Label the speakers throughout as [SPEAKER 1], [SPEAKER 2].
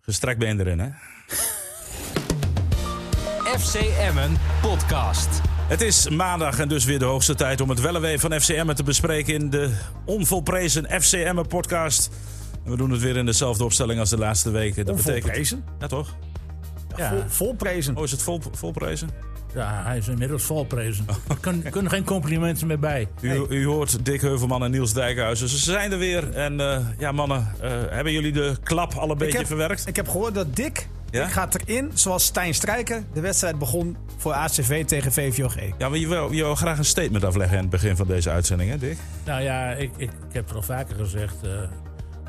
[SPEAKER 1] Gestrekt been erin, hè?
[SPEAKER 2] FC Emmen podcast.
[SPEAKER 1] Het is maandag en dus weer de hoogste tijd om het wel en wee van FCM te bespreken in de onvolprezen FCM podcast. En we doen het weer in dezelfde opstelling als de laatste weken. Dat betekent.
[SPEAKER 3] Onvolprezen?
[SPEAKER 1] Ja, toch?
[SPEAKER 3] Ja. Vol, volprezen.
[SPEAKER 1] Oh, is het vol, volprezen?
[SPEAKER 4] Ja, hij is inmiddels volprezen. Er kun- kunnen geen complimenten meer bij.
[SPEAKER 1] U, u hoort Dick Heuvelman en Niels Dijkhuizen. Ze zijn er weer. En eh, ja, mannen, eh, hebben jullie de klap al een beetje
[SPEAKER 3] heb-
[SPEAKER 1] verwerkt?
[SPEAKER 3] Ik heb gehoord dat Dick,
[SPEAKER 1] Ja?
[SPEAKER 3] Dick gaat erin, zoals Stijn Strijker, de wedstrijd begon voor ACV tegen VVOG.
[SPEAKER 1] Ja, maar je wil, je wil graag een statement afleggen aan het begin van deze uitzending, hè, Dick?
[SPEAKER 4] Nou ja, ik, ik, ik heb er al vaker gezegd eh,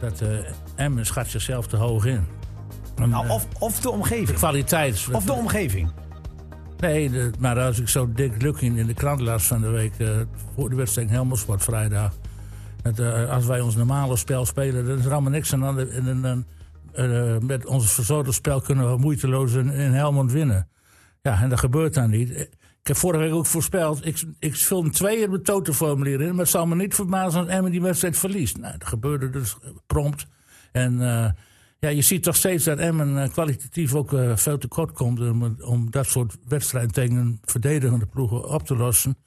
[SPEAKER 4] dat eh Emmen schat zichzelf te hoog in. En,
[SPEAKER 3] Nou,
[SPEAKER 4] eh,
[SPEAKER 3] of, of de omgeving.
[SPEAKER 4] kwaliteit.
[SPEAKER 3] Of de omgeving.
[SPEAKER 4] Nee, de- maar als ik zo Dick Lukking in de krant las van de week... eh, voor de wedstrijd Helmersport vrijdag... Dat, eh, als wij ons normale spel spelen, dan is er allemaal niks aan. de hand. En, dan- dan, eh, met ons verzorgde spel kunnen we moeiteloos in, in Helmond winnen. Ja, en dat gebeurt dan niet. Ik heb vorige week ook voorspeld, ik, ik film twee op het totenformulier in... maar het zal me niet verbazen als Emmen die wedstrijd verliest. Nou, dat gebeurde dus prompt. En eh, ja, je ziet toch steeds dat Emmen eh, kwalitatief ook eh, veel tekort komt... Om, om dat soort wedstrijden tegen een verdedigende ploegen op te lossen.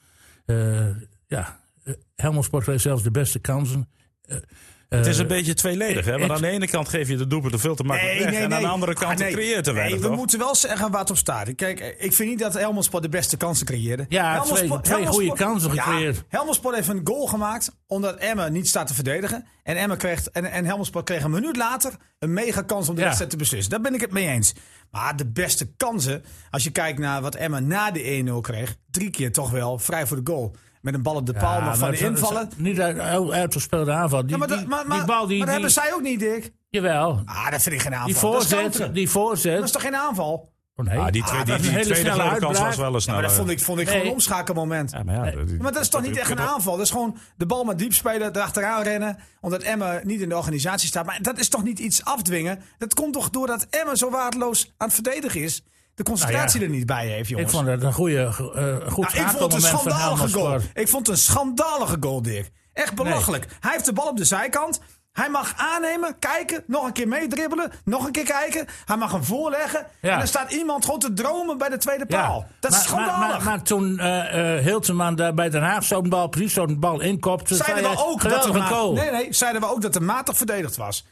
[SPEAKER 4] Eh, ja, eh, Helmond Sport heeft zelfs de beste kansen.
[SPEAKER 1] het
[SPEAKER 3] Eh,
[SPEAKER 1] is een beetje tweeledig, hè? Want
[SPEAKER 4] het-
[SPEAKER 1] aan de ene kant geef je de doelpunten veel te makkelijk weg. en aan de andere kant
[SPEAKER 3] Ah, nee.
[SPEAKER 1] creëert er weinig,
[SPEAKER 3] Nee, we
[SPEAKER 1] toch?
[SPEAKER 3] moeten wel zeggen waar het op staat. Kijk, eh, ik vind niet dat Helmersport de beste kansen creëerde.
[SPEAKER 4] Ja,
[SPEAKER 3] Helmond
[SPEAKER 4] twee-
[SPEAKER 3] Sport-
[SPEAKER 4] twee
[SPEAKER 3] Helmond
[SPEAKER 4] goede
[SPEAKER 3] Sport-
[SPEAKER 4] kansen gecreëerd.
[SPEAKER 3] Ja, Helmond Sport heeft een goal gemaakt omdat Emmen niet staat te verdedigen. En, Emmen kreeg, en, en Helmond Sport kreeg een minuut later een mega kans om de
[SPEAKER 4] Ja.
[SPEAKER 3] wedstrijd te beslissen. Daar ben ik het mee eens. Maar de beste kansen, als je kijkt naar wat Emmen na de 1-0 kreeg, drie keer toch wel vrij voor de goal. Met een bal op de paal nog
[SPEAKER 4] maar
[SPEAKER 3] van
[SPEAKER 4] het
[SPEAKER 3] de
[SPEAKER 4] was- het
[SPEAKER 3] invallen.
[SPEAKER 4] was Niet uit, uit- uitgespeelde aanval. Die,
[SPEAKER 3] Ja, maar, dat-
[SPEAKER 4] die,
[SPEAKER 3] maar, maar,
[SPEAKER 4] die bal die.
[SPEAKER 3] maar dat hebben
[SPEAKER 4] die-
[SPEAKER 3] zij ook niet, Dick.
[SPEAKER 4] Jawel.
[SPEAKER 3] Ah, dat vind ik geen aanval.
[SPEAKER 4] Die
[SPEAKER 3] dat, is
[SPEAKER 4] voorzet.
[SPEAKER 3] counteren.
[SPEAKER 4] Die
[SPEAKER 3] dat is
[SPEAKER 4] voorzet.
[SPEAKER 3] toch geen aanval?
[SPEAKER 4] Oh, nee.
[SPEAKER 1] Ah, die, twee,
[SPEAKER 3] Ah,
[SPEAKER 1] die,
[SPEAKER 3] dat is
[SPEAKER 1] die
[SPEAKER 4] een hele
[SPEAKER 1] tweede
[SPEAKER 4] snelle
[SPEAKER 1] grote kans was
[SPEAKER 4] uitbraak.
[SPEAKER 1] wel een
[SPEAKER 3] Ja,
[SPEAKER 1] snelle.
[SPEAKER 3] maar dat vond ik, vond ik gewoon
[SPEAKER 4] Nee.
[SPEAKER 3] een omschakelmoment.
[SPEAKER 1] nou, Ja, maar ja, dat-
[SPEAKER 3] Maar dat is toch niet echt een aanval? Dat is gewoon de bal maar diep spelen, erachteraan rennen. Omdat Emma niet in de organisatie staat. Maar dat is toch niet iets afdwingen? Dat komt toch doordat Emma zo waardeloos aan het verdedigen is? De concentratie er niet bij heeft, jongens.
[SPEAKER 4] Ik vond dat een goede, ge- eh, een
[SPEAKER 3] Nou,
[SPEAKER 4] goed
[SPEAKER 3] ik vond het
[SPEAKER 4] schakelmoment
[SPEAKER 3] een
[SPEAKER 4] van
[SPEAKER 3] schandalige
[SPEAKER 4] Helmond
[SPEAKER 3] goal.
[SPEAKER 4] Sport.
[SPEAKER 3] Ik vond het een schandalige goal, Dirk. Echt belachelijk. Hij heeft de bal op de zijkant. Hij mag aannemen, kijken, nog een keer meedribbelen, nog een keer kijken. Hij mag hem voorleggen.
[SPEAKER 4] Ja.
[SPEAKER 3] En dan staat iemand gewoon te dromen bij de tweede
[SPEAKER 4] Ja.
[SPEAKER 3] paal. Dat is
[SPEAKER 4] Maar- maar,
[SPEAKER 3] schandalig.
[SPEAKER 4] maar, maar toen eh eh Hilteman daar bij Den Haag zo'n bal, precies zo'n bal inkopte. zei
[SPEAKER 3] zeiden
[SPEAKER 4] hij,
[SPEAKER 3] we ook dat
[SPEAKER 4] geweldig
[SPEAKER 3] er
[SPEAKER 4] een
[SPEAKER 3] ma-
[SPEAKER 4] goal.
[SPEAKER 3] nee, nee, zeiden we ook dat er matig verdedigd was.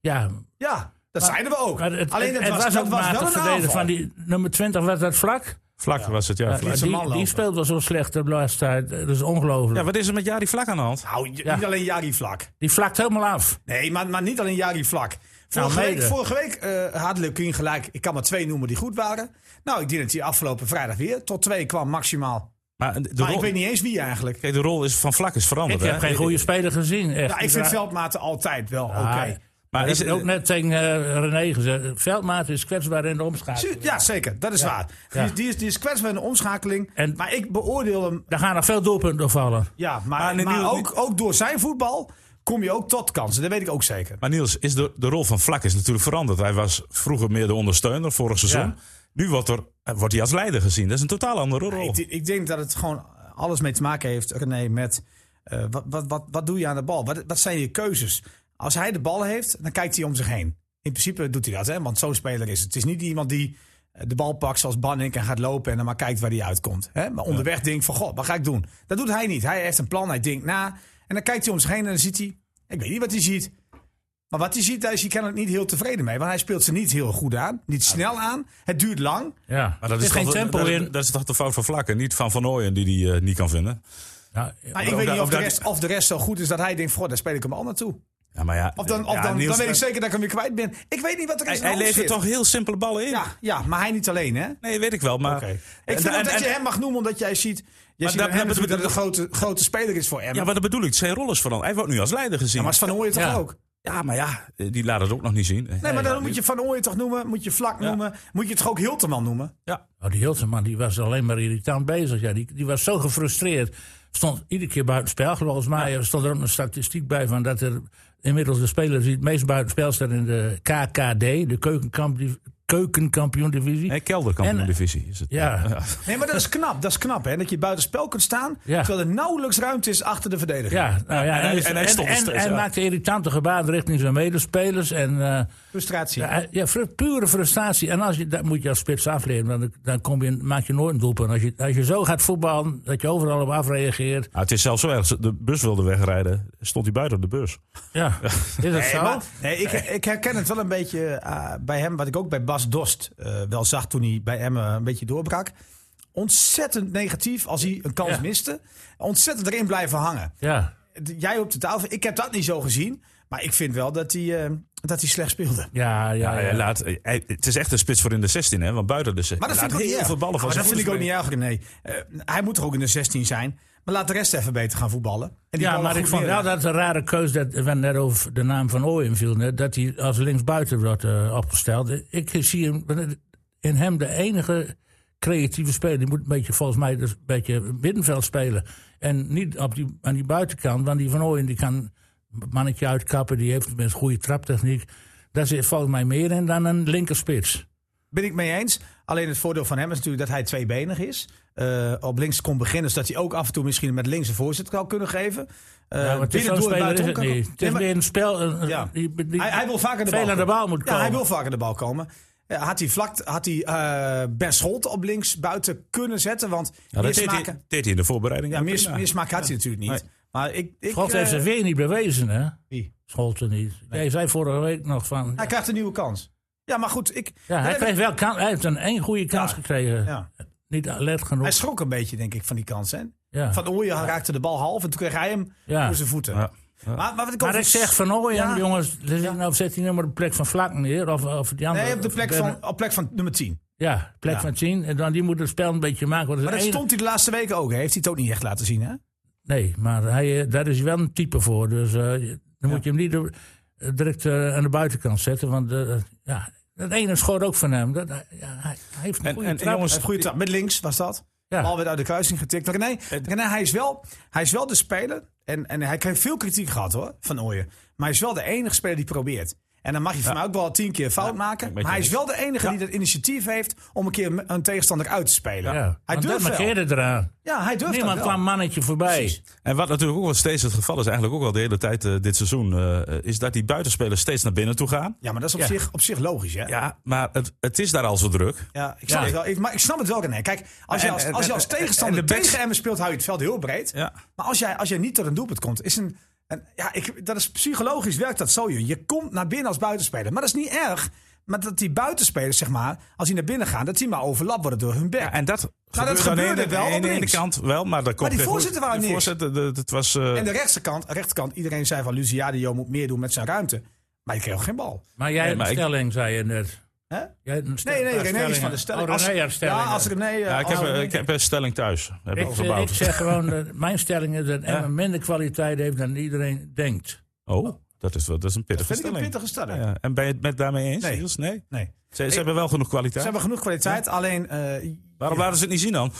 [SPEAKER 4] Ja,
[SPEAKER 3] Ja, dat
[SPEAKER 4] Maar-
[SPEAKER 3] zeiden we ook.
[SPEAKER 4] maar het,
[SPEAKER 3] Alleen
[SPEAKER 4] het,
[SPEAKER 3] dat
[SPEAKER 4] het
[SPEAKER 3] was,
[SPEAKER 4] was
[SPEAKER 3] dat
[SPEAKER 4] ook
[SPEAKER 3] was wel
[SPEAKER 4] matig
[SPEAKER 3] een
[SPEAKER 4] verdedigen
[SPEAKER 3] aanval.
[SPEAKER 4] van die nummer 20, was dat vlak?
[SPEAKER 1] Vlak was het, ja. vlak.
[SPEAKER 4] die,
[SPEAKER 3] zijn man
[SPEAKER 4] die,
[SPEAKER 3] lopen.
[SPEAKER 4] speelt was zo slecht de laatste tijd. Dat is ongelooflijk.
[SPEAKER 1] Ja, wat is er met Jari Vlak aan de hand?
[SPEAKER 3] Nou, j-
[SPEAKER 4] Ja.
[SPEAKER 3] niet alleen Jari Vlak.
[SPEAKER 4] Die vlakt helemaal af.
[SPEAKER 3] Nee, maar, maar niet alleen Jari Vlak. Vorige
[SPEAKER 4] Nou,
[SPEAKER 3] week,
[SPEAKER 4] mede.
[SPEAKER 3] vorige week eh, had Le Queen gelijk. Ik kan maar twee noemen die goed waren. Nou, ik denk dat hij afgelopen vrijdag weer tot twee kwam maximaal.
[SPEAKER 1] Maar eh, de,
[SPEAKER 3] Maar
[SPEAKER 1] rol,
[SPEAKER 3] ik weet niet eens wie eigenlijk.
[SPEAKER 1] kijk, de rol is van Vlak is veranderd.
[SPEAKER 4] Ik heb
[SPEAKER 1] hè?
[SPEAKER 4] geen goede speler gezien. Echt.
[SPEAKER 3] Ja, ik vind Veldmaten altijd wel oké.
[SPEAKER 1] Maar
[SPEAKER 4] Maar
[SPEAKER 1] is
[SPEAKER 4] is
[SPEAKER 1] het-
[SPEAKER 4] ook net tegen eh, René gezegd. Veldmaat is kwetsbaar in de omschakeling.
[SPEAKER 3] Su- Ja, zeker. Dat is waar.
[SPEAKER 4] Ja.
[SPEAKER 3] Die, die, is, die is kwetsbaar in de omschakeling.
[SPEAKER 4] En-
[SPEAKER 3] maar ik beoordeel hem
[SPEAKER 4] Daar gaan nog veel doelpunten door vallen.
[SPEAKER 3] Ja, maar,
[SPEAKER 1] Maar
[SPEAKER 3] maar,
[SPEAKER 1] nee, Niels,
[SPEAKER 3] ook, ook door zijn voetbal kom je ook tot kansen. Dat weet ik ook zeker.
[SPEAKER 1] Maar Niels, is de, de rol van Vlak is natuurlijk veranderd. Hij was vroeger meer de ondersteuner, vorig seizoen.
[SPEAKER 4] Ja.
[SPEAKER 1] Nu wordt, er, eh, wordt hij als leider gezien. Dat is een totaal andere rol.
[SPEAKER 3] Ik, de- ik denk dat het gewoon alles mee te maken heeft, René, met eh, wat, wat, wat, wat doe je aan de bal? Wat, wat zijn je keuzes? Als hij de bal heeft, dan kijkt hij om zich heen. In principe doet hij dat, hè? want zo'n speler is het. Het is niet iemand die eh, de bal pakt zoals Banning en gaat lopen en dan maar kijkt waar hij uitkomt. Hè? Maar onderweg denkt van, god, wat ga ik doen? Dat doet hij niet. Hij heeft een plan, hij denkt na. En dan kijkt hij om zich heen en dan ziet hij, ik weet niet wat hij ziet. Maar wat hij ziet, daar is hij kennelijk niet heel tevreden mee. Want hij speelt ze niet heel goed aan, niet snel aan. Het duurt lang.
[SPEAKER 4] Ja.
[SPEAKER 1] Maar
[SPEAKER 4] er is geen
[SPEAKER 1] toch-
[SPEAKER 4] tempo
[SPEAKER 1] dat,
[SPEAKER 4] in.
[SPEAKER 1] Dat is toch de fout van Vlak en niet van Van Ooyen die die eh, niet kan vinden.
[SPEAKER 4] Nou,
[SPEAKER 3] Maar
[SPEAKER 1] Of
[SPEAKER 3] ik weet
[SPEAKER 1] dat-
[SPEAKER 3] niet
[SPEAKER 1] of
[SPEAKER 3] of de,
[SPEAKER 1] dat-
[SPEAKER 3] rest, of de rest zo goed is dat hij denkt: Goh, daar speel ik hem al naartoe.
[SPEAKER 1] Ja, maar ja,
[SPEAKER 3] Of dan, of
[SPEAKER 1] ja,
[SPEAKER 3] dan,
[SPEAKER 1] Niels, eh,
[SPEAKER 3] dan weet ik zeker dat ik hem weer kwijt ben. Ik weet niet wat er
[SPEAKER 1] Hij,
[SPEAKER 3] is.
[SPEAKER 1] hij levert toch heel simpele ballen in?
[SPEAKER 3] Ja, ja, maar hij niet alleen, hè?
[SPEAKER 1] Nee, weet ik wel. Maar,
[SPEAKER 3] Oké. Ik
[SPEAKER 1] En-
[SPEAKER 3] vind
[SPEAKER 1] en-
[SPEAKER 3] ook dat je
[SPEAKER 1] en-
[SPEAKER 3] hem mag noemen omdat jij ziet. Jij
[SPEAKER 1] Maar
[SPEAKER 3] ziet
[SPEAKER 1] dat-
[SPEAKER 3] dat, hem
[SPEAKER 1] dat-
[SPEAKER 3] natuurlijk dat
[SPEAKER 1] dat-
[SPEAKER 3] het een grote, grote speler is voor Emmen.
[SPEAKER 1] Ja,
[SPEAKER 3] Ja, maar,
[SPEAKER 1] maar dat bedoel ik. Zijn rol is veranderd. Hij wordt nu als leider gezien.
[SPEAKER 3] is Van Ooyen toch
[SPEAKER 4] Ja.
[SPEAKER 3] ook?
[SPEAKER 1] Ja, maar ja, eh, die laat het ook nog niet zien. Eh,
[SPEAKER 3] Nee, maar dan
[SPEAKER 1] ja,
[SPEAKER 3] moet je Van Ooyen toch noemen? Moet je Vlak noemen? Moet je toch ook Hilteman noemen?
[SPEAKER 1] Ja,
[SPEAKER 4] oh, die Hilterman die was alleen maar irritant bezig. Ja. Die, die was zo gefrustreerd. Stond iedere keer buitenspel. Volgens mij eh, stond er ook een statistiek bij van dat er inmiddels de spelers die het meest buitenspel staan in de KKD, de Keukenkamp keukenkampioen divisie.
[SPEAKER 1] Nee, kelderkampioen-divisie is het. Nou,
[SPEAKER 4] Ja.
[SPEAKER 3] Nee, maar dat is knap. Dat is knap, hè? Dat je buitenspel kunt staan,
[SPEAKER 4] Ja.
[SPEAKER 3] terwijl er nauwelijks ruimte is achter de verdediger.
[SPEAKER 4] Ja, nou ja,
[SPEAKER 1] en
[SPEAKER 4] en,
[SPEAKER 1] hij- en hij
[SPEAKER 4] en-
[SPEAKER 1] stond er
[SPEAKER 4] en-
[SPEAKER 1] steeds,
[SPEAKER 4] hij
[SPEAKER 1] ja.
[SPEAKER 4] maakte irritante gebaren richting zijn medespelers. En, eh,
[SPEAKER 3] Frustratie.
[SPEAKER 4] ja, ja, fru- pure frustratie. En als je, dat moet je als spits afleren, dan, dan kom je, maak je nooit een doelpunt. Als je, als je zo gaat voetballen, dat je overal op afreageert.
[SPEAKER 1] Ah, het is zelfs zo erg. De bus wilde wegrijden. Stond hij buiten op de bus.
[SPEAKER 4] Ja, is dat
[SPEAKER 3] Nee,
[SPEAKER 4] zo?
[SPEAKER 3] maar- nee, ik, ik herken het wel een beetje eh, bij hem, wat ik ook bij Bas Dost eh, wel zag toen hij bij Emmen een beetje doorbrak. Ontzettend negatief als hij een kans
[SPEAKER 4] Ja.
[SPEAKER 3] miste. Ontzettend erin blijven hangen.
[SPEAKER 4] Ja,
[SPEAKER 3] Jij op de tafel, ik heb dat niet zo gezien. Maar ik vind wel dat hij, eh, dat hij slecht speelde.
[SPEAKER 4] ja, ja.
[SPEAKER 1] Ja, ja,
[SPEAKER 4] ja.
[SPEAKER 1] laat, hij- het is echt een spits voor in de 16, hè? Want buiten de 16.
[SPEAKER 3] Maar dat vind ik
[SPEAKER 1] laat
[SPEAKER 3] ook niet
[SPEAKER 1] heel
[SPEAKER 3] erg.
[SPEAKER 1] veel ballen van
[SPEAKER 3] Maar
[SPEAKER 1] zijn
[SPEAKER 3] dat vind ik ook
[SPEAKER 1] voeten
[SPEAKER 3] niet erg. Nee. Eh, hij moet er ook in de 16 zijn. Maar laat de rest even beter gaan voetballen. En die
[SPEAKER 4] Ja,
[SPEAKER 3] ballen
[SPEAKER 4] maar
[SPEAKER 3] goed
[SPEAKER 4] ik vond
[SPEAKER 3] neerleggen.
[SPEAKER 4] wel dat een rare keus dat when net over de naam van Ooyen viel. Net, dat hij als linksbuiten wordt eh, opgesteld. Ik zie hem, in hem de enige creatieve speler. Die moet een beetje, volgens mij dus een beetje middenveld spelen. En niet op die, aan die buitenkant. Want die van Ooyen die kan een mannetje uitkappen. Die heeft met goede traptechniek. Daar zit volgens mij meer in dan een linkerspits.
[SPEAKER 3] Ben ik mee eens. Alleen het voordeel van hem is natuurlijk dat hij tweebenig is. Eh, op links kon beginnen, dus dat hij ook af en toe misschien met links een voorzet kan kunnen geven. Eh,
[SPEAKER 4] Ja, maar het is
[SPEAKER 3] binnen
[SPEAKER 4] zo'n
[SPEAKER 3] door en
[SPEAKER 4] speler is
[SPEAKER 3] buitenom
[SPEAKER 4] het
[SPEAKER 3] kan-
[SPEAKER 4] niet. Het
[SPEAKER 3] Nee,
[SPEAKER 4] is
[SPEAKER 3] maar
[SPEAKER 4] meer een spel. een- een-
[SPEAKER 3] Ja.
[SPEAKER 4] die- die-
[SPEAKER 3] hij, hij wil vaker de bal,
[SPEAKER 4] veel aan de
[SPEAKER 3] komen.
[SPEAKER 4] bal moet
[SPEAKER 3] Ja,
[SPEAKER 4] komen.
[SPEAKER 3] hij wil vaker de bal komen. Ja, had hij vlak, had hij eh, Ben Scholte op links buiten kunnen zetten, want
[SPEAKER 1] Ja, dat
[SPEAKER 3] meer
[SPEAKER 1] deed hij,
[SPEAKER 3] smaken,
[SPEAKER 1] deed hij in de voorbereiding.
[SPEAKER 3] ja,
[SPEAKER 1] ook
[SPEAKER 3] meer,
[SPEAKER 1] prima.
[SPEAKER 3] meer smaak had hij natuurlijk niet.
[SPEAKER 1] Nee.
[SPEAKER 3] Maar ik, ik
[SPEAKER 4] Scholt
[SPEAKER 3] eh,
[SPEAKER 4] heeft ze weer niet bewezen, hè?
[SPEAKER 3] wie?
[SPEAKER 4] Scholten niet. Jij zei vorige week nog van.
[SPEAKER 3] hij krijgt een nieuwe kans. Ja, maar goed, ik,
[SPEAKER 4] ja, hij,
[SPEAKER 3] Nee,
[SPEAKER 4] kreeg wel kan, hij heeft een één goede kans
[SPEAKER 3] Ja.
[SPEAKER 4] gekregen.
[SPEAKER 3] ja.
[SPEAKER 4] Niet alert genoeg.
[SPEAKER 3] hij schrok een beetje, denk ik, van die kans. Hè?
[SPEAKER 4] ja.
[SPEAKER 3] Van Ooyen raakte de bal half en toen kreeg hij hem
[SPEAKER 4] Ja.
[SPEAKER 3] voor zijn voeten.
[SPEAKER 1] Ja.
[SPEAKER 3] Maar, maar wat ik
[SPEAKER 4] maar
[SPEAKER 3] over-
[SPEAKER 4] ik zeg van Ooyen,
[SPEAKER 3] Ja.
[SPEAKER 4] jongens, zet- nou zet hij nou maar de plek van Vlak neer. Of, of die andere,
[SPEAKER 3] Nee, op de
[SPEAKER 4] of
[SPEAKER 3] plek
[SPEAKER 4] Benne-
[SPEAKER 3] van, op plek van nummer 10.
[SPEAKER 4] Ja, plek
[SPEAKER 3] Ja.
[SPEAKER 4] van 10. En dan die moet het spel een beetje maken. Want het
[SPEAKER 3] Maar
[SPEAKER 4] is
[SPEAKER 3] dat
[SPEAKER 4] een-
[SPEAKER 3] stond hij de laatste weken ook. hè? Heeft hij het ook niet echt laten zien, hè?
[SPEAKER 4] Nee, maar hij, eh, daar is hij wel een type voor. Dus eh, je- dan moet je hem niet door- eh, direct eh, aan de buitenkant zetten. Want eh, ja, dat ene schoot ook van hem. Dat, eh, ja, hij, hij heeft een
[SPEAKER 1] En-
[SPEAKER 4] goede
[SPEAKER 1] en- en
[SPEAKER 4] trap.
[SPEAKER 1] jongens,
[SPEAKER 3] Een goede trap. Met links was dat.
[SPEAKER 4] Ja.
[SPEAKER 3] Bal werd uit de kruising getikt. René, René hij, is wel, hij is wel de speler. En, en hij kreeg veel kritiek gehad, hoor, van Ooyen. Maar hij is wel de enige speler die probeert. En dan mag je van mij ook wel tien keer fout maken.
[SPEAKER 1] beetje
[SPEAKER 3] Maar hij is
[SPEAKER 1] eens.
[SPEAKER 3] wel de enige die het initiatief heeft om een keer een tegenstander uit te spelen.
[SPEAKER 4] ja.
[SPEAKER 3] Hij
[SPEAKER 4] want dat
[SPEAKER 3] durft wel.
[SPEAKER 4] markeerde eraan.
[SPEAKER 3] Ja, hij durft
[SPEAKER 4] Niemand
[SPEAKER 3] dat wel.
[SPEAKER 4] kwam mannetje voorbij.
[SPEAKER 3] Precies.
[SPEAKER 1] En wat natuurlijk ook wel steeds het geval is, eigenlijk ook al de hele tijd eh, dit seizoen, eh, is dat die buitenspelers steeds naar binnen toe gaan.
[SPEAKER 3] Ja, maar dat is op, zich, op zich logisch, hè?
[SPEAKER 1] Ja, maar het, het is daar al zo druk.
[SPEAKER 3] Ja, ik snap
[SPEAKER 4] Ja.
[SPEAKER 3] het wel. Ik, maar ik snap het wel, René. Kijk, als je
[SPEAKER 1] En-
[SPEAKER 3] als,
[SPEAKER 1] en-
[SPEAKER 3] als, je als
[SPEAKER 1] en- en-
[SPEAKER 3] tegenstander
[SPEAKER 1] en de
[SPEAKER 3] de
[SPEAKER 1] backs-
[SPEAKER 3] tegen Emmen speelt, hou je het veld heel breed.
[SPEAKER 1] Ja.
[SPEAKER 3] Maar als jij, als jij niet tot een doelpunt komt, is een... een- ja, ik, dat is psychologisch werkt dat zo, je. Je komt naar binnen als buitenspeler. Maar dat is niet erg. Maar dat die buitenspelers, zeg maar, als die naar binnen gaan... dat die maar overlap worden door hun bek.
[SPEAKER 1] En dat
[SPEAKER 3] Nou, dat
[SPEAKER 1] aan de
[SPEAKER 3] gebeurde
[SPEAKER 1] ene-
[SPEAKER 3] wel
[SPEAKER 1] aan
[SPEAKER 3] op
[SPEAKER 1] de ene
[SPEAKER 3] links.
[SPEAKER 1] kant wel, maar daar komt
[SPEAKER 3] die
[SPEAKER 1] geen goed-
[SPEAKER 3] voorzitter waren
[SPEAKER 1] die
[SPEAKER 3] niks.
[SPEAKER 1] voorzitter, de- Het was. eh,
[SPEAKER 3] En de rechterkant, rechterkant, iedereen zei van... Luciadio moet meer doen met zijn ruimte. Maar je kreeg ook geen bal.
[SPEAKER 4] Maar jij
[SPEAKER 1] Nee, maar
[SPEAKER 4] hebt een
[SPEAKER 1] ik-
[SPEAKER 4] stelling, zei je net.
[SPEAKER 3] Hè?
[SPEAKER 4] Jij hebt een stel-
[SPEAKER 1] nou,
[SPEAKER 3] Nee, nee,
[SPEAKER 4] paar
[SPEAKER 3] René is van de
[SPEAKER 4] stellingen.
[SPEAKER 3] stelling.
[SPEAKER 4] Oh, René
[SPEAKER 3] als,
[SPEAKER 4] heeft stellingen.
[SPEAKER 3] Ja, als René... eh,
[SPEAKER 1] ja, ik,
[SPEAKER 3] als-
[SPEAKER 1] heb, eh, ik heb een stelling thuis. Heb ik,
[SPEAKER 4] ik, eh,
[SPEAKER 1] gebouwd.
[SPEAKER 4] ik zeg gewoon, dat mijn stelling is dat Emma minder kwaliteit heeft dan iedereen denkt.
[SPEAKER 1] oh, dat is, wel- dat is een pittige
[SPEAKER 3] vind ik een
[SPEAKER 1] stelling.
[SPEAKER 3] pittige stelling.
[SPEAKER 1] Ja, ja. En ben je het met daarmee eens?
[SPEAKER 3] Nee.
[SPEAKER 1] Niels? nee?
[SPEAKER 3] Nee.
[SPEAKER 1] Ze, ze hebben wel genoeg
[SPEAKER 3] Ze
[SPEAKER 1] kwaliteit.
[SPEAKER 3] hebben genoeg kwaliteit, alleen... eh,
[SPEAKER 1] Waarom laten ze het niet zien dan?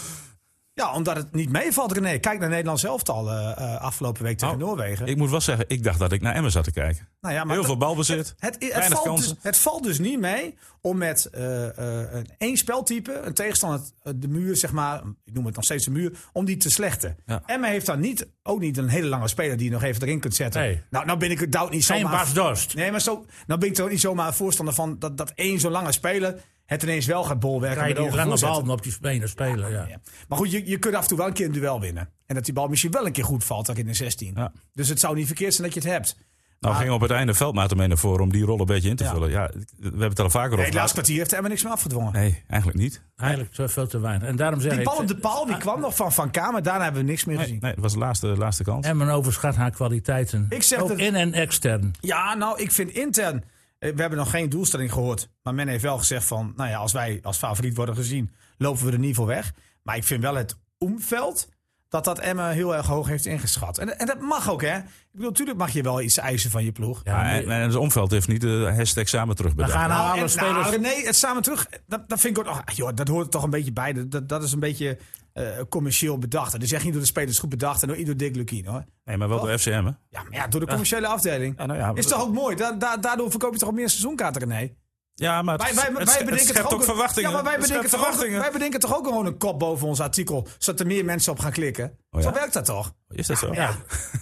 [SPEAKER 3] Ja, omdat het niet meevalt, René. Kijk naar Nederland zelf al eh, afgelopen week tegen
[SPEAKER 1] Oh,
[SPEAKER 3] Noorwegen.
[SPEAKER 1] Ik moet wel zeggen, ik dacht dat ik naar Emmen zat te kijken.
[SPEAKER 3] nou ja, maar
[SPEAKER 1] Heel veel
[SPEAKER 3] dat-
[SPEAKER 1] balbezit.
[SPEAKER 3] Het, het,
[SPEAKER 1] weinig
[SPEAKER 3] valt dus,
[SPEAKER 1] kansen.
[SPEAKER 3] het valt dus niet mee om met eh, eh, een één speltype, een tegenstander, eh, de muur, zeg maar, ik noem het nog steeds de muur, om die te slechten.
[SPEAKER 1] Ja.
[SPEAKER 3] Emma heeft dan niet, ook niet een hele lange speler die je nog even erin kunt zetten.
[SPEAKER 4] Nee.
[SPEAKER 3] Nou, nou ben ik het doubt niet
[SPEAKER 4] Geen
[SPEAKER 3] zomaar.
[SPEAKER 4] Bas Dorst.
[SPEAKER 3] Nee, maar zo, nou ben ik toch niet zomaar een voorstander van dat, dat één zo'n lange speler het ineens wel gaat bolwerken.
[SPEAKER 4] Krijg je
[SPEAKER 3] met
[SPEAKER 4] die
[SPEAKER 3] ogen
[SPEAKER 4] lange
[SPEAKER 3] voorzetten.
[SPEAKER 4] bal op die benen spelen. Ja.
[SPEAKER 3] Ja. Maar goed, je, je kunt af en toe wel een keer een duel winnen. En dat die bal misschien wel een keer goed valt, ook in de 16.
[SPEAKER 1] Ja.
[SPEAKER 3] Dus het zou niet verkeerd zijn dat je het hebt.
[SPEAKER 1] Nou, ging op het einde Veldmaat ermee naar voren om die rol een beetje in te
[SPEAKER 3] Ja.
[SPEAKER 1] vullen. Ja, ik- we hebben het al vaker
[SPEAKER 3] Nee,
[SPEAKER 1] over
[SPEAKER 3] het
[SPEAKER 1] gehad.
[SPEAKER 3] laatste kwartier heeft Emmen niks meer afgedwongen.
[SPEAKER 1] Nee, eigenlijk niet.
[SPEAKER 4] Eigenlijk te- veel te weinig. En daarom zeg
[SPEAKER 3] Die
[SPEAKER 4] ik,
[SPEAKER 3] bal op de paal, die kwam nog van Van Kamer. Daarna hebben we niks meer
[SPEAKER 1] Nee,
[SPEAKER 3] gezien.
[SPEAKER 1] nee, het was de laatste, laatste kans.
[SPEAKER 4] Emmen eh, overschat haar kwaliteiten.
[SPEAKER 3] Ik zeg
[SPEAKER 4] Ook
[SPEAKER 3] dat-
[SPEAKER 4] in en extern.
[SPEAKER 3] Ja, nou, ik vind intern... eh, We hebben nog geen doelstelling gehoord. Maar men heeft wel gezegd van... Nou ja, als wij als favoriet worden gezien, lopen we er niet voor weg. Maar ik vind wel het omveld... Dat dat Emmen heel erg hoog heeft ingeschat. En, en dat mag ook, hè? Ik bedoel, natuurlijk mag je wel iets eisen van je ploeg.
[SPEAKER 4] Ja,
[SPEAKER 1] Ja, Ah, en, en het omveld heeft niet de hashtag samen
[SPEAKER 4] we
[SPEAKER 1] terugbedacht.
[SPEAKER 4] gaan nou,
[SPEAKER 3] Nou,
[SPEAKER 4] alle
[SPEAKER 3] en-
[SPEAKER 4] spelers...
[SPEAKER 3] nou, René, het samen terug, dat, dat vind ik ook nog... ach, Joh, dat hoort er toch een beetje bij. Dat- Dat, dat is een beetje eh, commercieel bedacht. Dat is echt niet door de spelers goed bedacht en door ieder Dick Lukien, hoor.
[SPEAKER 1] Nee, maar
[SPEAKER 3] Oh.
[SPEAKER 1] wel door FCM, hè?
[SPEAKER 3] Ja, maar ja, door de commerciële afdeling.
[SPEAKER 1] Ja, nou ja,
[SPEAKER 3] is
[SPEAKER 1] dat-
[SPEAKER 3] toch ook mooi? Da- da- daardoor verkoop je toch ook meer seizoenkaarten, René?
[SPEAKER 1] Ja, maar het,
[SPEAKER 3] Wij, wij, wij
[SPEAKER 1] het, het
[SPEAKER 3] bedenken toch
[SPEAKER 1] schept ook, verwachtingen.
[SPEAKER 3] Ja, maar wij
[SPEAKER 1] Het
[SPEAKER 3] bedenken,
[SPEAKER 1] schept
[SPEAKER 3] toch ook,
[SPEAKER 1] verwachtingen.
[SPEAKER 3] wij bedenken toch ook gewoon een kop boven ons artikel, zodat er meer mensen op gaan klikken.
[SPEAKER 1] Oh ja?
[SPEAKER 3] Zo werkt dat toch?
[SPEAKER 1] Is dat zo?
[SPEAKER 4] Ja.
[SPEAKER 3] Maar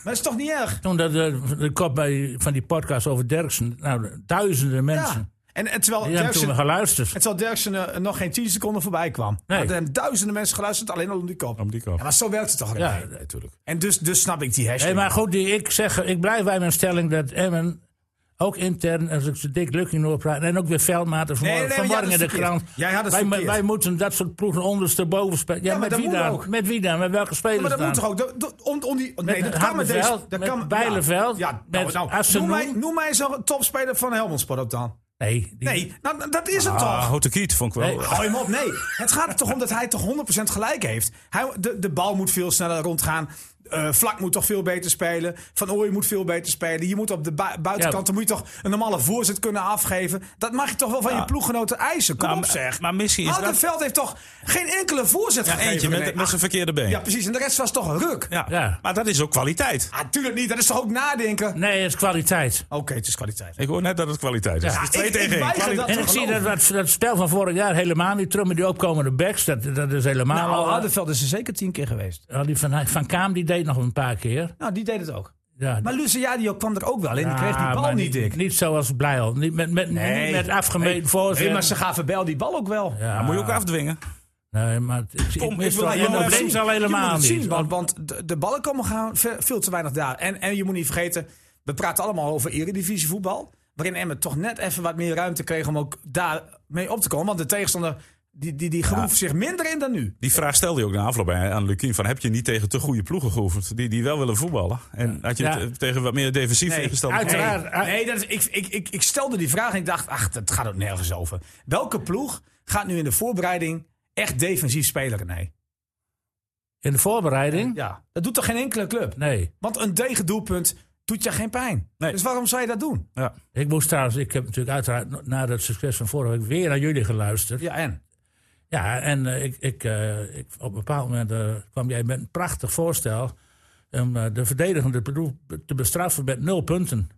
[SPEAKER 3] dat is toch niet erg?
[SPEAKER 4] Toen dat, eh, de kop bij, van die podcast over Derksen. Nou, duizenden
[SPEAKER 3] Ja.
[SPEAKER 4] mensen.
[SPEAKER 3] En, en terwijl
[SPEAKER 4] Die hebben toen
[SPEAKER 3] Derksen,
[SPEAKER 4] geluisterd.
[SPEAKER 3] en terwijl Derksen eh, nog geen 10 seconden voorbij kwam.
[SPEAKER 4] Nee.
[SPEAKER 3] Hadden hem duizenden mensen geluisterd alleen al om die kop.
[SPEAKER 1] Om die
[SPEAKER 3] Ja,
[SPEAKER 1] kant.
[SPEAKER 3] maar zo werkt het toch?
[SPEAKER 4] Ja.
[SPEAKER 3] niet?
[SPEAKER 1] Nee, natuurlijk.
[SPEAKER 3] En dus, dus snap ik die hashtag.
[SPEAKER 4] Hey, maar goed, die, ik, zeg, ik blijf bij mijn stelling dat Emmen ook intern, als ik ze dik Lukking hoor praten, en ook weer veldmaten vanmorgen,
[SPEAKER 3] Nee, nee, maar jij
[SPEAKER 4] vanmorgen in
[SPEAKER 3] had
[SPEAKER 4] de
[SPEAKER 3] het
[SPEAKER 4] krant.
[SPEAKER 3] verkeerd. Jij had het
[SPEAKER 4] wij,
[SPEAKER 3] verkeerd.
[SPEAKER 4] wij moeten dat soort ploegen ondersteboven spelen. Ja,
[SPEAKER 3] maar
[SPEAKER 4] met
[SPEAKER 3] dat
[SPEAKER 4] wie
[SPEAKER 3] moet
[SPEAKER 4] dan?
[SPEAKER 3] ook.
[SPEAKER 4] Met wie dan? Met welke
[SPEAKER 3] Ja,
[SPEAKER 4] spelers
[SPEAKER 3] maar dat
[SPEAKER 4] dan?
[SPEAKER 3] moet toch ook. Dat, dat- om, om die, nee,
[SPEAKER 4] Met
[SPEAKER 3] dat kan met deze.
[SPEAKER 4] Hardenveld,
[SPEAKER 3] Dat
[SPEAKER 4] met
[SPEAKER 3] kan, ja.
[SPEAKER 4] Bijleveld,
[SPEAKER 3] Ja, nou,
[SPEAKER 4] met
[SPEAKER 3] nou,
[SPEAKER 4] Assenoen.
[SPEAKER 3] noem, mij, noem mij zo'n topspeler van Helmond Sport ook dan.
[SPEAKER 4] Nee, die-
[SPEAKER 3] Nee, nou, dat is het
[SPEAKER 1] Ah,
[SPEAKER 3] toch?
[SPEAKER 1] Houte Kiet vond ik wel.
[SPEAKER 4] Nee.
[SPEAKER 3] Hou hem op, nee. Het gaat er toch om dat hij toch 100% gelijk heeft. Hij, de, de bal moet veel sneller rondgaan. Eh, Vlak moet toch veel beter spelen. Van Ooyen moet veel beter spelen. Je moet op de bui- buitenkant
[SPEAKER 4] Ja.
[SPEAKER 3] dan moet je toch een normale voorzet kunnen afgeven. Dat mag je toch wel van je ploeggenoten eisen. Kom
[SPEAKER 1] Nou,
[SPEAKER 3] op zeg.
[SPEAKER 1] maar misschien is dat-
[SPEAKER 3] Houtenveld heeft toch geen enkele voorzet
[SPEAKER 1] Ja,
[SPEAKER 3] gegeven?
[SPEAKER 1] eentje met,
[SPEAKER 3] Nee. Ah,
[SPEAKER 1] met zijn verkeerde been.
[SPEAKER 3] Ja, precies. En de rest was toch ruk?
[SPEAKER 1] Ja.
[SPEAKER 4] Ja.
[SPEAKER 1] Maar dat is ook kwaliteit.
[SPEAKER 3] Ah, tuurlijk niet. Dat is toch ook nadenken?
[SPEAKER 4] nee, het is kwaliteit.
[SPEAKER 3] Oké, het is kwaliteit.
[SPEAKER 1] Ik hoor net dat het kwaliteit is.
[SPEAKER 4] Ja.
[SPEAKER 1] Dus twee
[SPEAKER 3] Ik- ik
[SPEAKER 1] tegen één.
[SPEAKER 3] weiger
[SPEAKER 1] Kwali-
[SPEAKER 3] dat-
[SPEAKER 4] En ik
[SPEAKER 3] te
[SPEAKER 4] zie dat,
[SPEAKER 3] geloven.
[SPEAKER 4] dat, dat spel van vorig jaar helemaal niet terug met die opkomende backs. Dat, dat is helemaal
[SPEAKER 3] Nou,
[SPEAKER 4] al-
[SPEAKER 3] Hardenveld is er zeker tien keer geweest.
[SPEAKER 4] al die van, van Kaam die deed nog een paar keer.
[SPEAKER 3] Nou, die deed het ook.
[SPEAKER 4] Ja,
[SPEAKER 3] Maar Luciadio kwam er ook wel in. Die kreeg die
[SPEAKER 4] Ah,
[SPEAKER 3] bal
[SPEAKER 4] maar
[SPEAKER 3] niet dik.
[SPEAKER 4] Niet zoals Blijl. Niet met, met, niet met afgemeten
[SPEAKER 3] Nee.
[SPEAKER 4] voorzetten.
[SPEAKER 3] Nee, maar ze gaven Bel die bal ook wel.
[SPEAKER 1] Ja, moet je ook afdwingen.
[SPEAKER 4] Nee, maar het- ik,
[SPEAKER 1] Pom,
[SPEAKER 4] ik
[SPEAKER 1] ik
[SPEAKER 4] mis
[SPEAKER 1] wil-
[SPEAKER 4] wel
[SPEAKER 1] je
[SPEAKER 4] en
[SPEAKER 1] moet
[SPEAKER 4] op
[SPEAKER 1] het
[SPEAKER 4] links
[SPEAKER 1] zien.
[SPEAKER 4] al
[SPEAKER 3] Je
[SPEAKER 4] helemaal
[SPEAKER 3] moet het
[SPEAKER 4] niet.
[SPEAKER 3] zien, want, want de, de ballen komen gaan ve- veel te weinig daar. En, en je moet niet vergeten, we praten allemaal over eredivisie voetbal. Waarin Emmen toch net even wat meer ruimte kreeg om ook daar mee op te komen. Want de tegenstander, die, die, die groef zich minder in dan nu.
[SPEAKER 1] Die vraag stelde je ook na afloop bij- aan Lukien. Van, heb je niet tegen te goede ploegen geoefend? Die, die wel willen voetballen. En had je
[SPEAKER 4] Ja.
[SPEAKER 1] te- tegen wat meer defensief
[SPEAKER 3] Nee,
[SPEAKER 1] ingesteld?
[SPEAKER 4] uiteraard.
[SPEAKER 3] Nee, nee, dat is, ik, ik, ik, ik stelde die vraag en ik dacht, ach, dat gaat ook nergens over. Welke ploeg gaat nu in de voorbereiding echt defensief spelen? Nee.
[SPEAKER 4] In de voorbereiding?
[SPEAKER 3] Ja, dat doet toch geen enkele club?
[SPEAKER 4] Nee.
[SPEAKER 3] Want een degendoelpunt doet je geen pijn.
[SPEAKER 1] Nee.
[SPEAKER 3] Dus waarom zou je dat doen?
[SPEAKER 1] Ja.
[SPEAKER 4] Ik moest trouwens, ik heb natuurlijk uiteraard no- na dat succes van vorige week weer naar jullie geluisterd. Ja,
[SPEAKER 3] Ja, en?
[SPEAKER 4] en eh, ik, ik, eh, ik, op een bepaald moment eh, kwam jij met een prachtig voorstel om eh, de verdedigende ploeg te bestraffen met nul punten.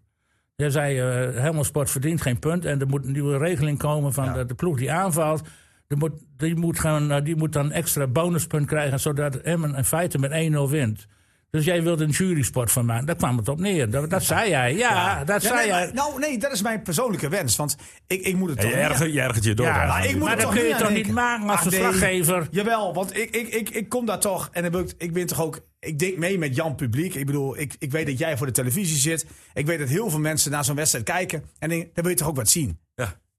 [SPEAKER 4] Jij zei, eh Helmond Sport verdient geen punt en er moet een nieuwe regeling komen van de, de ploeg die aanvalt. Die moet, die, moet gaan, eh, die moet dan extra bonuspunt krijgen, zodat Emmen in feite met 1-0 wint. Dus jij wilde een jury-sport van maken. Daar kwam het op neer. Dat, dat zei jij. Ja, Ah, dat
[SPEAKER 3] Ja,
[SPEAKER 4] zei
[SPEAKER 3] nee,
[SPEAKER 4] jij.
[SPEAKER 3] maar- nou, nee, dat is mijn persoonlijke wens. Want ik, ik moet het
[SPEAKER 1] Je,
[SPEAKER 3] toch niet-
[SPEAKER 1] ergert, je ergert je door.
[SPEAKER 4] Ja,
[SPEAKER 1] aan.
[SPEAKER 4] maar
[SPEAKER 3] Maar ik moet
[SPEAKER 4] Maar
[SPEAKER 3] het
[SPEAKER 4] dat
[SPEAKER 3] toch
[SPEAKER 4] kun je
[SPEAKER 3] niet
[SPEAKER 4] toch
[SPEAKER 3] aan
[SPEAKER 4] niet
[SPEAKER 3] denken.
[SPEAKER 4] maken als
[SPEAKER 3] Ach, nee.
[SPEAKER 4] verslaggever?
[SPEAKER 3] Jawel, want ik, ik, ik, ik kom daar toch. En dan ben ik, ik ben toch ook. Ik denk mee met Jan Publiek. Ik bedoel, ik, ik weet dat jij voor de televisie zit. Ik weet dat heel veel mensen naar zo'n wedstrijd kijken. En denk, dan wil je toch ook wat zien.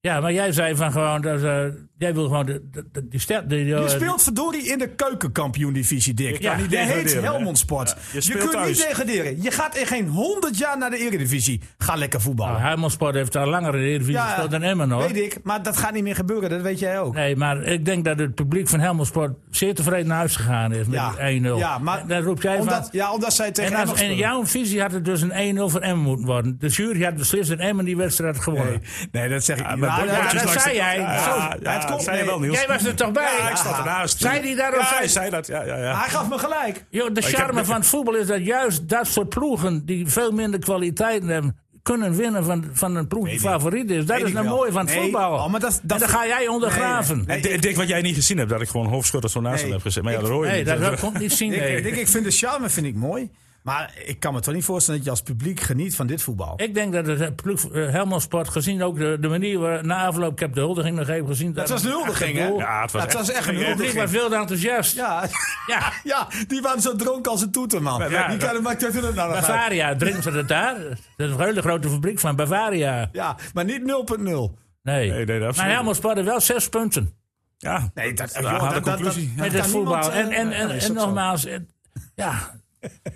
[SPEAKER 4] Ja, maar jij zei van gewoon, dat, eh, jij wil gewoon de, de- de- die ster. die-
[SPEAKER 3] Je
[SPEAKER 4] eh,
[SPEAKER 3] speelt verdorie in de keukenkampioen-divisie, Dick.
[SPEAKER 1] Je kan niet
[SPEAKER 3] Je heet
[SPEAKER 1] degraderen, hè?
[SPEAKER 3] Helmond Sport.
[SPEAKER 1] je
[SPEAKER 3] je
[SPEAKER 1] speelt
[SPEAKER 3] kunt
[SPEAKER 1] thuis.
[SPEAKER 3] niet degraderen. Je gaat in geen honderd jaar naar de eredivisie. Ga lekker voetballen.
[SPEAKER 4] Nou, Helmondsport heeft al langer in de Eredivisie
[SPEAKER 3] Ah. Ja,
[SPEAKER 4] gespeeld dan Emmen hoor.
[SPEAKER 3] Weet ik, maar dat gaat niet meer gebeuren, dat weet jij ook.
[SPEAKER 4] Nee, maar ik denk dat het publiek van Helmondsport zeer tevreden naar huis gegaan is met
[SPEAKER 3] Ja.
[SPEAKER 4] die 1-0.
[SPEAKER 3] Ja, maar-
[SPEAKER 4] Dan roep jij
[SPEAKER 3] omdat,
[SPEAKER 4] van...
[SPEAKER 3] ja, omdat zij tegen
[SPEAKER 4] En,
[SPEAKER 3] hem
[SPEAKER 4] als, en jouw visie had het dus een 1-0 voor Emmen moeten worden. De jury had beslist dat Emmen die wedstrijd had gewonnen.
[SPEAKER 3] nee, nee, dat zeg ik niet.
[SPEAKER 1] Met
[SPEAKER 3] Maar-
[SPEAKER 4] ja,
[SPEAKER 1] bordjes
[SPEAKER 4] dat
[SPEAKER 1] langs de-
[SPEAKER 4] zei jij.
[SPEAKER 1] Ja,
[SPEAKER 4] Zo,
[SPEAKER 1] ja,
[SPEAKER 3] het
[SPEAKER 1] dat
[SPEAKER 3] komt-
[SPEAKER 1] zei je
[SPEAKER 3] nee.
[SPEAKER 1] wel, Niels.
[SPEAKER 4] Jij was er toch bij? Ah.
[SPEAKER 1] Ja, ik zat ernaast.
[SPEAKER 4] Zei die daarop?
[SPEAKER 1] Ja,
[SPEAKER 4] zei-
[SPEAKER 1] hij zei dat. Ja, ja, ja.
[SPEAKER 3] Hij gaf me gelijk.
[SPEAKER 4] Joh, de
[SPEAKER 1] heb-
[SPEAKER 4] charme van het voetbal is dat juist dat soort ploegen die veel minder kwaliteiten hebben, kunnen winnen van, van een ploeg die favoriet is. Dat
[SPEAKER 3] Weet
[SPEAKER 4] is
[SPEAKER 3] ik
[SPEAKER 4] nou
[SPEAKER 3] wel.
[SPEAKER 4] mooi van het
[SPEAKER 3] Nee,
[SPEAKER 4] voetbal.
[SPEAKER 3] oh, maar dat-
[SPEAKER 4] en
[SPEAKER 3] dat-
[SPEAKER 4] dan ga jij ondergraven. Nee,
[SPEAKER 3] Nee, nee,
[SPEAKER 1] En Dick, Dick, wat jij niet gezien hebt, dat ik gewoon hoofdschutter zo naast
[SPEAKER 3] Nee.
[SPEAKER 1] hem heb gezet. Maar ja, dat hoor je niet.
[SPEAKER 4] dat, dat komt niet zien.
[SPEAKER 3] Ik,
[SPEAKER 4] nee.
[SPEAKER 3] ik, ik vind de charme vind ik mooi. Maar ik kan me toch niet voorstellen dat je als publiek geniet van dit voetbal.
[SPEAKER 4] Ik denk dat het eh, ploeg eh, Helmond Sport, gezien ook de, de manier waar na afloop, ik heb de huldiging nog even gezien.
[SPEAKER 3] dat was een huldiging, hè?
[SPEAKER 1] Ja, het was echt-
[SPEAKER 3] echt een
[SPEAKER 1] ging echt-
[SPEAKER 4] Het publiek was
[SPEAKER 3] huldiging.
[SPEAKER 4] veel te enthousiast. Ja.
[SPEAKER 3] Ja, ja, die waren zo dronken als een toeter, man.
[SPEAKER 1] ja, dat-
[SPEAKER 3] die kennen maakt het nou nog uit.
[SPEAKER 4] Bavaria, drinken ze dat daar? Dat is een hele grote fabriek van Bavaria.
[SPEAKER 3] Ja, maar niet 0.0.
[SPEAKER 4] Nee,
[SPEAKER 1] Nee, nee, absoluut.
[SPEAKER 4] maar Helmond Sport had wel zes punten.
[SPEAKER 1] Ja,
[SPEAKER 3] Nee, dat,
[SPEAKER 1] een
[SPEAKER 3] joh, dat-
[SPEAKER 1] harde
[SPEAKER 3] dat- dat-
[SPEAKER 1] conclusie.
[SPEAKER 3] dat
[SPEAKER 4] met
[SPEAKER 3] kan
[SPEAKER 4] het
[SPEAKER 3] niemand,
[SPEAKER 4] voetbal.
[SPEAKER 3] eh,
[SPEAKER 4] En, en, en,
[SPEAKER 3] nee, is
[SPEAKER 4] en
[SPEAKER 3] ook zo.
[SPEAKER 4] nogmaals, en- ja.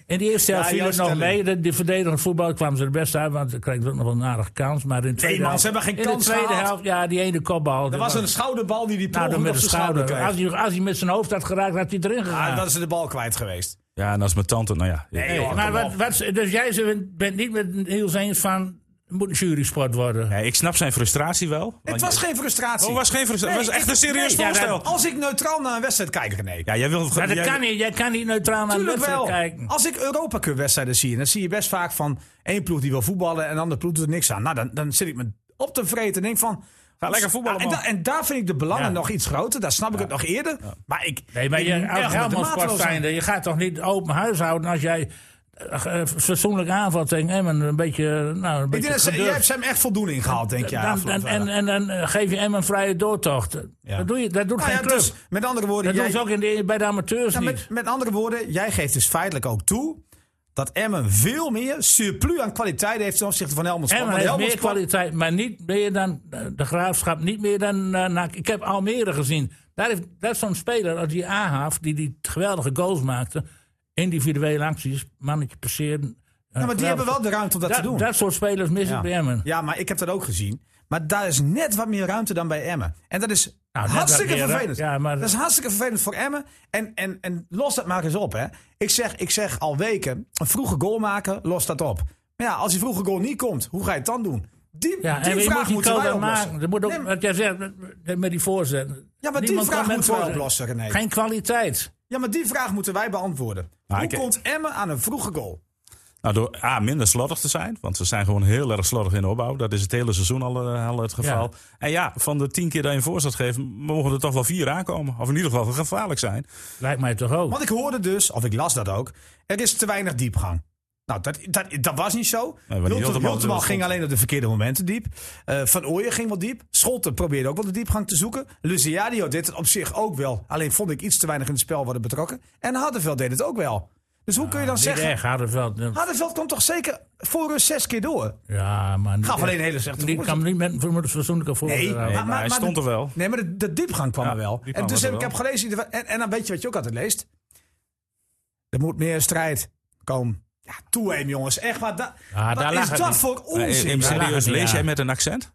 [SPEAKER 4] In de eerste helft
[SPEAKER 3] Ja,
[SPEAKER 4] viel het
[SPEAKER 3] jouw
[SPEAKER 4] nog
[SPEAKER 3] stelling.
[SPEAKER 4] mee. De, de verdedigend voetbal kwamen ze er best uit, want ze kregen ook nog wel een aardige kans. Maar in de tweede
[SPEAKER 3] man,
[SPEAKER 4] helft-
[SPEAKER 3] ze hebben geen
[SPEAKER 4] in
[SPEAKER 3] kans
[SPEAKER 4] de tweede
[SPEAKER 3] gehad.
[SPEAKER 4] helft, ja, die ene kopbal.
[SPEAKER 3] Er was een schouderbal die die
[SPEAKER 4] nou,
[SPEAKER 3] ploeg
[SPEAKER 4] dan
[SPEAKER 3] op
[SPEAKER 4] met
[SPEAKER 3] zijn
[SPEAKER 4] de
[SPEAKER 3] schouder
[SPEAKER 4] schouder.
[SPEAKER 3] kreeg.
[SPEAKER 4] Als hij, als hij met zijn hoofd had geraakt, had hij erin
[SPEAKER 3] Ah,
[SPEAKER 4] gegaan.
[SPEAKER 3] dan is ze de bal kwijt geweest.
[SPEAKER 1] Ja, en als mijn tante, nou ja.
[SPEAKER 4] Nee,
[SPEAKER 3] joh,
[SPEAKER 4] maar
[SPEAKER 3] kom
[SPEAKER 4] wat,
[SPEAKER 3] op.
[SPEAKER 4] wat, dus jij ze- bent niet met Niels eens van, het moet een jury-sport worden.
[SPEAKER 1] Nee, ik snap zijn frustratie wel.
[SPEAKER 3] Het
[SPEAKER 1] Want-
[SPEAKER 3] was geen frustratie.
[SPEAKER 1] Oh, was geen frustratie. Het was echt een serieus
[SPEAKER 4] nee, ja,
[SPEAKER 1] voorstel.
[SPEAKER 4] dat-
[SPEAKER 3] nou, Als ik neutraal naar een wedstrijd kijk, René.
[SPEAKER 1] Ja, jij wil...
[SPEAKER 4] Maar dat
[SPEAKER 1] jij-
[SPEAKER 4] kan niet. Jij kan niet neutraal naar de
[SPEAKER 3] Tuurlijk
[SPEAKER 4] wedstrijd
[SPEAKER 3] wel.
[SPEAKER 4] kijken.
[SPEAKER 3] Als ik Europa Cup wedstrijden zie, dan zie je best vaak van één ploeg die wil voetballen en de andere ploeg doet er niks aan. Nou, dan, dan zit ik me op te vreten en denk van,
[SPEAKER 1] Ga lekker voetballen,
[SPEAKER 3] en,
[SPEAKER 1] man.
[SPEAKER 3] da- en daar vind ik de belangen
[SPEAKER 4] Ja.
[SPEAKER 3] nog iets groter. Daar snap ik het nog eerder. Maar ik...
[SPEAKER 4] Nee, maar
[SPEAKER 3] ik
[SPEAKER 4] je
[SPEAKER 3] moet echt met
[SPEAKER 4] als
[SPEAKER 3] de
[SPEAKER 4] Helmond-sport
[SPEAKER 3] mateloos zijn.
[SPEAKER 4] zijnde, je gaat toch niet open huis houden als jij eh, eh, fatsoenlijk aanvalt tegen Emmen. Een beetje, nou, een
[SPEAKER 3] Ik
[SPEAKER 4] beetje
[SPEAKER 3] denk dat ze,
[SPEAKER 4] gedurfd.
[SPEAKER 3] jij hebt ze hem echt voldoende ingehaald, denk je.
[SPEAKER 4] Dan-
[SPEAKER 3] afgelopen
[SPEAKER 4] en, en,
[SPEAKER 3] vrijdag.
[SPEAKER 4] en dan eh, geef je hem een vrije doortocht.
[SPEAKER 3] Ja.
[SPEAKER 4] Dat, doe je, dat doet
[SPEAKER 3] Nou
[SPEAKER 4] geen
[SPEAKER 3] ja,
[SPEAKER 4] club.
[SPEAKER 3] dus, met andere woorden,
[SPEAKER 4] dat
[SPEAKER 3] jij,
[SPEAKER 4] doen ze ook in de, bij de amateurs
[SPEAKER 3] Ja,
[SPEAKER 4] niet.
[SPEAKER 3] met, met andere woorden, jij geeft dus feitelijk ook toe dat Emmen veel meer surplus aan kwaliteit heeft ten opzichte van Helmond Sport.
[SPEAKER 4] Emmen
[SPEAKER 3] Want
[SPEAKER 4] heeft
[SPEAKER 3] Helmond
[SPEAKER 4] meer
[SPEAKER 3] Sport-
[SPEAKER 4] kwaliteit, maar niet meer dan eh, de graafschap. Niet meer dan. eh, na- ik heb Almere gezien. Daar heeft dat is zo'n speler als die Ahaf, die die geweldige goals maakte. Individuele acties, mannetje passeren.
[SPEAKER 3] Ja, maar die hebben wel de ruimte om dat, te doen.
[SPEAKER 4] Dat soort spelers mis ik
[SPEAKER 3] ja.
[SPEAKER 4] bij Emmen.
[SPEAKER 3] ja, maar ik heb dat ook gezien. Maar daar is net wat meer ruimte dan bij Emmen. En dat is
[SPEAKER 4] Nou, net wat
[SPEAKER 3] hartstikke
[SPEAKER 4] meer, hè?
[SPEAKER 3] vervelend.
[SPEAKER 4] Ja, maar-
[SPEAKER 3] Dat is hartstikke vervelend voor Emmen. En, en, en los dat maar eens op. Hè. Ik, zeg, ik zeg al weken, een vroege goal maken, los dat op. Maar ja, als die vroege goal niet komt, hoe ga je het dan doen? Die,
[SPEAKER 4] Ja, en
[SPEAKER 3] die
[SPEAKER 4] je moet
[SPEAKER 3] vraag
[SPEAKER 4] die
[SPEAKER 3] moeten
[SPEAKER 4] code
[SPEAKER 3] wij oplossen.
[SPEAKER 4] maken. Dat moet ook,
[SPEAKER 3] Nee, maar-
[SPEAKER 4] wat jij zegt, eh, met- met die voorzet.
[SPEAKER 3] ja, maar die
[SPEAKER 4] Niemand
[SPEAKER 3] vraag
[SPEAKER 4] kan met
[SPEAKER 3] moeten wij
[SPEAKER 4] voorzet.
[SPEAKER 3] oplossen, René.
[SPEAKER 4] Geen kwaliteit.
[SPEAKER 3] Ja, maar die vraag moeten wij beantwoorden.
[SPEAKER 1] Maar
[SPEAKER 3] Hoe
[SPEAKER 1] ik-
[SPEAKER 3] komt Emmen aan een vroege goal?
[SPEAKER 1] Nou, door A, minder slordig te zijn. Want ze zijn gewoon heel erg slordig in de opbouw. Dat is het hele seizoen al, eh, al het geval. En ja, van de tien keer dat je een voorzet geeft... mogen er toch wel vier aankomen. Of in ieder geval gevaarlijk zijn.
[SPEAKER 4] Lijkt mij toch ook.
[SPEAKER 3] Want ik hoorde dus, of ik las dat ook, er is te weinig diepgang. Nou, dat, dat, dat was niet zo.
[SPEAKER 1] Nee, maar die
[SPEAKER 3] Hultem-
[SPEAKER 1] Hulteman-
[SPEAKER 3] Hulteman
[SPEAKER 1] Hulteman-
[SPEAKER 3] ging alleen op de verkeerde momenten diep. Eh, Van Ooyen ging wel diep. Scholten probeerde ook wel de diepgang te zoeken. Luciadio deed het op zich ook wel. Alleen vond ik iets te weinig in het spel worden betrokken. En Hardenveld deed het ook wel. Dus
[SPEAKER 1] Ah,
[SPEAKER 3] hoe kun je dan
[SPEAKER 4] Niet
[SPEAKER 3] zeggen...
[SPEAKER 4] echt, Hardenveld.
[SPEAKER 3] Hardenveld komt toch zeker voor rust zes keer door?
[SPEAKER 4] Ja, maar niet
[SPEAKER 3] Gaf alleen
[SPEAKER 4] echt.
[SPEAKER 3] hele slechte
[SPEAKER 4] Die
[SPEAKER 3] voorzet.
[SPEAKER 4] kan niet met een fatsoenlijke voorzet
[SPEAKER 3] Nee,
[SPEAKER 4] houden.
[SPEAKER 1] maar hij stond
[SPEAKER 3] de-
[SPEAKER 1] er wel.
[SPEAKER 3] Nee, maar de, de diepgang kwam
[SPEAKER 1] Ja,
[SPEAKER 3] er wel.
[SPEAKER 1] diepgang
[SPEAKER 3] En dus
[SPEAKER 1] was er
[SPEAKER 3] heb ik
[SPEAKER 1] wel.
[SPEAKER 3] heb gelezen, ieder- en, en dan weet je wat je ook altijd leest. Er moet meer strijd komen. Ja, toe hem jongens. Echt waar. Da,
[SPEAKER 4] Ja,
[SPEAKER 3] wat
[SPEAKER 4] daar lag
[SPEAKER 3] is
[SPEAKER 4] het
[SPEAKER 3] dat
[SPEAKER 4] niet.
[SPEAKER 3] voor
[SPEAKER 1] Eh,
[SPEAKER 3] onzin?
[SPEAKER 1] Even
[SPEAKER 4] daar lag
[SPEAKER 1] serieus,
[SPEAKER 4] het niet
[SPEAKER 1] lees
[SPEAKER 4] aan.
[SPEAKER 1] jij met een accent?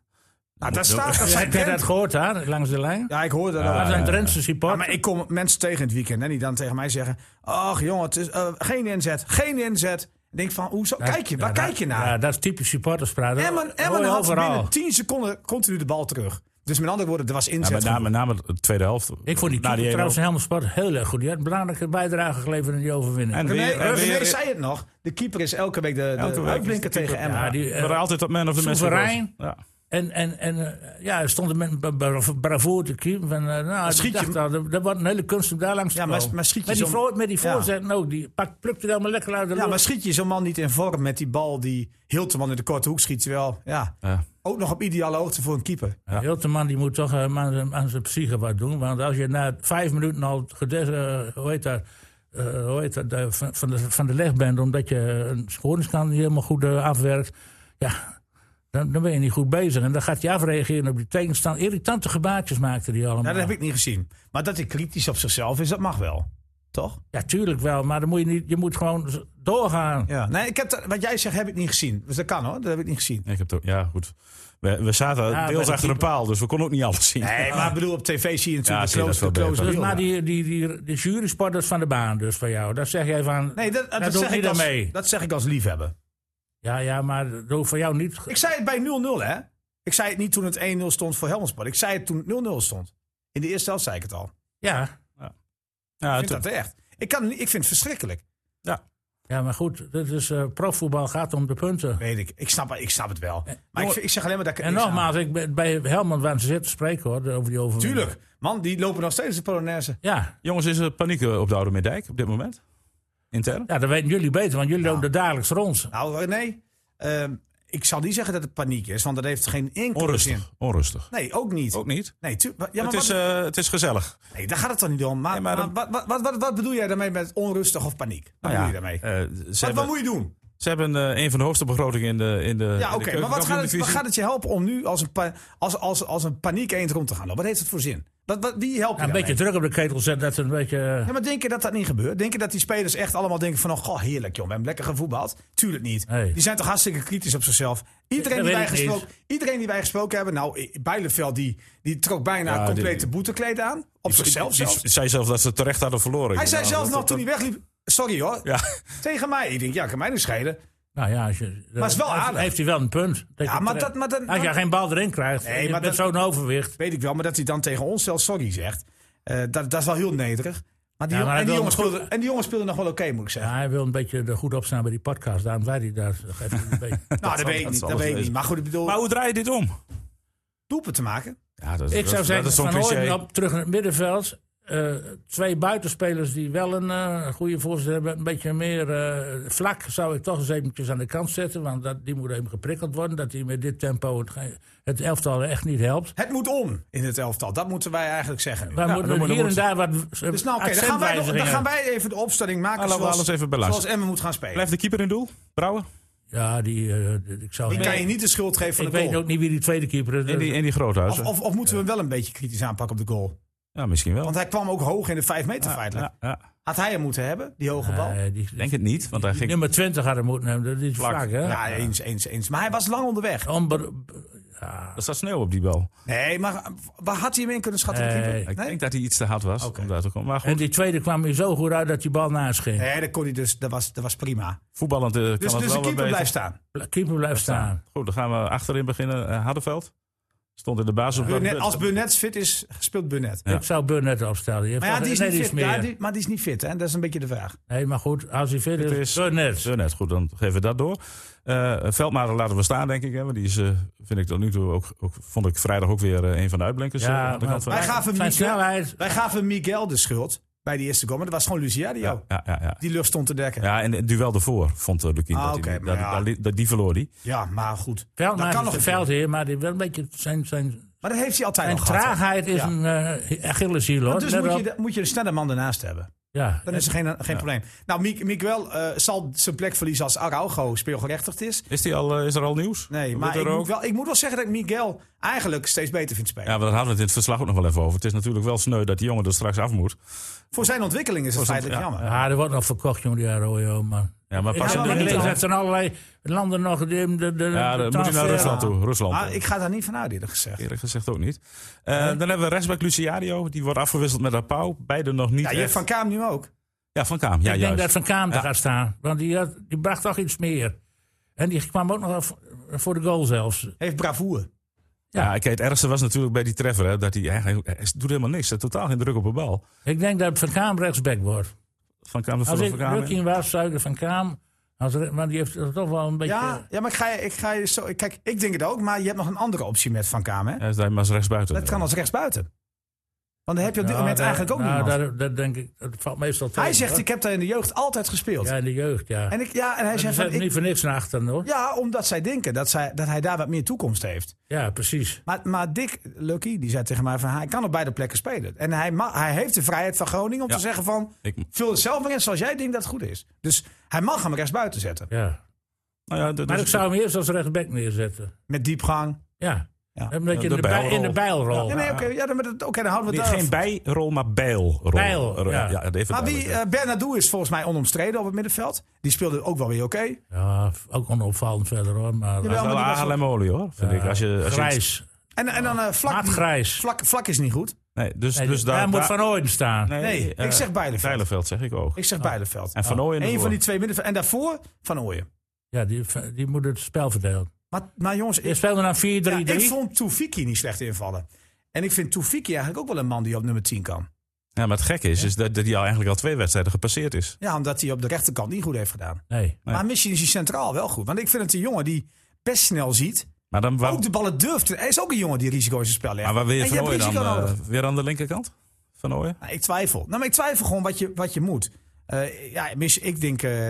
[SPEAKER 3] nou, daar staat dat zijn
[SPEAKER 4] Heb jij dat
[SPEAKER 3] Drent-
[SPEAKER 4] gehoord daar, langs de lijn?
[SPEAKER 3] Ja, ik hoor dat
[SPEAKER 4] Dat
[SPEAKER 3] ook.
[SPEAKER 4] zijn Drentse
[SPEAKER 3] Ja,
[SPEAKER 4] supporters.
[SPEAKER 3] maar ik kom mensen tegen in het weekend en die dan tegen mij zeggen... Ach jongen, het is, eh, geen inzet, geen inzet. Ik denk van, hoezo? Kijk je, waar
[SPEAKER 4] Ja,
[SPEAKER 3] kijk
[SPEAKER 4] dat-
[SPEAKER 3] je naar?
[SPEAKER 4] Ja, dat is typisch supporterspraat. Dat
[SPEAKER 3] Emmen,
[SPEAKER 4] hoor
[SPEAKER 3] Emmen
[SPEAKER 4] je
[SPEAKER 3] had
[SPEAKER 4] overal.
[SPEAKER 3] binnen 10 seconden continu de bal terug. Dus met andere woorden, er was
[SPEAKER 1] Ja,
[SPEAKER 3] inzet.
[SPEAKER 1] met, name, met name de tweede helft.
[SPEAKER 4] Ik vond die
[SPEAKER 1] Na
[SPEAKER 3] Nou,
[SPEAKER 4] keeper
[SPEAKER 1] die
[SPEAKER 4] trouwens helemaal sport heel erg goed. Die had een belangrijke bijdrage geleverd in die
[SPEAKER 1] 1-0.
[SPEAKER 4] overwinning.
[SPEAKER 1] En
[SPEAKER 3] René,
[SPEAKER 1] weer, en
[SPEAKER 3] René
[SPEAKER 1] weer-
[SPEAKER 3] zei het nog. De keeper is elke week de, de
[SPEAKER 1] Elke week
[SPEAKER 3] uitblinker
[SPEAKER 1] is de keeper-
[SPEAKER 3] tegen Emmen.
[SPEAKER 4] ja, die, eh,
[SPEAKER 1] maar altijd op man of the match.
[SPEAKER 4] Soeverein.
[SPEAKER 1] Ja.
[SPEAKER 4] En, en, en eh, ja, er stond met bra- bra- bravoer te keeper. Van, eh, nou,
[SPEAKER 3] Schiet
[SPEAKER 4] schiet
[SPEAKER 3] je-
[SPEAKER 4] dacht, al, dat, dat wordt een hele kunst om daar langs te
[SPEAKER 3] Ja, maar-
[SPEAKER 4] komen.
[SPEAKER 3] maar schiet je
[SPEAKER 4] met, die
[SPEAKER 3] zo'n-
[SPEAKER 4] voor- met die
[SPEAKER 3] Ja.
[SPEAKER 4] voorzet ook. Die pak, plukt het allemaal lekker uit de
[SPEAKER 3] Ja, maar
[SPEAKER 4] lucht.
[SPEAKER 3] schiet je zo'n man niet in vorm met die bal die Hilteman in de korte hoek schiet? Terwijl, ja,
[SPEAKER 1] Ja.
[SPEAKER 3] ook nog op ideale hoogte voor een keeper.
[SPEAKER 4] Ja. Hilteman die moet toch eh, aan, zijn- aan zijn psyche wat doen. Want als je na vijf minuten al gedes, eh, hoe heet dat, eh, hoe heet dat, eh, van, van, de, van de leg bent... omdat je een scoringskant niet helemaal goed eh, afwerkt... Ja, dan, dan ben je niet goed bezig. En dan gaat hij afreageren op die tegenstander. Irritante gebaartjes maakte hij allemaal.
[SPEAKER 3] Ja, dat heb ik niet gezien. Maar dat hij kritisch op zichzelf is, dat mag wel. Toch?
[SPEAKER 4] Ja, tuurlijk wel. Maar dan moet je, niet, je moet gewoon z- doorgaan.
[SPEAKER 3] Ja. Nee, ik heb dat- wat jij zegt heb ik niet gezien. Dus dat kan hoor, dat heb ik niet gezien.
[SPEAKER 1] Ik heb het ook- ja, goed. We, we zaten
[SPEAKER 4] bij de
[SPEAKER 1] deels achter een
[SPEAKER 4] keeper.
[SPEAKER 1] paal, dus we konden ook niet alles zien.
[SPEAKER 3] Nee, maar ik bedoel, op tv zie je
[SPEAKER 1] Ja,
[SPEAKER 3] natuurlijk
[SPEAKER 1] zie je
[SPEAKER 3] de
[SPEAKER 1] dat
[SPEAKER 3] close,
[SPEAKER 1] wel
[SPEAKER 3] de close
[SPEAKER 1] beter.
[SPEAKER 4] Dus
[SPEAKER 3] beelden.
[SPEAKER 4] maar die, die, die, de jurysporters van de baan dus van jou. Dat zeg jij van,
[SPEAKER 3] Nee, dat, dat,
[SPEAKER 4] doet
[SPEAKER 3] zeg ik
[SPEAKER 4] niet
[SPEAKER 3] als,
[SPEAKER 4] aan mee.
[SPEAKER 3] dat zeg ik als liefhebber.
[SPEAKER 4] Ja, ja, maar dat hoeft van jou niet...
[SPEAKER 3] Ik zei het bij 0-0, hè? Ik zei het niet toen het 1-0 stond voor Helmondsport. Ik zei het toen het 0-0 stond. In de eerste helft zei ik het al.
[SPEAKER 4] Ja,
[SPEAKER 1] Ja,
[SPEAKER 3] Ik vind
[SPEAKER 1] toen-
[SPEAKER 3] dat echt. Ik, kan, niet- ik vind het verschrikkelijk.
[SPEAKER 4] Ja, maar goed, dit is, eh, profvoetbal gaat om de punten.
[SPEAKER 3] Weet ik. Ik snap, ik snap het
[SPEAKER 1] Eh,
[SPEAKER 3] wel. Maar ik,
[SPEAKER 4] jongen-
[SPEAKER 3] ik zeg alleen maar dat ik. er
[SPEAKER 4] en
[SPEAKER 3] niks aan-
[SPEAKER 4] nogmaals, ik ben bij Helmond waar ze zitten spreken hoor, over die overwinning.
[SPEAKER 3] Tuurlijk. Man, die lopen nog steeds de Polonaise.
[SPEAKER 4] Ja,
[SPEAKER 1] Jongens, is er paniek eh, op de Oude Middijk op dit moment? Intern?
[SPEAKER 4] ja, dat weten jullie beter, want jullie lopen er dagelijks rond.
[SPEAKER 3] Nou, nee. Ehm, ik zal niet zeggen dat het paniek is, want dat heeft geen enkele zin.
[SPEAKER 1] Onrustig. Onrustig.
[SPEAKER 3] Nee, ook niet.
[SPEAKER 1] Ook niet.
[SPEAKER 3] Nee, tu- wa- ja, maar
[SPEAKER 1] Het is,
[SPEAKER 3] wat,
[SPEAKER 1] eh, het is gezellig.
[SPEAKER 3] nee, daar gaat het toch niet om. Maar,
[SPEAKER 1] Nee, maar
[SPEAKER 3] maar wat, wat, wat, wat bedoel jij daarmee met onrustig of paniek? Wat
[SPEAKER 1] Nou
[SPEAKER 3] bedoel
[SPEAKER 1] ja,
[SPEAKER 3] je daarmee?
[SPEAKER 1] eh, ze,
[SPEAKER 3] Wat,
[SPEAKER 1] hebben,
[SPEAKER 3] wat moet je doen?
[SPEAKER 1] ze hebben eh, een van de hoogste begrotingen in de in de
[SPEAKER 3] Ja, oké. maar wat gaat, het, wat gaat het je helpen om nu als een, pa- als, als, als een paniek eend rond te gaan? lopen? Wat heeft het voor zin? Wat, wat, wie helpt je
[SPEAKER 4] Ja, een
[SPEAKER 3] daarmee?
[SPEAKER 4] beetje druk op de ketel zetten, dat ze een beetje... eh,
[SPEAKER 3] Ja, maar denk je dat dat niet gebeurt? Denk je dat die spelers echt allemaal denken van... Oh, goh, heerlijk joh, we hebben lekker gevoetbald? Tuurlijk niet.
[SPEAKER 4] Nee.
[SPEAKER 3] Die zijn toch hartstikke kritisch op zichzelf. Iedereen,
[SPEAKER 4] Dat
[SPEAKER 3] die
[SPEAKER 4] weet
[SPEAKER 3] wij,
[SPEAKER 4] ik niet.
[SPEAKER 3] gesproken, iedereen die wij gesproken hebben... Nou, eh, Bijleveld, die, die trok bijna
[SPEAKER 1] Ja,
[SPEAKER 3] een complete
[SPEAKER 1] die-
[SPEAKER 3] boetekleed aan. Op zichzelf
[SPEAKER 1] Ze
[SPEAKER 3] zelfs.
[SPEAKER 1] zei zelf dat ze terecht hadden verloren.
[SPEAKER 3] Hij
[SPEAKER 1] Ik
[SPEAKER 3] zei
[SPEAKER 1] denk,
[SPEAKER 3] zelf
[SPEAKER 1] nou,
[SPEAKER 3] nog
[SPEAKER 1] dat-
[SPEAKER 3] toen hij wegliep... Sorry hoor,
[SPEAKER 1] Ja,
[SPEAKER 3] tegen mij. Ik denk, ja, kan mij nu schelen.
[SPEAKER 4] nou ja, als je,
[SPEAKER 3] Maar is wel
[SPEAKER 4] dan
[SPEAKER 3] aardig.
[SPEAKER 4] Heeft hij wel een punt.
[SPEAKER 3] Ja, maar dat- maar dan-
[SPEAKER 4] als jij
[SPEAKER 3] dan-
[SPEAKER 4] geen bal erin krijgt,
[SPEAKER 3] Nee,
[SPEAKER 4] je
[SPEAKER 3] maar
[SPEAKER 4] bent
[SPEAKER 3] dat-
[SPEAKER 4] zo'n overwicht.
[SPEAKER 3] Weet ik wel, maar dat hij dan tegen ons zelf sorry zegt... eh, dat, dat is wel heel nederig. Maar die,
[SPEAKER 4] Ja, maar
[SPEAKER 3] en,
[SPEAKER 4] hij
[SPEAKER 3] die
[SPEAKER 4] wil
[SPEAKER 3] jongen
[SPEAKER 4] goed-
[SPEAKER 3] speelde, en die jongen speelde nog wel oké, moet ik zeggen.
[SPEAKER 4] Ja, hij wil een beetje er goed op staan bij die podcast, daarom zei hij dat. dat geeft hij een beetje.
[SPEAKER 3] nou, dat,
[SPEAKER 1] zal-
[SPEAKER 3] weet ik
[SPEAKER 1] dat
[SPEAKER 3] niet.
[SPEAKER 1] zal
[SPEAKER 3] Dat weet ik
[SPEAKER 1] wezen.
[SPEAKER 3] niet. Maar goed, ik bedoel...
[SPEAKER 1] maar hoe draai je dit om?
[SPEAKER 3] doelpunt te maken.
[SPEAKER 1] Ja, dat,
[SPEAKER 4] Ik zou
[SPEAKER 1] dat-
[SPEAKER 4] zeggen,
[SPEAKER 1] dat is zo'n
[SPEAKER 4] Van
[SPEAKER 1] cliché.
[SPEAKER 4] Hooydonk op terug naar het middenveld. Eh, twee buitenspelers die wel een eh, goede voorzet hebben. Een beetje meer eh, vlak zou ik toch eens eventjes aan de kant zetten. Want dat, die moet even geprikkeld worden. Dat hij met dit tempo het, ge- het elftal echt niet helpt.
[SPEAKER 3] Het moet om in het elftal. Dat moeten wij eigenlijk zeggen.
[SPEAKER 4] Wij
[SPEAKER 3] Ja,
[SPEAKER 4] moeten
[SPEAKER 3] dan
[SPEAKER 4] hier
[SPEAKER 3] moet-
[SPEAKER 4] en daar wat eh,
[SPEAKER 3] Dus nou, oké, dan, gaan wij nog- dan
[SPEAKER 4] accentwijzigingen.
[SPEAKER 3] gaan wij even de opstelling maken
[SPEAKER 1] Nou, laten we
[SPEAKER 3] zoals,
[SPEAKER 1] alles even beluisteren.
[SPEAKER 3] zoals Emmen moet gaan spelen.
[SPEAKER 1] Blijft de keeper in doel? Brouwer?
[SPEAKER 4] Ja, die, eh, ik zou
[SPEAKER 3] Die kan je niet de schuld geven van
[SPEAKER 4] Ik
[SPEAKER 3] de
[SPEAKER 4] weet
[SPEAKER 3] goal.
[SPEAKER 4] ook niet wie die tweede keeper is. dus-
[SPEAKER 1] In die, in die
[SPEAKER 3] Of,
[SPEAKER 1] groothuizen?
[SPEAKER 3] of, of moeten we hem wel een beetje kritisch aanpakken op de goal?
[SPEAKER 1] ja, misschien wel.
[SPEAKER 3] Want hij kwam ook hoog in de 5 meter feitelijk.
[SPEAKER 1] Ja, ja.
[SPEAKER 3] Had hij hem moeten hebben, die hoge bal?
[SPEAKER 4] Nee, die-
[SPEAKER 1] Denk het niet, want hij
[SPEAKER 4] die
[SPEAKER 1] ging...
[SPEAKER 4] nummer 20 hadden moeten hebben. Dat is vlak, hè?
[SPEAKER 3] ja, eens, eens, eens. Maar hij was lang onderweg.
[SPEAKER 4] Amber-
[SPEAKER 1] Er staat sneeuw op die bal.
[SPEAKER 3] Nee, maar eh, waar had hij hem in kunnen schatten?
[SPEAKER 4] Nee.
[SPEAKER 3] de keeper?
[SPEAKER 1] Ik
[SPEAKER 3] nee?
[SPEAKER 1] denk dat hij iets te hard was om daar te komen. Maar goed,
[SPEAKER 4] en die tweede kwam hier zo goed uit dat die bal naast ging.
[SPEAKER 3] nee, dat kon hij dus. Dat was, dat was prima.
[SPEAKER 1] voetballend eh, kan
[SPEAKER 3] Dus,
[SPEAKER 1] het
[SPEAKER 3] dus de
[SPEAKER 1] wel wat
[SPEAKER 3] keeper
[SPEAKER 1] beter.
[SPEAKER 3] blijft staan.
[SPEAKER 4] Keeper blijft staan.
[SPEAKER 1] Goed, dan gaan we achterin beginnen. Eh, Hardenveld stond in de basis. op
[SPEAKER 3] Burnett- als Burnett fit is, speelt Burnett.
[SPEAKER 1] Ja.
[SPEAKER 4] Ik zou Burnett opstellen. Je hebt
[SPEAKER 3] Maar ja,
[SPEAKER 4] toch-
[SPEAKER 3] die is
[SPEAKER 4] nee,
[SPEAKER 3] niet fit.
[SPEAKER 4] meer.
[SPEAKER 3] Ja, die- maar die is niet fit, hè? Dat is een beetje de vraag.
[SPEAKER 4] Nee, maar goed, als hij fit
[SPEAKER 1] Het
[SPEAKER 4] is,
[SPEAKER 1] is-
[SPEAKER 4] Burnett.
[SPEAKER 1] Zo net, goed, dan geven we dat door. Eh Veldmaten laten we staan, denk ik. Hè, want die is, eh, vind ik tot nu toe ook, ook, vond ik vrijdag ook weer eh, een van de uitblinkers.
[SPEAKER 4] Ja,
[SPEAKER 1] eh, aan de
[SPEAKER 4] maar-
[SPEAKER 1] kant van
[SPEAKER 3] Wij
[SPEAKER 1] ja,
[SPEAKER 3] gaven,
[SPEAKER 4] Zijn
[SPEAKER 3] Miguel,
[SPEAKER 4] snelheid.
[SPEAKER 3] wij gaven Miguel de schuld bij die eerste goal. Maar dat was gewoon Luciadio.
[SPEAKER 1] ja, ja, ja.
[SPEAKER 3] Die lucht stond te dekken. Ja,
[SPEAKER 1] ja, en het duel ervoor vond uh, Lukien.
[SPEAKER 3] Ah,
[SPEAKER 1] dat,
[SPEAKER 3] oké,
[SPEAKER 1] hij,
[SPEAKER 3] maar
[SPEAKER 1] dat,
[SPEAKER 3] ja.
[SPEAKER 1] dat, li- dat- die verloor hij.
[SPEAKER 3] maar goed.
[SPEAKER 4] Veldmaat
[SPEAKER 3] kan nog
[SPEAKER 4] is
[SPEAKER 3] een keer.
[SPEAKER 4] een veldheer, maar die wel een beetje zijn, zijn,
[SPEAKER 3] Maar dat heeft hij altijd
[SPEAKER 4] zijn
[SPEAKER 3] al gehad. hè?
[SPEAKER 4] traagheid is
[SPEAKER 3] Ja.
[SPEAKER 4] een eh Achilleshiel, hoor.
[SPEAKER 3] Dus
[SPEAKER 4] Let
[SPEAKER 3] moet
[SPEAKER 4] op.
[SPEAKER 3] je, de- moet je een snelle man ernaast hebben.
[SPEAKER 4] ja.
[SPEAKER 3] Dan is er geen, geen probleem. Nou, Mi- Miguel eh, zal zijn plek verliezen als Araujo speelgerechtigd is.
[SPEAKER 1] Is, die al, eh, is er al nieuws?
[SPEAKER 3] Nee,
[SPEAKER 1] Wordt
[SPEAKER 3] maar
[SPEAKER 1] er
[SPEAKER 3] ik
[SPEAKER 1] ook?
[SPEAKER 3] moet, wel, ik moet wel zeggen dat ik Miguel eigenlijk steeds beter vind spelen.
[SPEAKER 1] Ja, maar daar hadden we het in het verslag ook nog wel even over. Het is natuurlijk wel sneu dat die jongen er straks af moet.
[SPEAKER 3] Voor zijn ontwikkeling is het feitelijk jammer.
[SPEAKER 4] Ja, er wordt nog verkocht, jongen, die Arroyo, man.
[SPEAKER 1] Ja, maar
[SPEAKER 4] Ik
[SPEAKER 1] pas
[SPEAKER 3] Ja,
[SPEAKER 4] heb
[SPEAKER 3] maar
[SPEAKER 4] er
[SPEAKER 3] niet
[SPEAKER 4] gelezen
[SPEAKER 3] al.
[SPEAKER 4] dat er allerlei landen nog... De, de, de
[SPEAKER 1] ja, dan moet hij naar
[SPEAKER 4] transfer-
[SPEAKER 1] Rusland toe. Rusland.
[SPEAKER 4] Ah,
[SPEAKER 3] Maar ik ga daar niet vanuit, eerlijk gezegd.
[SPEAKER 1] Eerlijk gezegd ook niet. Eh, Dan hebben we rechtsback Luciadio. Die wordt afgewisseld met Apau. Beide nog niet.
[SPEAKER 3] Ja, je
[SPEAKER 1] echt-
[SPEAKER 3] hebt Van Kaam nu ook.
[SPEAKER 1] ja, van Kaam. Ja,
[SPEAKER 4] ik denk
[SPEAKER 1] juist.
[SPEAKER 4] dat Van Kaam
[SPEAKER 1] Ja.
[SPEAKER 4] te gaat staan. Want die, had, die bracht toch iets meer. En die kwam ook nog af- voor de goal zelfs.
[SPEAKER 3] Heeft bravoure.
[SPEAKER 1] Ja, kijk, het ergste was natuurlijk bij die treffer. Hè, dat hij eigenlijk. Hij doet helemaal niks. Hij heeft totaal geen druk op de bal.
[SPEAKER 4] Ik denk dat Van Kaam rechtsback wordt.
[SPEAKER 1] Van Kaam de
[SPEAKER 4] Als
[SPEAKER 1] Van
[SPEAKER 4] ik
[SPEAKER 1] Kaam.
[SPEAKER 4] Rukking was, zou ik er Van Kaam... Als, re- maar die heeft er toch wel een beetje... eh,
[SPEAKER 3] Ja, ja maar ik ga, je- ik ga je zo... Kijk, ik denk het ook, maar je hebt nog een andere optie met Van Kaam, hè?
[SPEAKER 1] Hij is daar maar als rechtsbuiten.
[SPEAKER 3] Dat kan als rechtsbuiten. Want dan heb je op dit
[SPEAKER 4] Nou,
[SPEAKER 3] moment
[SPEAKER 4] daar-
[SPEAKER 3] eigenlijk ook
[SPEAKER 4] nou,
[SPEAKER 3] niemand.
[SPEAKER 4] daar- dat denk ik, dat valt meestal tegen.
[SPEAKER 3] Hij zegt,
[SPEAKER 4] hoor.
[SPEAKER 3] ik heb daar in de jeugd altijd gespeeld.
[SPEAKER 4] Ja, in de jeugd, ja.
[SPEAKER 3] En, ik, ja, en hij
[SPEAKER 4] Ze
[SPEAKER 3] zegt, van,
[SPEAKER 4] zetten
[SPEAKER 3] ik-
[SPEAKER 4] niet voor niks naar achteren, hoor. Ja,
[SPEAKER 3] ja, omdat zij denken dat, zij, dat hij daar wat meer toekomst heeft.
[SPEAKER 4] precies.
[SPEAKER 3] Maar, maar Dick Lucky, die zei tegen mij van hij kan op beide plekken spelen. En hij, ma- hij heeft de vrijheid van Groningen om
[SPEAKER 1] Ja.
[SPEAKER 3] te zeggen van
[SPEAKER 1] Ik, nou
[SPEAKER 3] vul het zelf maar in zoals jij denkt dat het goed is. Dus hij mag hem rechts buiten zetten.
[SPEAKER 4] Ja.
[SPEAKER 1] nou ja, dat
[SPEAKER 4] Maar
[SPEAKER 1] is-
[SPEAKER 4] ik zou hem eerst als rechtsback neerzetten.
[SPEAKER 3] Met diepgang.
[SPEAKER 4] Ja.
[SPEAKER 3] Ja.
[SPEAKER 4] Een beetje
[SPEAKER 1] De
[SPEAKER 4] in de, bij-
[SPEAKER 1] bijlrol.
[SPEAKER 4] in de bijlrol.
[SPEAKER 3] Ja, nee, oké, ja, dan, maar dat- oké, dan houden we
[SPEAKER 1] die-
[SPEAKER 3] het
[SPEAKER 1] geen
[SPEAKER 3] daarover.
[SPEAKER 1] bijrol, maar bijlrol.
[SPEAKER 4] Bijl, ja.
[SPEAKER 1] even
[SPEAKER 3] Maar wie,
[SPEAKER 1] duidelijk,
[SPEAKER 3] eh, Bernardo is volgens mij onomstreden op het middenveld. Die speelde ook wel weer oké.
[SPEAKER 4] Ja, ook onopvallend verder hoor. Maar eh,
[SPEAKER 1] hè. Dat
[SPEAKER 3] Jawel,
[SPEAKER 1] is
[SPEAKER 3] maar
[SPEAKER 1] wel
[SPEAKER 3] die was-
[SPEAKER 1] ALM olie hoor. Vind ik. Als je, als je-
[SPEAKER 4] grijs.
[SPEAKER 3] En, en dan eh, vlak,
[SPEAKER 4] Maatgrijs.
[SPEAKER 3] vlak. Vlak is niet goed.
[SPEAKER 1] nee, dus,
[SPEAKER 4] Nee,
[SPEAKER 1] dus
[SPEAKER 4] daar,
[SPEAKER 1] daar
[SPEAKER 4] moet
[SPEAKER 1] daar-
[SPEAKER 4] Van Ooyen staan.
[SPEAKER 3] Nee,
[SPEAKER 1] eh,
[SPEAKER 3] ik zeg Bijleveld.
[SPEAKER 1] Bijleveld zeg ik ook.
[SPEAKER 3] Ik zeg Bijleveld.
[SPEAKER 1] En Van Ooyen.
[SPEAKER 3] Eén
[SPEAKER 1] ervoor.
[SPEAKER 3] van die twee middenveld. En daarvoor Van Ooyen.
[SPEAKER 4] Ja, die, die moet het spel verdelen.
[SPEAKER 3] Maar, maar jongens,
[SPEAKER 4] Je
[SPEAKER 3] ik,
[SPEAKER 4] speelde dan 4-3-3.
[SPEAKER 3] ja, ik vond Toefiki niet slecht invallen. En ik vind Toefiki eigenlijk ook wel een man die op nummer 10 kan.
[SPEAKER 1] Ja, maar het gekke is, is dat, dat hij al eigenlijk al twee wedstrijden gepasseerd is.
[SPEAKER 3] Ja, omdat hij op de rechterkant niet goed heeft gedaan.
[SPEAKER 4] Nee.
[SPEAKER 1] Nee.
[SPEAKER 3] Maar misschien is hij centraal wel goed. Want ik vind het een jongen die best snel ziet.
[SPEAKER 1] Maar dan waarom,
[SPEAKER 3] Ook Oh, de ballen durft. Hij is ook een jongen die risico in zijn spel legt.
[SPEAKER 1] maar waar wil je
[SPEAKER 3] En
[SPEAKER 1] Van
[SPEAKER 3] hebt
[SPEAKER 1] Ooyen dan?
[SPEAKER 3] risico nodig.
[SPEAKER 1] eh, weer aan de linkerkant? Van Ooyen?
[SPEAKER 3] Nou, ik twijfel. Nou, maar ik twijfel gewoon wat je, wat je moet. Eh, ja, mis, ik denk... eh,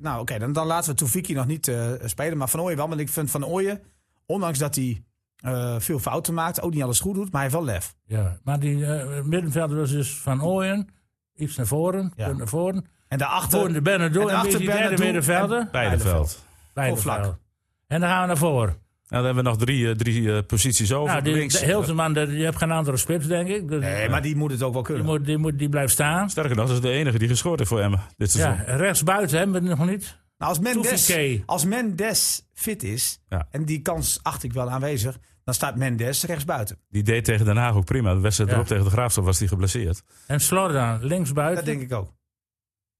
[SPEAKER 3] nou, oké, dan, dan laten we Toefiki nog niet eh, spelen. Maar Van Ooyen wel. Want ik vind Van Ooyen, ondanks dat hij eh, veel fouten maakt... ook niet alles goed doet, maar hij heeft wel lef.
[SPEAKER 4] Ja. Maar die eh middenvelder was dus Van Ooyen. Iets naar voren.
[SPEAKER 3] Ja.
[SPEAKER 4] punt Naar voren.
[SPEAKER 3] En daarachter...
[SPEAKER 4] Voor de Benadou.
[SPEAKER 3] en
[SPEAKER 4] En, weer
[SPEAKER 3] achter
[SPEAKER 4] die derde
[SPEAKER 3] Bernardo
[SPEAKER 4] middenvelder.
[SPEAKER 3] en-
[SPEAKER 1] Beideveld.
[SPEAKER 4] Bijleveld.
[SPEAKER 3] vlak.
[SPEAKER 4] En dan gaan we naar voren.
[SPEAKER 1] Nou, dan hebben we nog drie, eh, drie eh, posities over.
[SPEAKER 4] Nou, die,
[SPEAKER 1] Links, eh,
[SPEAKER 4] de Hilterman, dat- die hebt geen andere spits, denk ik. Dus
[SPEAKER 3] Nee, maar die moet het ook wel kunnen.
[SPEAKER 4] die, moet, die, moet, die blijft staan.
[SPEAKER 1] Sterker nog, dat is de enige die gescoord heeft voor Emmen dit
[SPEAKER 4] Ja,
[SPEAKER 1] seizoen.
[SPEAKER 4] rechts buiten hebben we het nog niet.
[SPEAKER 3] Nou, als, Mendes,
[SPEAKER 4] Toefike.
[SPEAKER 3] als Mendes fit is,
[SPEAKER 1] Ja.
[SPEAKER 3] en die kans acht ik wel aanwezig, dan staat Mendes rechtsbuiten.
[SPEAKER 1] Die deed tegen Den Haag ook prima. De wedstrijd
[SPEAKER 4] Ja.
[SPEAKER 1] erop tegen de Graafschap was die geblesseerd.
[SPEAKER 4] En Slordan, links
[SPEAKER 3] Dat denk
[SPEAKER 4] buiten.
[SPEAKER 3] ik ook.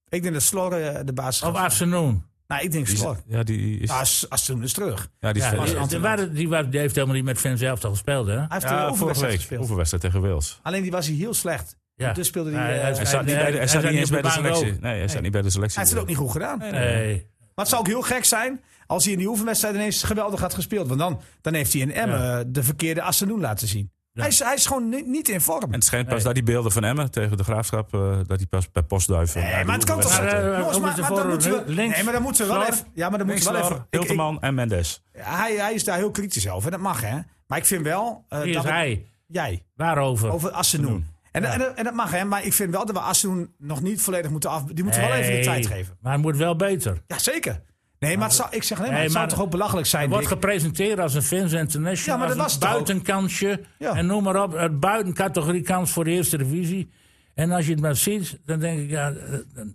[SPEAKER 3] Ik denk dat Slor eh, de baas
[SPEAKER 4] Of
[SPEAKER 3] gaat.
[SPEAKER 4] Arsenoen.
[SPEAKER 3] Nou, ik denk
[SPEAKER 1] Die is-
[SPEAKER 3] Slor.
[SPEAKER 1] ja, die is...
[SPEAKER 3] Ja, As- Astroen Ah, is Ah, terug.
[SPEAKER 1] ja, die is
[SPEAKER 4] Ja,
[SPEAKER 1] fit.
[SPEAKER 4] die,
[SPEAKER 1] Ja,
[SPEAKER 4] die, waren- die, waren- die heeft helemaal niet met Vincent zelf gespeeld, hè?
[SPEAKER 3] Hij heeft ja,
[SPEAKER 1] vorige week.
[SPEAKER 3] gespeeld.
[SPEAKER 1] Oefenwedstrijd tegen Wales.
[SPEAKER 3] Alleen die was hij heel slecht.
[SPEAKER 4] Ja.
[SPEAKER 3] Dus speelde die, eh,
[SPEAKER 4] hij
[SPEAKER 3] hij
[SPEAKER 1] Hij
[SPEAKER 3] Hij
[SPEAKER 1] staat niet bij de, hij staat niet eens bij de selectie. Nee, hij staat niet bij de selectie.
[SPEAKER 3] Hij heeft het ook niet goed gedaan.
[SPEAKER 4] Nee.
[SPEAKER 3] het zou ook heel gek zijn als hij in die oefenwedstrijd ineens geweldig had gespeeld. Want dan, dan heeft hij in Emmen eh, de verkeerde Asenoen laten zien. Hij, is, hij is gewoon ni- niet in vorm.
[SPEAKER 1] En het schijnt pas dat die beelden van Emmen tegen de Graafschap... eh, dat die pas bij Postduiven...
[SPEAKER 3] Nee, maar het kan toch...
[SPEAKER 4] Maar, eh,
[SPEAKER 3] Jongens,
[SPEAKER 4] komt
[SPEAKER 3] maar-
[SPEAKER 4] het
[SPEAKER 3] maar dan
[SPEAKER 4] ervoor,
[SPEAKER 3] moeten we-
[SPEAKER 4] links,
[SPEAKER 3] Nee, maar dan moeten we wel
[SPEAKER 4] Slauer?
[SPEAKER 3] even... Ja,
[SPEAKER 1] eh,
[SPEAKER 3] maar dan moeten we wel even... ik- ik-
[SPEAKER 1] Hilteman en Mendes.
[SPEAKER 3] hij, hij is daar heel kritisch over. Dat mag, hè. Maar ik vind wel... eh,
[SPEAKER 4] Wie
[SPEAKER 3] dat
[SPEAKER 4] is
[SPEAKER 3] we-
[SPEAKER 4] hij?
[SPEAKER 3] Jij.
[SPEAKER 4] Waarover?
[SPEAKER 3] Over Assenoen. En, en, en dat mag, hè. Maar ik vind wel dat we Assenoen nog niet volledig moeten af... Die moeten we wel even de
[SPEAKER 4] Nee,
[SPEAKER 3] tijd geven.
[SPEAKER 4] Maar het moet wel beter.
[SPEAKER 3] Ja, zeker. Nee, maar het zou, ik zeg alleen maar,
[SPEAKER 4] Nee,
[SPEAKER 3] het zou
[SPEAKER 4] maar-
[SPEAKER 3] toch ook belachelijk zijn,
[SPEAKER 4] Het wordt
[SPEAKER 3] Dick?
[SPEAKER 4] gepresenteerd als een Vincent International,
[SPEAKER 3] Ja, maar dat
[SPEAKER 4] als een
[SPEAKER 3] was het ook.
[SPEAKER 4] buitenkansje.
[SPEAKER 3] Ja.
[SPEAKER 4] En noem maar op, een buitencategorie kans voor de eerste divisie. En als je het maar ziet, dan denk ik, ja, eh, dan-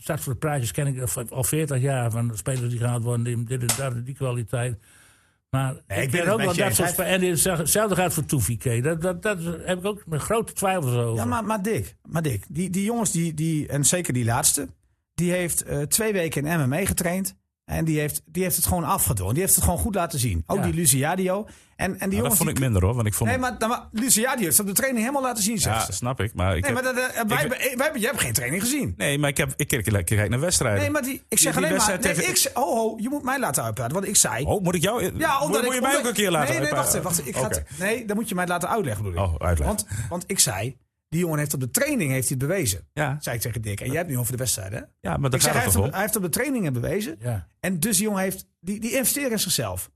[SPEAKER 4] straks voor de prijsjes ken ik al- al 40 jaar van de spelers die gehaald worden, die, dit en dat, en die kwaliteit. Maar
[SPEAKER 3] ben
[SPEAKER 4] ik
[SPEAKER 3] het
[SPEAKER 4] ben
[SPEAKER 3] met
[SPEAKER 4] ook wel
[SPEAKER 3] je
[SPEAKER 4] dat
[SPEAKER 3] eens.
[SPEAKER 4] soort
[SPEAKER 3] Hij-
[SPEAKER 4] spe- En dit- hetzelfde gaat voor Toefiké. Dat, dat, dat heb ik ook met grote twijfels over.
[SPEAKER 3] Ja, maar, maar Dick, maar Dick die, die jongens, die, die, en zeker die laatste, die heeft eh, twee weken in MMA getraind. En die heeft, die heeft het gewoon afgedwongen. Die heeft het gewoon goed laten zien. Ook
[SPEAKER 4] Ja.
[SPEAKER 3] die Luciadio. En, en
[SPEAKER 1] Maar Nou,
[SPEAKER 3] die
[SPEAKER 1] dat
[SPEAKER 3] jongens.
[SPEAKER 1] vond
[SPEAKER 3] die-
[SPEAKER 1] ik minder hoor, want ik vond...
[SPEAKER 3] nee, maar, nou, maar Luciadio heeft het op de training helemaal laten zien.
[SPEAKER 1] ja,
[SPEAKER 3] zegt ze.
[SPEAKER 1] snap ik. Maar ik
[SPEAKER 3] Nee,
[SPEAKER 1] heb-
[SPEAKER 3] maar dat, eh, wij, hebben- eh, wij, hebben- jij hebt geen training gezien.
[SPEAKER 1] nee, maar ik, heb, ik, kijk- ik kijk naar wedstrijden.
[SPEAKER 3] Nee, maar die, ik zeg
[SPEAKER 1] die
[SPEAKER 3] alleen maar.
[SPEAKER 1] wedstrijd
[SPEAKER 3] Nee,
[SPEAKER 1] tegen-
[SPEAKER 3] ik, ze- ho, ho, je moet mij laten uitpraten. Want ik zei.
[SPEAKER 1] Oh, moet ik jou...
[SPEAKER 3] Ja,
[SPEAKER 1] moet,
[SPEAKER 3] omdat
[SPEAKER 1] moet
[SPEAKER 3] ik,
[SPEAKER 1] je mij
[SPEAKER 3] omdat-
[SPEAKER 1] ook een keer laten
[SPEAKER 3] Nee, nee, wacht even.
[SPEAKER 1] uitpraten?
[SPEAKER 3] Wacht, even. ik ga
[SPEAKER 1] Oké.
[SPEAKER 3] het- nee, dan moet je mij het laten uitleggen, bedoel ik.
[SPEAKER 1] Oh, uitleggen.
[SPEAKER 3] Want, want ik zei, die jongen heeft op de training heeft hij het bewezen.
[SPEAKER 1] Ja.
[SPEAKER 3] Zei ik tegen Dick. En jij hebt nu over de wedstrijd, hè?
[SPEAKER 1] Ja, maar daar
[SPEAKER 3] Ik zeg, eh, hij
[SPEAKER 1] gaat het
[SPEAKER 3] heeft,
[SPEAKER 1] toch
[SPEAKER 3] op,
[SPEAKER 1] om?
[SPEAKER 3] hij heeft op de trainingen bewezen.
[SPEAKER 4] Ja.
[SPEAKER 3] En dus die jongen heeft, die, die investeert in zichzelf.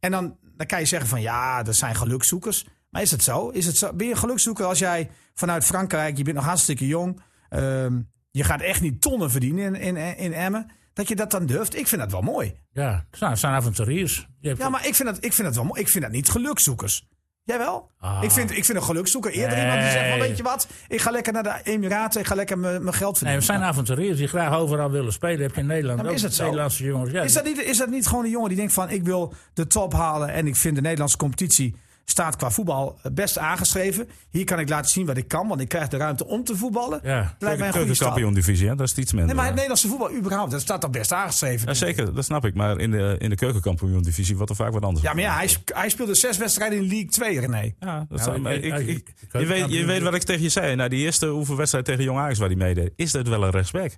[SPEAKER 3] En dan, dan kan je zeggen van, ja, dat zijn gelukszoekers. Maar is het zo? Is het zo? Ben je een gelukszoeker als jij vanuit Frankrijk, je bent nog hartstikke jong. ehm, je gaat echt niet tonnen verdienen in, in, in Emmen. Dat je dat dan durft, ik vind dat wel mooi.
[SPEAKER 4] Ja, nou, het zijn avonturiers. Je hebt
[SPEAKER 3] Ja, maar ik vind dat, ik vind dat wel mooi. Ik vind dat niet gelukzoekers. Jij wel?
[SPEAKER 4] Ah.
[SPEAKER 3] Ik, vind, ik vind een gelukzoeker eerder iemand die zegt van,
[SPEAKER 4] Nee.
[SPEAKER 3] weet je wat? Ik ga lekker naar de Emiraten, ik ga lekker mijn mijn geld
[SPEAKER 4] Nee, we
[SPEAKER 3] verdienen.
[SPEAKER 4] zijn avonturiers die graag overal willen spelen. Heb je in Nederland
[SPEAKER 3] Ja, maar
[SPEAKER 4] ook
[SPEAKER 3] is het zo?
[SPEAKER 4] Nederlandse jongens. Ja,
[SPEAKER 3] is, dat niet, is dat niet gewoon een jongen die denkt van, ik wil de top halen en ik vind de Nederlandse competitie staat qua voetbal eh, best aangeschreven. Hier kan ik laten zien wat ik kan, want ik krijg de ruimte om te voetballen.
[SPEAKER 4] Ja.
[SPEAKER 3] Dat Lijkt mij een goede stap.
[SPEAKER 1] Keukenkampioen divisie, hè? dat is iets minder.
[SPEAKER 3] Nee, maar het
[SPEAKER 1] Ja.
[SPEAKER 3] Nederlandse voetbal überhaupt, dat staat al best aangeschreven.
[SPEAKER 1] Ja, zeker, dat snap ik. Maar in de, in de keukenkampioen divisie wordt er vaak wat anders.
[SPEAKER 3] Ja, maar ja, hij, sp- hij speelde zes wedstrijden in League 2, René.
[SPEAKER 1] Ja, dat
[SPEAKER 4] Ja,
[SPEAKER 1] zou- maar
[SPEAKER 4] ik-
[SPEAKER 1] ik, ik-
[SPEAKER 4] ik- ik-
[SPEAKER 1] je, weet, je
[SPEAKER 4] keukenkampioen-
[SPEAKER 1] weet wat ik tegen je zei. Na die eerste oefenwedstrijd tegen Jong Ajax waar hij meedeed. Is dat wel een rechtsback?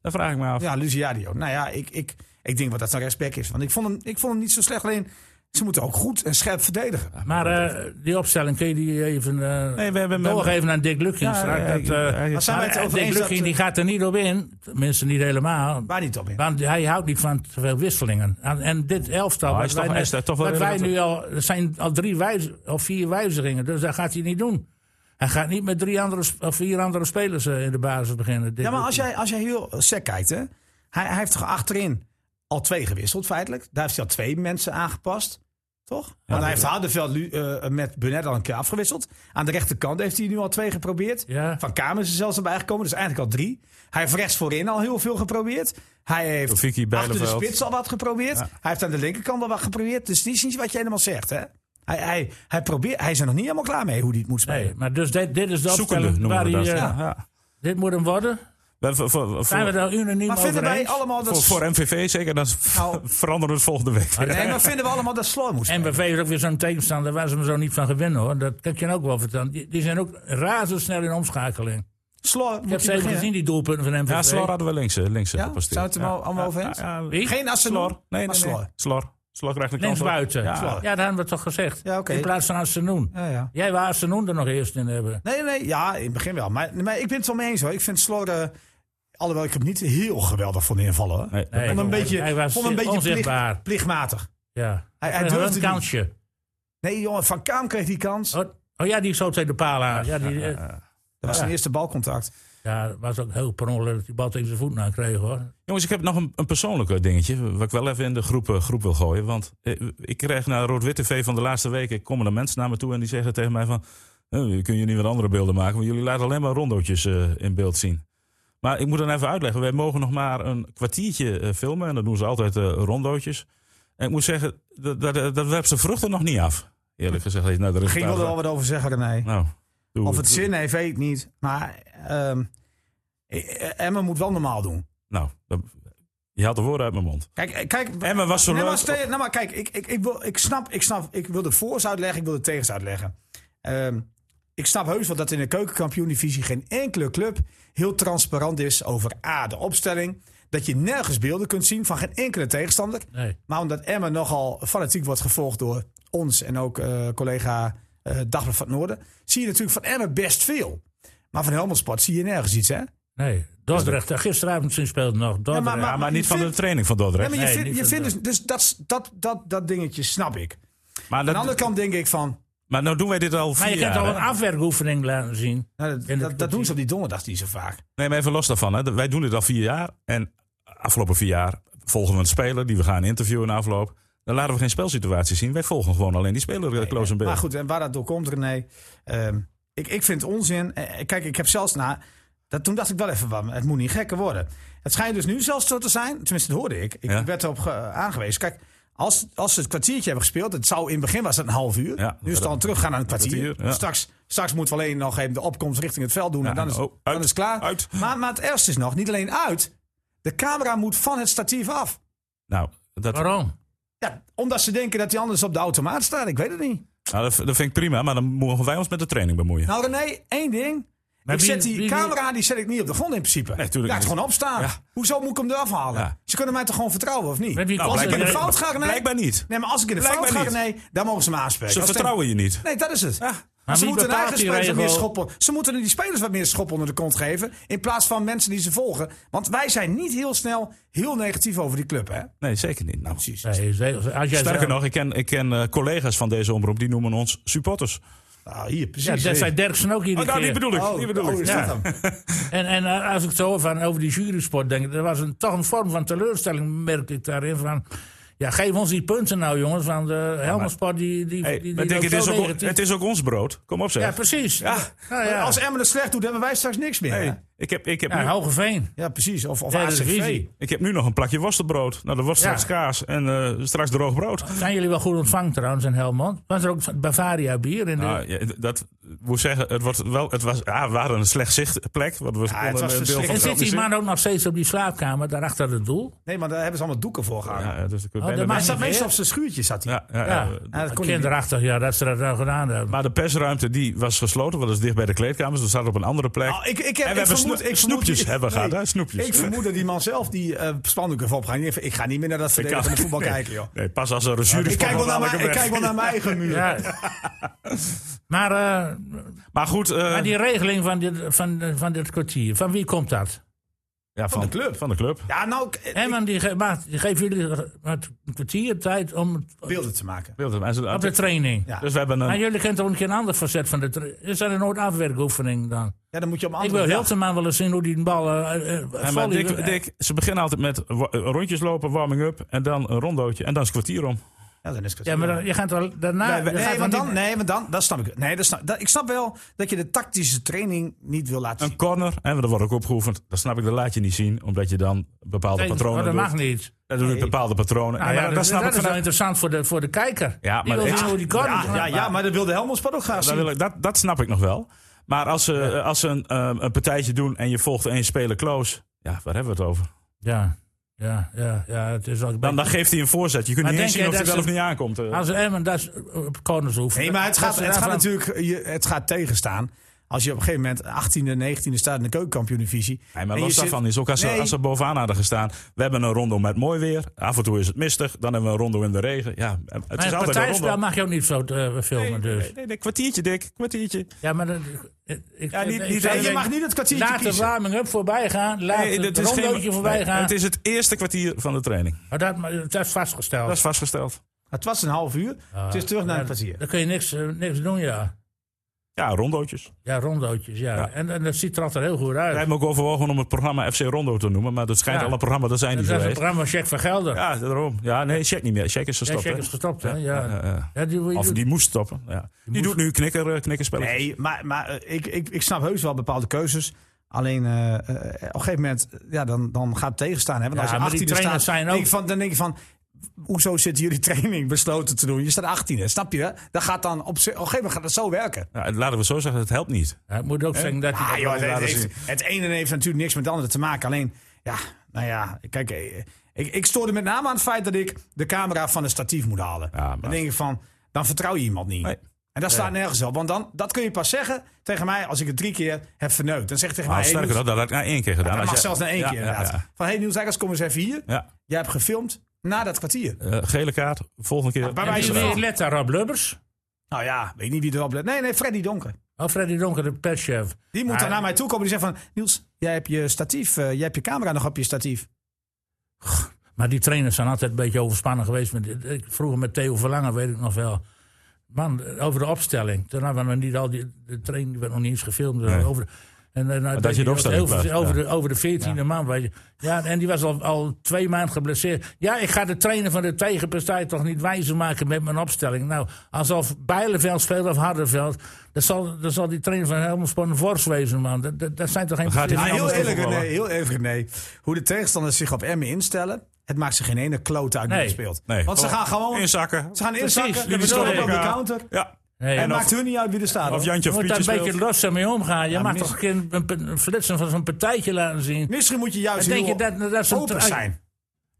[SPEAKER 1] Dat vraag ik me af.
[SPEAKER 3] Ja, Luciadio. Nou ja, ik, ik, ik denk wat dat zijn respect is. Want ik vond, hem, ik vond hem niet zo slecht. Alleen, ze moeten ook goed en scherp verdedigen.
[SPEAKER 4] Maar eh, die opstelling kun je die even eh,
[SPEAKER 1] Nee, we hebben hem-
[SPEAKER 4] doorgeven aan Dick Lukking.
[SPEAKER 1] Ja,
[SPEAKER 4] straks.
[SPEAKER 1] ja,
[SPEAKER 4] dat, eh,
[SPEAKER 1] ja, ja.
[SPEAKER 3] Maar zijn wij het
[SPEAKER 4] maar, eh,
[SPEAKER 3] over
[SPEAKER 4] Dick
[SPEAKER 3] eens dat-
[SPEAKER 4] Lukking die gaat er niet op in. Tenminste, niet helemaal.
[SPEAKER 3] Waar niet op in.
[SPEAKER 4] Want hij houdt niet van te veel wisselingen. En, en dit elftal,
[SPEAKER 1] Maar hij
[SPEAKER 4] wat
[SPEAKER 1] is
[SPEAKER 4] wij,
[SPEAKER 1] toch- hij is daar
[SPEAKER 4] net-
[SPEAKER 1] toch wel
[SPEAKER 4] wat wij
[SPEAKER 1] redelijk-
[SPEAKER 4] nu al... Er zijn al drie wijz, of vier wijzigingen, dus dat gaat hij niet doen. Hij gaat niet met drie andere, sp- of vier andere spelers eh, in de basis beginnen. Dick
[SPEAKER 3] Ja, maar als
[SPEAKER 4] Lukking.
[SPEAKER 3] jij, als jij heel sec kijkt, hè, hij, hij heeft toch achterin al twee gewisseld feitelijk. Daar heeft hij al twee mensen aangepast. Toch? Want hij heeft Hardenveld Lu- eh, met Burnett al een keer afgewisseld. Aan de rechterkant heeft hij nu al twee geprobeerd.
[SPEAKER 4] Ja.
[SPEAKER 3] Van Kamers is er zelfs erbij gekomen, dus eigenlijk al drie. Hij heeft rechts voorin al heel veel geprobeerd. Hij heeft
[SPEAKER 1] Rafiki,
[SPEAKER 3] achter de
[SPEAKER 1] Bijleveld.
[SPEAKER 3] spits al wat geprobeerd. Hij heeft aan de linkerkant al wat geprobeerd. Dus die is niet wat je helemaal zegt, hè? Hij, hij, hij, probeert, hij is er nog niet helemaal klaar mee hoe hij het moet spelen.
[SPEAKER 4] Nee, maar dus dit, dit is de
[SPEAKER 1] Zoekende
[SPEAKER 4] opstelling
[SPEAKER 1] noemen
[SPEAKER 4] waar
[SPEAKER 1] we
[SPEAKER 4] hij...
[SPEAKER 1] dat.
[SPEAKER 4] eh,
[SPEAKER 1] Ja, ja.
[SPEAKER 4] Dit moet hem worden.
[SPEAKER 1] We- voor- voor-
[SPEAKER 4] Zijn we
[SPEAKER 1] voor-
[SPEAKER 4] daar unaniem
[SPEAKER 3] Maar
[SPEAKER 4] over
[SPEAKER 3] vinden wij
[SPEAKER 4] eens?
[SPEAKER 3] allemaal dat...
[SPEAKER 1] Voor voor MVV zeker, dan
[SPEAKER 3] Nou.
[SPEAKER 1] veranderen we het volgende week. weer.
[SPEAKER 3] nee, maar vinden we allemaal dat Sloor moet spelen?
[SPEAKER 4] NBV is ook weer zo'n tegenstander waar ze hem zo niet van gewinnen hoor. Dat kan ik je nou ook wel vertellen. Die, die zijn ook razendsnel in omschakeling.
[SPEAKER 3] Sloor
[SPEAKER 4] Ik heb
[SPEAKER 3] moet
[SPEAKER 4] ze
[SPEAKER 3] hij
[SPEAKER 4] even
[SPEAKER 3] beginnen.
[SPEAKER 4] gezien, die doelpunten van NBV.
[SPEAKER 1] Ja, Slor hadden we links, eh, links eh,
[SPEAKER 3] Ja?
[SPEAKER 1] gepasseerd.
[SPEAKER 3] Zou het er
[SPEAKER 1] Ja.
[SPEAKER 3] al- allemaal over eens?
[SPEAKER 1] Ja, ja,
[SPEAKER 4] Wie?
[SPEAKER 3] Geen Assenor,
[SPEAKER 1] Slor. Nee,
[SPEAKER 3] maar
[SPEAKER 1] nee, nee.
[SPEAKER 3] Slor.
[SPEAKER 1] Slor. Slor krijgt een kans.
[SPEAKER 4] Links
[SPEAKER 1] hoor.
[SPEAKER 4] buiten. Ja.
[SPEAKER 1] Ja.
[SPEAKER 4] dat hebben we toch gezegd.
[SPEAKER 3] Ja, oké.
[SPEAKER 4] In plaats van Assenoen.
[SPEAKER 3] Ja, ja.
[SPEAKER 4] Jij wou Assenoen er nog eerst in hebben.
[SPEAKER 3] Nee, nee, ja, in het begin wel. Maar, maar ik ben het wel mee eens hoor. Ik vind Sloor, eh, alhoewel ik hem niet heel geweldig vond invallen. hoor.
[SPEAKER 1] Nee,
[SPEAKER 4] Nee,
[SPEAKER 3] vond hem een beetje,
[SPEAKER 4] hij was
[SPEAKER 3] vond hem een beetje plicht-
[SPEAKER 4] onzichtbaar.
[SPEAKER 3] plichtmatig.
[SPEAKER 4] Ja.
[SPEAKER 3] Hij- hij
[SPEAKER 4] Hij
[SPEAKER 3] durfde
[SPEAKER 4] had een
[SPEAKER 3] niet.
[SPEAKER 4] kansje.
[SPEAKER 3] Nee, jongen, Van Kaam kreeg die kans.
[SPEAKER 4] Oh, oh ja, die zo tegen de paal aan. Ja, die, eh,
[SPEAKER 3] Dat was zijn eerste balcontact.
[SPEAKER 4] ja, dat was ook heel per ongeluk dat die bal tegen zijn voet aan kreeg hoor.
[SPEAKER 1] Jongens, ik heb nog een, een persoonlijk dingetje. Wat ik wel even in de groep, eh, groep wil gooien. Want eh, ik kreeg naar Rood-Wit TV van de laatste weken. komen er mensen naar me toe en die zeggen tegen mij van. "Eh, kun kunnen jullie wat andere beelden maken? Want jullie laten alleen maar rondootjes eh, in beeld zien. Maar ik moet dan even uitleggen. Wij mogen nog maar een kwartiertje eh, filmen. En dan doen ze altijd eh, rondootjes. En ik moet zeggen, dat, dat, dat werpt zijn vruchten nog niet af. Eerlijk gezegd. als je Naar de
[SPEAKER 3] Ging
[SPEAKER 1] resultaten-
[SPEAKER 3] wilde er wel wat over zeggen, René.
[SPEAKER 1] Nou, doe
[SPEAKER 3] Of het zin heeft, weet ik niet. Maar ehm e-, Emma moet wel normaal doen.
[SPEAKER 1] Nou, dat- je haalt de woorden uit mijn mond.
[SPEAKER 3] Kijk, eh, kijk
[SPEAKER 1] Emma was zo
[SPEAKER 3] Nee, maar,
[SPEAKER 1] leuk.
[SPEAKER 3] stel je- nou, maar kijk, ik, ik, ik, wil, ik, snap, ik snap, ik wil de voor's uitleggen, ik wil de tegens uitleggen. Ehm, ik snap heus wel dat in de keukenkampioen-divisie geen enkele club heel transparant is over A, de opstelling. dat je nergens beelden kunt zien van geen enkele tegenstander.
[SPEAKER 4] Nee.
[SPEAKER 3] Maar omdat Emmen nogal fanatiek wordt gevolgd door ons en ook eh, collega eh Dagblad van het Noorden, zie je natuurlijk van Emmen best veel. Maar van Helmond Sport zie je nergens iets, hè?
[SPEAKER 4] Nee, Dordrecht. eh, Gisteravond toen speelde nog Dordrecht.
[SPEAKER 3] maar-
[SPEAKER 1] Ja, maar niet
[SPEAKER 3] je
[SPEAKER 1] van de
[SPEAKER 3] vindt-
[SPEAKER 1] training van
[SPEAKER 3] Ja,
[SPEAKER 1] Dordrecht.
[SPEAKER 3] maar je
[SPEAKER 4] nee,
[SPEAKER 3] vindt,
[SPEAKER 4] niet
[SPEAKER 3] je
[SPEAKER 4] van
[SPEAKER 3] vindt dus, dus dat, is- dat, dat, dat dingetje snap ik.
[SPEAKER 1] Maar,
[SPEAKER 3] Aan de andere
[SPEAKER 1] dat,
[SPEAKER 3] kant denk ik van,
[SPEAKER 1] maar nou doen wij dit al vier
[SPEAKER 4] maar je
[SPEAKER 1] jaar.
[SPEAKER 4] kunt al
[SPEAKER 1] hè?
[SPEAKER 4] een afwerkoefening laten zien.
[SPEAKER 3] nou, dat,
[SPEAKER 4] En dat
[SPEAKER 3] dat, dat doen ze op die donderdag niet zo vaak.
[SPEAKER 1] Nee, maar even los daarvan. Hè. Wij doen dit al vier jaar. En afgelopen vier jaar volgen we een speler die we gaan interviewen na afloop. Dan laten we geen spelsituatie zien. Wij volgen gewoon alleen die speler eh, close in beeld.
[SPEAKER 3] Maar goed, en waar dat door komt, René. ehm, ik, ik vind het onzin. Eh, Kijk, ik heb zelfs na. Dat, toen dacht ik wel even van, het moet niet gekker worden. Het schijnt dus nu zelfs zo te zijn, tenminste dat hoorde ik. Ik
[SPEAKER 1] Ja.
[SPEAKER 3] werd erop ge- aangewezen. Kijk, als, als ze het kwartiertje hebben gespeeld, het zou in het begin was dat een half uur.
[SPEAKER 1] Ja,
[SPEAKER 3] nu is het
[SPEAKER 1] dat-
[SPEAKER 3] dan teruggaan naar een kwartier.
[SPEAKER 1] kwartier, ja.
[SPEAKER 3] straks, straks moeten we alleen nog even de opkomst richting het veld doen. en dan is,
[SPEAKER 1] oh,
[SPEAKER 3] dan
[SPEAKER 1] uit,
[SPEAKER 3] is het klaar.
[SPEAKER 1] uit.
[SPEAKER 3] Maar, maar het ergste is nog, niet alleen uit. De camera moet van het statief af.
[SPEAKER 1] Nou, dat, nou,
[SPEAKER 4] Waarom?
[SPEAKER 3] Ja, omdat ze denken dat die anders op de automaat staat. Ik weet het niet.
[SPEAKER 1] nou, dat, dat vind ik prima. Maar dan mogen wij ons met de training bemoeien.
[SPEAKER 3] Nou René, één ding.
[SPEAKER 4] Maar
[SPEAKER 3] ik
[SPEAKER 4] wie-
[SPEAKER 3] zet die
[SPEAKER 4] wie- wie-
[SPEAKER 3] camera die zet ik niet op de grond in principe.
[SPEAKER 1] Nee, tuurlijk
[SPEAKER 3] Laat het
[SPEAKER 1] niet.
[SPEAKER 3] gewoon opstaan.
[SPEAKER 1] Ja.
[SPEAKER 3] Hoezo moet ik hem eraf halen?
[SPEAKER 1] Ja.
[SPEAKER 3] Ze kunnen mij toch gewoon vertrouwen of niet?
[SPEAKER 4] Met wie
[SPEAKER 1] Nou,
[SPEAKER 3] als
[SPEAKER 4] kost
[SPEAKER 3] ik in
[SPEAKER 1] blijkbaar
[SPEAKER 3] de
[SPEAKER 4] het?
[SPEAKER 1] niet.
[SPEAKER 3] fout ga, René.
[SPEAKER 1] Blijkbaar niet.
[SPEAKER 3] Nee, maar als ik in de
[SPEAKER 1] Blijkbaar
[SPEAKER 3] fout ga,
[SPEAKER 1] niet.
[SPEAKER 3] nee, dan mogen ze me aanspreken.
[SPEAKER 1] Ze
[SPEAKER 3] Als ik-
[SPEAKER 1] vertrouwen je niet.
[SPEAKER 3] Nee, dat is het.
[SPEAKER 4] Maar
[SPEAKER 3] ze moeten
[SPEAKER 4] wie
[SPEAKER 3] hun
[SPEAKER 4] bepaalt
[SPEAKER 3] eigen
[SPEAKER 4] die
[SPEAKER 3] spelers wat meer
[SPEAKER 4] regel?
[SPEAKER 3] schoppen. Ze moeten die spelers wat meer schop onder de kont geven. In plaats van mensen die ze volgen. Want wij zijn niet heel snel heel negatief over die club, hè?
[SPEAKER 1] Nee, zeker niet. Nou, precies.
[SPEAKER 4] Nee, ze- als jij
[SPEAKER 1] Sterker
[SPEAKER 4] zelf-
[SPEAKER 1] nog, ik ken, ik ken eh, collega's van deze omroep die noemen ons supporters.
[SPEAKER 3] Nou, hier,
[SPEAKER 4] Ja,
[SPEAKER 3] precies.
[SPEAKER 4] dat zei Derksen ook iedere
[SPEAKER 1] Oh, nou, die
[SPEAKER 4] keer.
[SPEAKER 1] bedoel ik.
[SPEAKER 3] Oh,
[SPEAKER 1] die bedoel
[SPEAKER 3] oh,
[SPEAKER 1] ik.
[SPEAKER 3] is
[SPEAKER 1] Ja.
[SPEAKER 3] dat hem?
[SPEAKER 4] En, en eh, als ik zo van over die jurysport denk, er was een, toch een vorm van teleurstelling, merk ik daarin. Van, ja, geef ons die punten nou, jongens. Van de Helmersport, die, die,
[SPEAKER 1] Hey,
[SPEAKER 4] die, die
[SPEAKER 1] maar denk,
[SPEAKER 4] loopt
[SPEAKER 1] het, is
[SPEAKER 4] zo
[SPEAKER 1] ook,
[SPEAKER 4] negatief.
[SPEAKER 1] het is ook ons brood. Kom op, zeg.
[SPEAKER 4] Ja, precies.
[SPEAKER 1] Ja.
[SPEAKER 4] Nou, ja.
[SPEAKER 3] Als Emmen het slecht doet, hebben wij straks niks meer. hè?
[SPEAKER 1] Hey, ik, heb, ik, heb
[SPEAKER 4] ja,
[SPEAKER 1] nu,
[SPEAKER 4] Hogeveen.
[SPEAKER 3] Ja, precies. Of, of
[SPEAKER 4] Derde
[SPEAKER 3] ACV.
[SPEAKER 4] divisie.
[SPEAKER 1] ik heb nu nog een plakje worstenbrood. Nou, dat wordt
[SPEAKER 4] Ja.
[SPEAKER 1] straks kaas en eh, straks droog brood.
[SPEAKER 4] Zijn jullie wel goed ontvangen trouwens in Helmond? Was er ook Bavaria bier in de...
[SPEAKER 1] Nou, ja, d- dat moet zeggen, het, wordt wel, het was, ah, we hadden een slecht zichtplek. Want we konden
[SPEAKER 3] het was
[SPEAKER 1] een deel
[SPEAKER 3] verschrikkelijk.
[SPEAKER 1] van
[SPEAKER 4] en
[SPEAKER 1] het
[SPEAKER 4] zit die
[SPEAKER 1] zien.
[SPEAKER 4] man ook nog steeds op die slaapkamer, daar achter het doel?
[SPEAKER 3] Nee, maar daar hebben ze allemaal doeken voor gehangen.
[SPEAKER 1] Ja, dus ik
[SPEAKER 4] dat
[SPEAKER 1] ben-
[SPEAKER 4] maakt
[SPEAKER 3] Hij zat
[SPEAKER 4] niet
[SPEAKER 3] meestal
[SPEAKER 4] meer.
[SPEAKER 3] op zijn schuurtje, zat hij.
[SPEAKER 1] ja, ja,
[SPEAKER 4] Ja.
[SPEAKER 1] ja.
[SPEAKER 3] Oh, Ja, dat kon hij niet.
[SPEAKER 4] Kinderachtig, ja, dat ze dat nou gedaan hebben.
[SPEAKER 1] Maar de persruimte die was gesloten, want dat is dicht bij de kleedkamers. Dat staat op een andere plek.
[SPEAKER 3] Nou, ik, ik heb,
[SPEAKER 1] en
[SPEAKER 3] ik
[SPEAKER 1] we hebben
[SPEAKER 3] vermoed-
[SPEAKER 1] snoe-
[SPEAKER 3] ik vermoed
[SPEAKER 1] snoepjes
[SPEAKER 3] die-
[SPEAKER 1] hebben we
[SPEAKER 3] nee,
[SPEAKER 1] gehad, hè? Snoepjes.
[SPEAKER 3] Ik vermoed dat die man zelf die eh spandoeken heeft opgehangen. Die heeft, Ik ga niet meer naar dat verleden van de voetbal
[SPEAKER 1] nee,
[SPEAKER 3] kijken, joh.
[SPEAKER 1] Nee, pas als er een jury
[SPEAKER 3] Ik kijk, wel naar mijn, ik kijk wel naar mijn eigen muur.
[SPEAKER 4] Ja. maar, eh,
[SPEAKER 1] Maar goed, eh,
[SPEAKER 4] maar die regeling van dit, van, van dit kwartier, van wie komt dat?
[SPEAKER 1] ja, van,
[SPEAKER 3] de club.
[SPEAKER 1] Van de club.
[SPEAKER 3] Ja, nou, ik- ik-
[SPEAKER 4] Herman, die, ge maar die geeft jullie eh, wat- een kwartier tijd om
[SPEAKER 3] beelden te maken.
[SPEAKER 4] op de training.
[SPEAKER 3] Ja.
[SPEAKER 1] Dus we hebben
[SPEAKER 4] Maar
[SPEAKER 1] een.
[SPEAKER 4] jullie kunnen toch een keer een ander facet van de tra- Is dat een afwerkoefening dan?
[SPEAKER 3] Ja, dan moet je op een
[SPEAKER 4] Ik
[SPEAKER 3] andere
[SPEAKER 4] wil
[SPEAKER 3] dag.
[SPEAKER 4] Hilteman wel eens zien hoe die een bal... eh, eh,
[SPEAKER 1] Ja, maar
[SPEAKER 4] volley-
[SPEAKER 1] Dick, Dick, ze beginnen altijd met wa- eh, rondjes lopen, warming up en dan een rondootje en dan is het kwartier om.
[SPEAKER 3] Ja, dan is het
[SPEAKER 4] Ja, maar dan- je gaat er daarna...
[SPEAKER 3] Nee,
[SPEAKER 4] je gaat
[SPEAKER 3] nee,
[SPEAKER 4] er
[SPEAKER 3] want dan,
[SPEAKER 4] niet-
[SPEAKER 3] nee, want dan, dat snap ik. Nee, dat snap, dat, ik snap wel dat je de tactische training niet wil laten
[SPEAKER 1] Een
[SPEAKER 3] zien.
[SPEAKER 1] corner, en dat wordt ook opgeoefend. Dat snap ik, dat laat je niet zien, omdat je dan bepaalde
[SPEAKER 4] Nee,
[SPEAKER 1] patronen.
[SPEAKER 4] oh, dat
[SPEAKER 1] doet.
[SPEAKER 4] mag niet.
[SPEAKER 1] Dan doe je bepaalde patronen.
[SPEAKER 4] Nou
[SPEAKER 1] Ja,
[SPEAKER 4] ja,
[SPEAKER 1] maar
[SPEAKER 4] dat
[SPEAKER 1] dat snap
[SPEAKER 4] dat
[SPEAKER 1] ik
[SPEAKER 4] is wel
[SPEAKER 1] vanuit.
[SPEAKER 4] interessant voor de, voor de kijker.
[SPEAKER 1] Ja,
[SPEAKER 4] Die
[SPEAKER 1] maar
[SPEAKER 4] wil
[SPEAKER 1] ik-
[SPEAKER 4] zien hoe die corner
[SPEAKER 3] Ja, ja, ja, maar dat wilde Helmondspad ook graag
[SPEAKER 1] Dat, wil
[SPEAKER 3] zien.
[SPEAKER 1] ik, dat, dat snap ik nog wel. Maar als ze, eh, als ze een, ehm, een partijtje doen en je volgt één speler close, ja, waar hebben we het over?
[SPEAKER 4] Ja, ja, ja, ja, het is wel...
[SPEAKER 1] Dan, dan geeft hij een voorzet. Je kunt
[SPEAKER 4] Maar
[SPEAKER 1] niet eens
[SPEAKER 4] denk
[SPEAKER 1] zien of
[SPEAKER 4] jij
[SPEAKER 1] hij
[SPEAKER 4] dat
[SPEAKER 1] wel of
[SPEAKER 4] ze-
[SPEAKER 1] niet aankomt. eh.
[SPEAKER 4] Als Emmen dat is- op corners hoeft.
[SPEAKER 3] Nee, maar het
[SPEAKER 4] Dat
[SPEAKER 3] gaat,
[SPEAKER 4] ze
[SPEAKER 3] het gaat
[SPEAKER 4] daarvan-
[SPEAKER 3] natuurlijk je, het gaat tegenstaan. Als je op een gegeven moment 18e, 19e staat in de keukenkampioen-divisie.
[SPEAKER 1] Nee, maar
[SPEAKER 3] en
[SPEAKER 1] los
[SPEAKER 3] je zit-
[SPEAKER 1] daarvan is ook als,
[SPEAKER 3] Nee.
[SPEAKER 1] ze, als ze bovenaan hadden gestaan. We hebben een rondo met mooi weer. Af en toe is het mistig. Dan hebben we een rondo in de regen. Ja, het
[SPEAKER 4] Maar
[SPEAKER 1] is
[SPEAKER 4] het
[SPEAKER 1] altijd een
[SPEAKER 4] partijspel
[SPEAKER 1] rondo.
[SPEAKER 4] mag je ook niet zo eh, filmen,
[SPEAKER 1] Nee,
[SPEAKER 4] dus.
[SPEAKER 1] nee, nee, nee, kwartiertje, Dick. Kwartiertje.
[SPEAKER 4] Ja, maar... dat- ik- ik-
[SPEAKER 1] Ja, niet-
[SPEAKER 4] ik-
[SPEAKER 1] niet-
[SPEAKER 4] ik-
[SPEAKER 1] nee,
[SPEAKER 3] je mag niet het kwartiertje
[SPEAKER 4] Laat de
[SPEAKER 3] kiezen.
[SPEAKER 4] warming-up voorbij gaan. Laat
[SPEAKER 1] Nee,
[SPEAKER 4] het
[SPEAKER 1] dit is geen-
[SPEAKER 4] rondootje voorbij
[SPEAKER 1] nee,
[SPEAKER 4] gaan.
[SPEAKER 1] Het is het eerste kwartier van de training.
[SPEAKER 4] Maar dat, maar dat is vastgesteld.
[SPEAKER 1] Dat is vastgesteld.
[SPEAKER 3] Het was een half uur. het is terug naar een kwartier.
[SPEAKER 4] Dan kun je niks, eh, niks doen, ja.
[SPEAKER 1] Ja, rondootjes.
[SPEAKER 4] Ja, rondootjes, ja.
[SPEAKER 1] Ja.
[SPEAKER 4] En, en dat ziet er altijd heel goed uit.
[SPEAKER 1] Wij hebben ook overwogen om het programma FC Rondo te noemen. Maar dat schijnt
[SPEAKER 4] Ja.
[SPEAKER 1] al een programma te zijn.
[SPEAKER 4] dat
[SPEAKER 1] niet
[SPEAKER 4] is een
[SPEAKER 1] geweest.
[SPEAKER 4] programma Check van Gelder. Ja,
[SPEAKER 1] Ja, daarom. Ja, nee, check niet meer. Check is gestopt.
[SPEAKER 4] Check
[SPEAKER 1] hè?
[SPEAKER 4] is gestopt, hè? Ja.
[SPEAKER 1] Ja, ja, ja.
[SPEAKER 4] Ja, die, wil je
[SPEAKER 1] Of
[SPEAKER 4] doen.
[SPEAKER 1] die moest stoppen. Ja. Die,
[SPEAKER 4] moest-
[SPEAKER 1] doet nu knikker, eh, knikkerspelletjes.
[SPEAKER 3] Nee, maar, maar eh, ik, ik, ik snap heus wel bepaalde keuzes. Alleen eh, eh, op een gegeven moment ja, dan, dan gaat het tegenstaan. Hè? Want
[SPEAKER 4] Ja,
[SPEAKER 3] als je
[SPEAKER 4] maar die
[SPEAKER 3] 18e staat,
[SPEAKER 4] trainers zijn
[SPEAKER 3] denk
[SPEAKER 4] ook-
[SPEAKER 3] je van, dan denk je van... Hoezo zitten jullie training besloten te doen? Je staat 18e, snap je? Dat gaat dan op, zich- op een gegeven moment gaat dat zo werken.
[SPEAKER 1] Ja, en laten we zo zeggen, het helpt niet.
[SPEAKER 4] Ja, het moet ook zeggen dat hij
[SPEAKER 3] Ah,
[SPEAKER 4] dat
[SPEAKER 3] joh,
[SPEAKER 4] wel
[SPEAKER 3] het,
[SPEAKER 4] laat
[SPEAKER 3] heeft-
[SPEAKER 4] zien.
[SPEAKER 3] het ene heeft natuurlijk niks met het andere te maken. Alleen, ja, nou ja, kijk, eh, ik, ik stoorde met name aan het feit dat ik de camera van een statief moet halen.
[SPEAKER 1] Ja, maar-
[SPEAKER 3] Dan denk ik van, dan vertrouw je iemand niet.
[SPEAKER 1] Nee.
[SPEAKER 3] En dat staat nergens op. Want dan, dat kun je pas zeggen tegen mij als ik het drie keer heb verneukt. Dan zeg ik tegen
[SPEAKER 1] Maar
[SPEAKER 3] mij... hey,
[SPEAKER 1] sterker
[SPEAKER 3] Niels-
[SPEAKER 1] nog, dat had ik na één keer gedaan.
[SPEAKER 3] dat
[SPEAKER 1] Als
[SPEAKER 3] mag
[SPEAKER 1] je-
[SPEAKER 3] zelfs na één
[SPEAKER 1] Ja,
[SPEAKER 3] keer
[SPEAKER 1] ja,
[SPEAKER 3] inderdaad.
[SPEAKER 1] ja.
[SPEAKER 3] Van, hey Niels Dijkers, kom eens even hier.
[SPEAKER 1] Ja.
[SPEAKER 3] Jij hebt gefilmd na dat kwartier.
[SPEAKER 1] Eh, gele kaart, volgende keer.
[SPEAKER 3] bij wijze
[SPEAKER 4] En
[SPEAKER 3] van-
[SPEAKER 4] wie let daar op Lubbers?
[SPEAKER 3] Nou ja, weet niet wie erop let. Nee, nee, Freddy Donker.
[SPEAKER 4] Alfredi Donker, de perschef.
[SPEAKER 3] Die moet
[SPEAKER 4] Maar-
[SPEAKER 3] dan naar mij toe komen. Die zegt van, Niels, jij hebt je statief, eh, jij hebt je camera nog op je statief.
[SPEAKER 4] Maar die trainers zijn altijd een beetje overspannen geweest. Met, ik, vroeger met Theo Verlangen, weet ik nog wel. Man, eh, over de opstelling. Toen hadden we niet al die... De training werd nog niet eens gefilmd. Eh,
[SPEAKER 1] Nee.
[SPEAKER 4] Over, en, dan- dan-
[SPEAKER 1] dat je de opstelling
[SPEAKER 4] over,
[SPEAKER 1] plaatst,
[SPEAKER 4] over
[SPEAKER 1] ja.
[SPEAKER 4] de, over de veertiende man, weet je. Ja, en die was al, al twee maanden geblesseerd. Ja, ik ga de trainer van de tegenpartij toch niet wijzer maken met mijn opstelling. Nou, alsof Bijleveld speelt of Hardenveld. Dat zal, dat zal die trainer van Helmersport een vorst wezen, man. Dat, dat, dat zijn toch geen...
[SPEAKER 1] gaat hij
[SPEAKER 3] Ja,
[SPEAKER 1] niet
[SPEAKER 3] Ah,
[SPEAKER 4] precies-
[SPEAKER 1] anders
[SPEAKER 3] heel eerlijk,
[SPEAKER 1] voetballen.
[SPEAKER 3] René, heel eerlijk René. Hoe de tegenstanders zich op Emmen instellen, het maakt ze geen ene klote uit wie
[SPEAKER 4] Nee.
[SPEAKER 3] er speelt.
[SPEAKER 1] Nee,
[SPEAKER 3] Want ze gaan gewoon
[SPEAKER 1] Inzakken.
[SPEAKER 3] ze gaan inzakken,
[SPEAKER 4] die
[SPEAKER 3] ze stoppen op de
[SPEAKER 1] elkaar.
[SPEAKER 3] counter.
[SPEAKER 1] Ja.
[SPEAKER 4] Nee,
[SPEAKER 3] En
[SPEAKER 4] of-
[SPEAKER 3] maakt hun niet uit wie er staat.
[SPEAKER 1] Of
[SPEAKER 3] hoor.
[SPEAKER 1] Jantje
[SPEAKER 4] Je
[SPEAKER 1] of
[SPEAKER 4] moet daar
[SPEAKER 1] Pietje
[SPEAKER 4] een beetje
[SPEAKER 1] speelt.
[SPEAKER 4] los mee omgaan. Je mag
[SPEAKER 3] mis-
[SPEAKER 4] toch geen een, een, een flitsen van zo'n partijtje laten zien.
[SPEAKER 3] Misschien moet je juist
[SPEAKER 4] Dan denk
[SPEAKER 3] heel
[SPEAKER 4] je dat- dat ze een
[SPEAKER 3] open
[SPEAKER 4] tra-
[SPEAKER 3] zijn.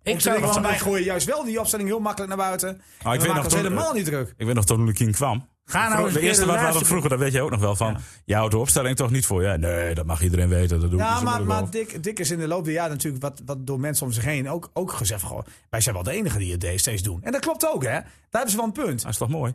[SPEAKER 4] Ik zou
[SPEAKER 3] Want
[SPEAKER 4] gewoon
[SPEAKER 3] wij gooien juist wel die opstelling heel makkelijk naar buiten.
[SPEAKER 1] weet
[SPEAKER 3] Ah, ik
[SPEAKER 1] nog
[SPEAKER 3] we maken ons
[SPEAKER 1] toen-
[SPEAKER 3] helemaal niet druk.
[SPEAKER 1] Ik weet nog toen Lukien kwam.
[SPEAKER 4] Ga nou eens
[SPEAKER 1] de
[SPEAKER 4] een
[SPEAKER 1] eerste
[SPEAKER 4] keer de
[SPEAKER 1] wat we hadden
[SPEAKER 4] laatste-
[SPEAKER 1] vroeger, dat weet je ook nog wel van. Je houdt de opstelling toch niet voor. Ja, nee, dat mag iedereen weten. Dat doe ik
[SPEAKER 3] Ja,
[SPEAKER 1] dus
[SPEAKER 3] maar,
[SPEAKER 1] ook wel.
[SPEAKER 3] maar Dick, Dick is in de loop der jaren natuurlijk wat, wat door mensen om zich heen ook, ook gezegd. Goh, wij zijn wel de enige die het deze steeds doen. En dat klopt ook, hè? Daar hebben ze wel een punt.
[SPEAKER 1] Dat is toch mooi?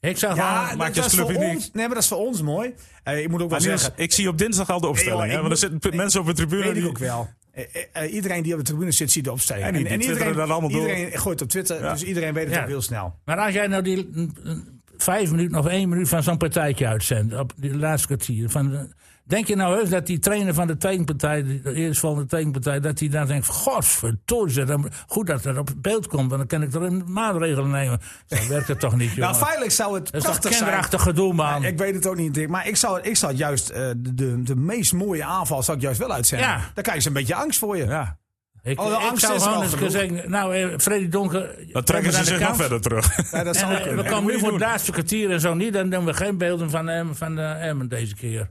[SPEAKER 4] Ik zou
[SPEAKER 3] Ja,
[SPEAKER 4] gewoon...
[SPEAKER 1] maakt je
[SPEAKER 3] dat is
[SPEAKER 1] club
[SPEAKER 3] voor
[SPEAKER 1] uniek.
[SPEAKER 3] ons. Nee, maar dat is voor ons mooi. Eh, ik moet ook wel
[SPEAKER 1] Maar Niels,
[SPEAKER 3] zeggen.
[SPEAKER 1] ik zie op dinsdag al de opstelling.
[SPEAKER 3] Nee, joh,
[SPEAKER 1] hè,
[SPEAKER 3] ik
[SPEAKER 1] want er zitten p- mensen op de tribune.
[SPEAKER 3] Weet ik
[SPEAKER 1] die-
[SPEAKER 3] ook wel. Eh, eh, eh, iedereen die op de tribune zit, ziet de opstelling.
[SPEAKER 1] En die- die twitteren
[SPEAKER 3] iedereen,
[SPEAKER 1] dat allemaal door.
[SPEAKER 3] iedereen gooit op Twitter, dus iedereen weet het
[SPEAKER 4] Ja.
[SPEAKER 3] ook heel snel.
[SPEAKER 4] Maar als jij nou die mm, mm, vijf minuten of één minuut van zo'n partijtje uitzendt... op die laatste kwartier... Van, eh, denk je nou heus dat die trainer van de tegenpartij... die- de eerstvolgende tegenpartij... dat hij daar denkt... godverdorie, zeg, dan- goed dat dat op beeld komt... want dan kan ik er een maatregelen nemen. Zo werkt het toch niet, jongen.
[SPEAKER 3] Nou, feitelijk zou het
[SPEAKER 4] dat is toch
[SPEAKER 3] prachtig zijn.
[SPEAKER 4] kinderachtig gedoe, man.
[SPEAKER 3] Ik weet het ook niet, Dick. Maar ik zou, ik zou juist eh, de, de, de meest mooie aanval zou ik juist wel uitzenden.
[SPEAKER 4] Ja.
[SPEAKER 3] Dan krijg je een beetje angst voor je.
[SPEAKER 1] Ja,
[SPEAKER 4] Ik,
[SPEAKER 3] Oh, de
[SPEAKER 4] ik
[SPEAKER 3] angst
[SPEAKER 4] zou
[SPEAKER 3] is er
[SPEAKER 4] gewoon
[SPEAKER 3] al
[SPEAKER 4] eens
[SPEAKER 3] genoeg.
[SPEAKER 4] zeggen... Nou, eh, Freddy Donker...
[SPEAKER 1] dan trekken ze zich nog verder terug.
[SPEAKER 3] Ja, dat
[SPEAKER 4] En,
[SPEAKER 3] zou
[SPEAKER 4] eh,
[SPEAKER 3] kunnen.
[SPEAKER 4] we komen
[SPEAKER 1] moet
[SPEAKER 4] nu
[SPEAKER 1] je
[SPEAKER 4] voor het
[SPEAKER 1] doen.
[SPEAKER 4] laatste kwartier en zo niet. Dan doen we geen beelden van Emmen van, eh, Emmen deze keer.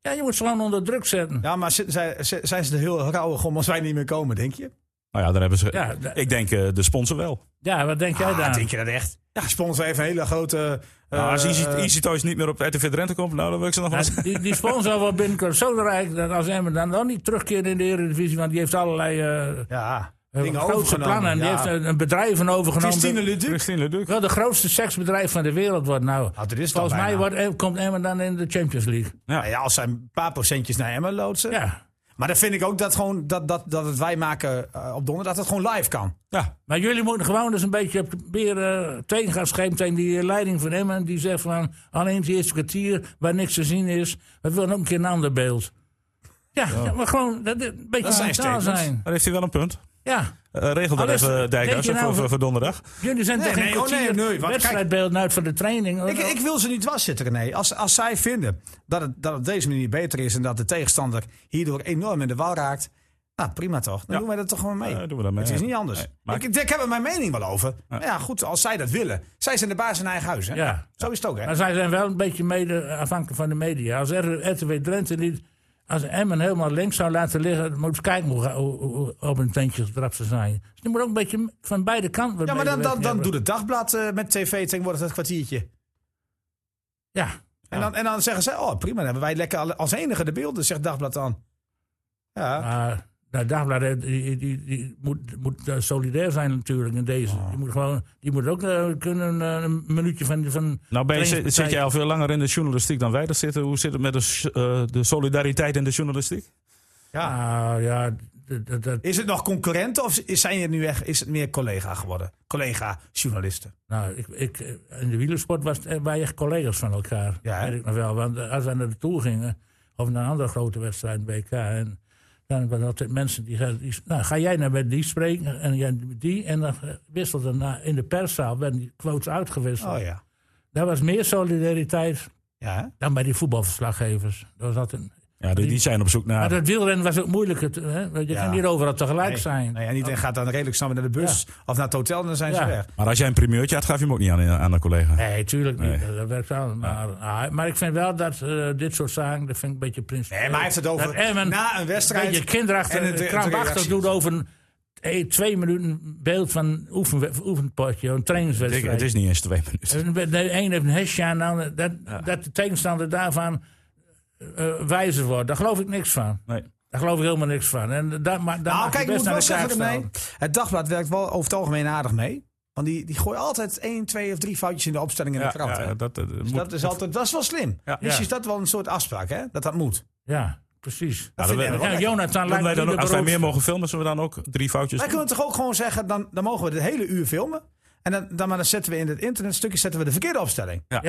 [SPEAKER 4] Ja, je moet ze gewoon onder druk zetten.
[SPEAKER 3] Ja, maar zi- zij- zi- zijn ze er heel rauwig om als wij niet meer komen, denk je?
[SPEAKER 1] Nou ja, daar hebben ze.
[SPEAKER 4] Ja, d-
[SPEAKER 1] ik denk eh, de sponsor wel.
[SPEAKER 4] Ja, wat denk jij
[SPEAKER 3] Ah,
[SPEAKER 4] daar?
[SPEAKER 3] denk je dat echt? Ja, sponsor heeft een hele grote... eh,
[SPEAKER 1] Nou, als Easy,
[SPEAKER 3] eh,
[SPEAKER 1] Easy Toys niet meer op de RTV Drenthe komt, nou dan wil ik ze nog wel.
[SPEAKER 4] Nou, die, die sponsor wordt binnenkort zo rijk dat als Emmen dan nog niet terugkeert in de Eredivisie, want die heeft allerlei eh,
[SPEAKER 3] ja,
[SPEAKER 4] eh
[SPEAKER 3] dingen
[SPEAKER 4] grootste
[SPEAKER 3] overgenomen,
[SPEAKER 4] plannen. En die
[SPEAKER 3] ja.
[SPEAKER 4] heeft eh, een, een bedrijf van overgenomen.
[SPEAKER 3] Christine Leduc.
[SPEAKER 1] Christine Leduc.
[SPEAKER 4] wel de grootste seksbedrijf van de wereld wordt nou.
[SPEAKER 3] Nou, dat is het al
[SPEAKER 4] Volgens mij
[SPEAKER 3] bijna.
[SPEAKER 4] wordt, Em- komt Emmen dan in de Champions League.
[SPEAKER 3] Nou ja, als zij een paar procentjes naar Emmen loodsen.
[SPEAKER 4] Ja.
[SPEAKER 3] Maar dan vind ik ook dat, gewoon, dat, dat, dat het wij maken eh, op donderdag, dat het gewoon live kan.
[SPEAKER 1] Ja,
[SPEAKER 4] Maar jullie moeten gewoon eens een beetje meer eh, tegen gaan schepen tegen die eh, leiding van hem. En die zegt van, alleen het eerste kwartier waar niks te zien is. We willen ook een keer een ander beeld. Ja, ja, maar gewoon dat, dat- een beetje
[SPEAKER 3] Dat zijn
[SPEAKER 4] mentaal
[SPEAKER 3] statements.
[SPEAKER 4] zijn.
[SPEAKER 1] daar heeft hij wel een punt.
[SPEAKER 4] Ja,
[SPEAKER 1] Eh,
[SPEAKER 3] Oh,
[SPEAKER 1] regel dat
[SPEAKER 4] Alles-
[SPEAKER 1] even, Dijkhuis,
[SPEAKER 4] denk je nou
[SPEAKER 1] voor,
[SPEAKER 4] van-
[SPEAKER 1] voor, voor donderdag.
[SPEAKER 4] jullie zijn
[SPEAKER 3] Nee,
[SPEAKER 4] toch geen
[SPEAKER 3] nee, oh, nee,
[SPEAKER 4] kwartier
[SPEAKER 3] nee, want kijk-
[SPEAKER 4] wedstrijdbeeld uit van de training.
[SPEAKER 3] Ik, ik wil ze niet dwars zitten, René. Als, als zij vinden dat het, dat het op deze manier beter is en dat de tegenstander hierdoor enorm in de war raakt. Nou, prima toch. Dan doen wij dat toch gewoon mee.
[SPEAKER 1] Ja, doen we dat mee,
[SPEAKER 3] het is
[SPEAKER 1] ja.
[SPEAKER 3] niet anders.
[SPEAKER 1] Nee, maar-
[SPEAKER 3] ik, ik, ik heb er mijn mening wel over. Maar Ja. goed, als zij dat willen. Zij zijn de baas in eigen huis. Hè?
[SPEAKER 4] Ja.
[SPEAKER 3] Zo is het ook, hè?
[SPEAKER 4] Maar zij zijn wel een beetje mede afhankelijk van de media. Als R- RTW Drenthe niet... Als Emmen helemaal links zou laten liggen... dan moet je kijken hoe, hoe- hoe op een tentje getrapt ze zijn. Dus die moet ook een beetje van beide kanten... wat
[SPEAKER 3] ja, maar dan, dan,
[SPEAKER 4] medewerking
[SPEAKER 3] dan
[SPEAKER 4] hebben.
[SPEAKER 3] doet het dagblad eh, met tv tegenwoordig dat kwartiertje.
[SPEAKER 4] Ja,
[SPEAKER 3] En, dan, en dan zeggen ze, oh prima, dan hebben wij lekker alle- als enige de beelden, zegt dagblad dan. Ja,
[SPEAKER 4] Maar nou, Dagblad eh, die, die, die moet, moet eh, solidair zijn natuurlijk in deze.
[SPEAKER 1] Oh.
[SPEAKER 4] Die, moet gewoon, die moet ook eh, kunnen eh, een minuutje van... van
[SPEAKER 1] Nou, ben je, zit,
[SPEAKER 4] trainingspartij-
[SPEAKER 1] zit jij al veel langer in de journalistiek dan wij dat zitten. Hoe zit het met de, s- eh, de solidariteit in de journalistiek?
[SPEAKER 3] ja.
[SPEAKER 4] Ah, ja, dat, dat, dat-
[SPEAKER 3] Is het nog concurrent of is- zijn je nu echt is het meer collega geworden? Collega-journalisten.
[SPEAKER 4] nou, ik, ik, eh, in de wielersport was, het, eh, wij echt collega's van elkaar.
[SPEAKER 3] Ja, hè?
[SPEAKER 4] weet ik nog wel. Want eh, als wij naar de Tour gingen, of naar een andere grote wedstrijd, BK... En, dan waren er altijd mensen die gaan... die- nou, ga jij nou met die spreken en jij met die... en dan eh, wisselden na- in de perszaal, werden die quotes uitgewisseld.
[SPEAKER 3] Oh ja.
[SPEAKER 4] Daar was meer solidariteit
[SPEAKER 3] Ja, hè?
[SPEAKER 4] dan bij die voetbalverslaggevers. Dat was altijd...
[SPEAKER 1] Ja, die, die zijn op zoek
[SPEAKER 4] Maar
[SPEAKER 1] naar.
[SPEAKER 4] dat wielrennen was ook moeilijk. het, hè? Want Je
[SPEAKER 3] Ja.
[SPEAKER 4] kan niet overal tegelijk
[SPEAKER 3] Nee.
[SPEAKER 4] zijn.
[SPEAKER 3] Nee, en iedereen gaat dan redelijk snel weer naar de bus of naar het hotel en dan zijn ze
[SPEAKER 4] Ja.
[SPEAKER 3] weg.
[SPEAKER 1] Maar als jij een primeurtje had, gaf je hem ook niet aan, aan een collega.
[SPEAKER 4] Nee, tuurlijk niet.
[SPEAKER 1] Nee.
[SPEAKER 4] Dat werkt wel. Maar, ah, maar ik vind wel dat eh, dit soort zaken, dat vind ik een beetje principieel.
[SPEAKER 3] Nee, maar hij heeft het over
[SPEAKER 4] Dat Emmen
[SPEAKER 3] na een wedstrijd
[SPEAKER 4] Een beetje kinderachtig,
[SPEAKER 3] en het- eh,
[SPEAKER 4] en
[SPEAKER 3] het
[SPEAKER 4] krampachtig
[SPEAKER 3] reacties.
[SPEAKER 4] doet over... een- één- twee minuten beeld van een oefen, oefenpotje, een
[SPEAKER 1] Ik-
[SPEAKER 4] trainingswedstrijd.
[SPEAKER 1] het is niet eens twee minuten.
[SPEAKER 4] En De de een heeft een hesje aan, de ander- dat, dat de tegenstander daarvan eh, wijzer wordt. Daar geloof ik niks van.
[SPEAKER 1] Nee.
[SPEAKER 4] Daar geloof ik helemaal niks van. En dat, maar, daar
[SPEAKER 3] Nou,
[SPEAKER 4] maak je
[SPEAKER 3] kijk, ik
[SPEAKER 4] best
[SPEAKER 3] moet
[SPEAKER 4] aan
[SPEAKER 3] wel
[SPEAKER 4] de
[SPEAKER 3] zeggen,
[SPEAKER 4] kaak
[SPEAKER 3] René,
[SPEAKER 4] staan.
[SPEAKER 3] het dagblad werkt wel over het algemeen aardig mee. Want die, die gooien altijd één, twee of drie foutjes in de opstelling in de
[SPEAKER 1] Ja,
[SPEAKER 3] krant.
[SPEAKER 1] ja,
[SPEAKER 3] hè.
[SPEAKER 1] dat, eh,
[SPEAKER 3] Dus
[SPEAKER 1] moet-
[SPEAKER 3] dat, is altijd, dat is wel slim.
[SPEAKER 1] Ja.
[SPEAKER 3] Dus
[SPEAKER 1] Ja.
[SPEAKER 3] is dat wel een soort afspraak, hè? Dat dat moet.
[SPEAKER 4] Ja, precies.
[SPEAKER 3] Dat
[SPEAKER 1] dat
[SPEAKER 3] vind ik
[SPEAKER 1] we-
[SPEAKER 3] wel
[SPEAKER 4] Ja,
[SPEAKER 3] lekker.
[SPEAKER 4] Jonathan
[SPEAKER 1] Kunnen
[SPEAKER 4] lijkt
[SPEAKER 1] wij
[SPEAKER 4] me
[SPEAKER 1] dan
[SPEAKER 4] de
[SPEAKER 1] ook- als wij meer
[SPEAKER 4] beroerdste.
[SPEAKER 1] mogen filmen, zullen we dan ook drie foutjes
[SPEAKER 3] Wij kunnen toch ook gewoon zeggen, dan, dan mogen we de hele uur filmen. En dan, dan, maar dan zetten we in het internetstukje zetten we de verkeerde opstelling.
[SPEAKER 4] Ja,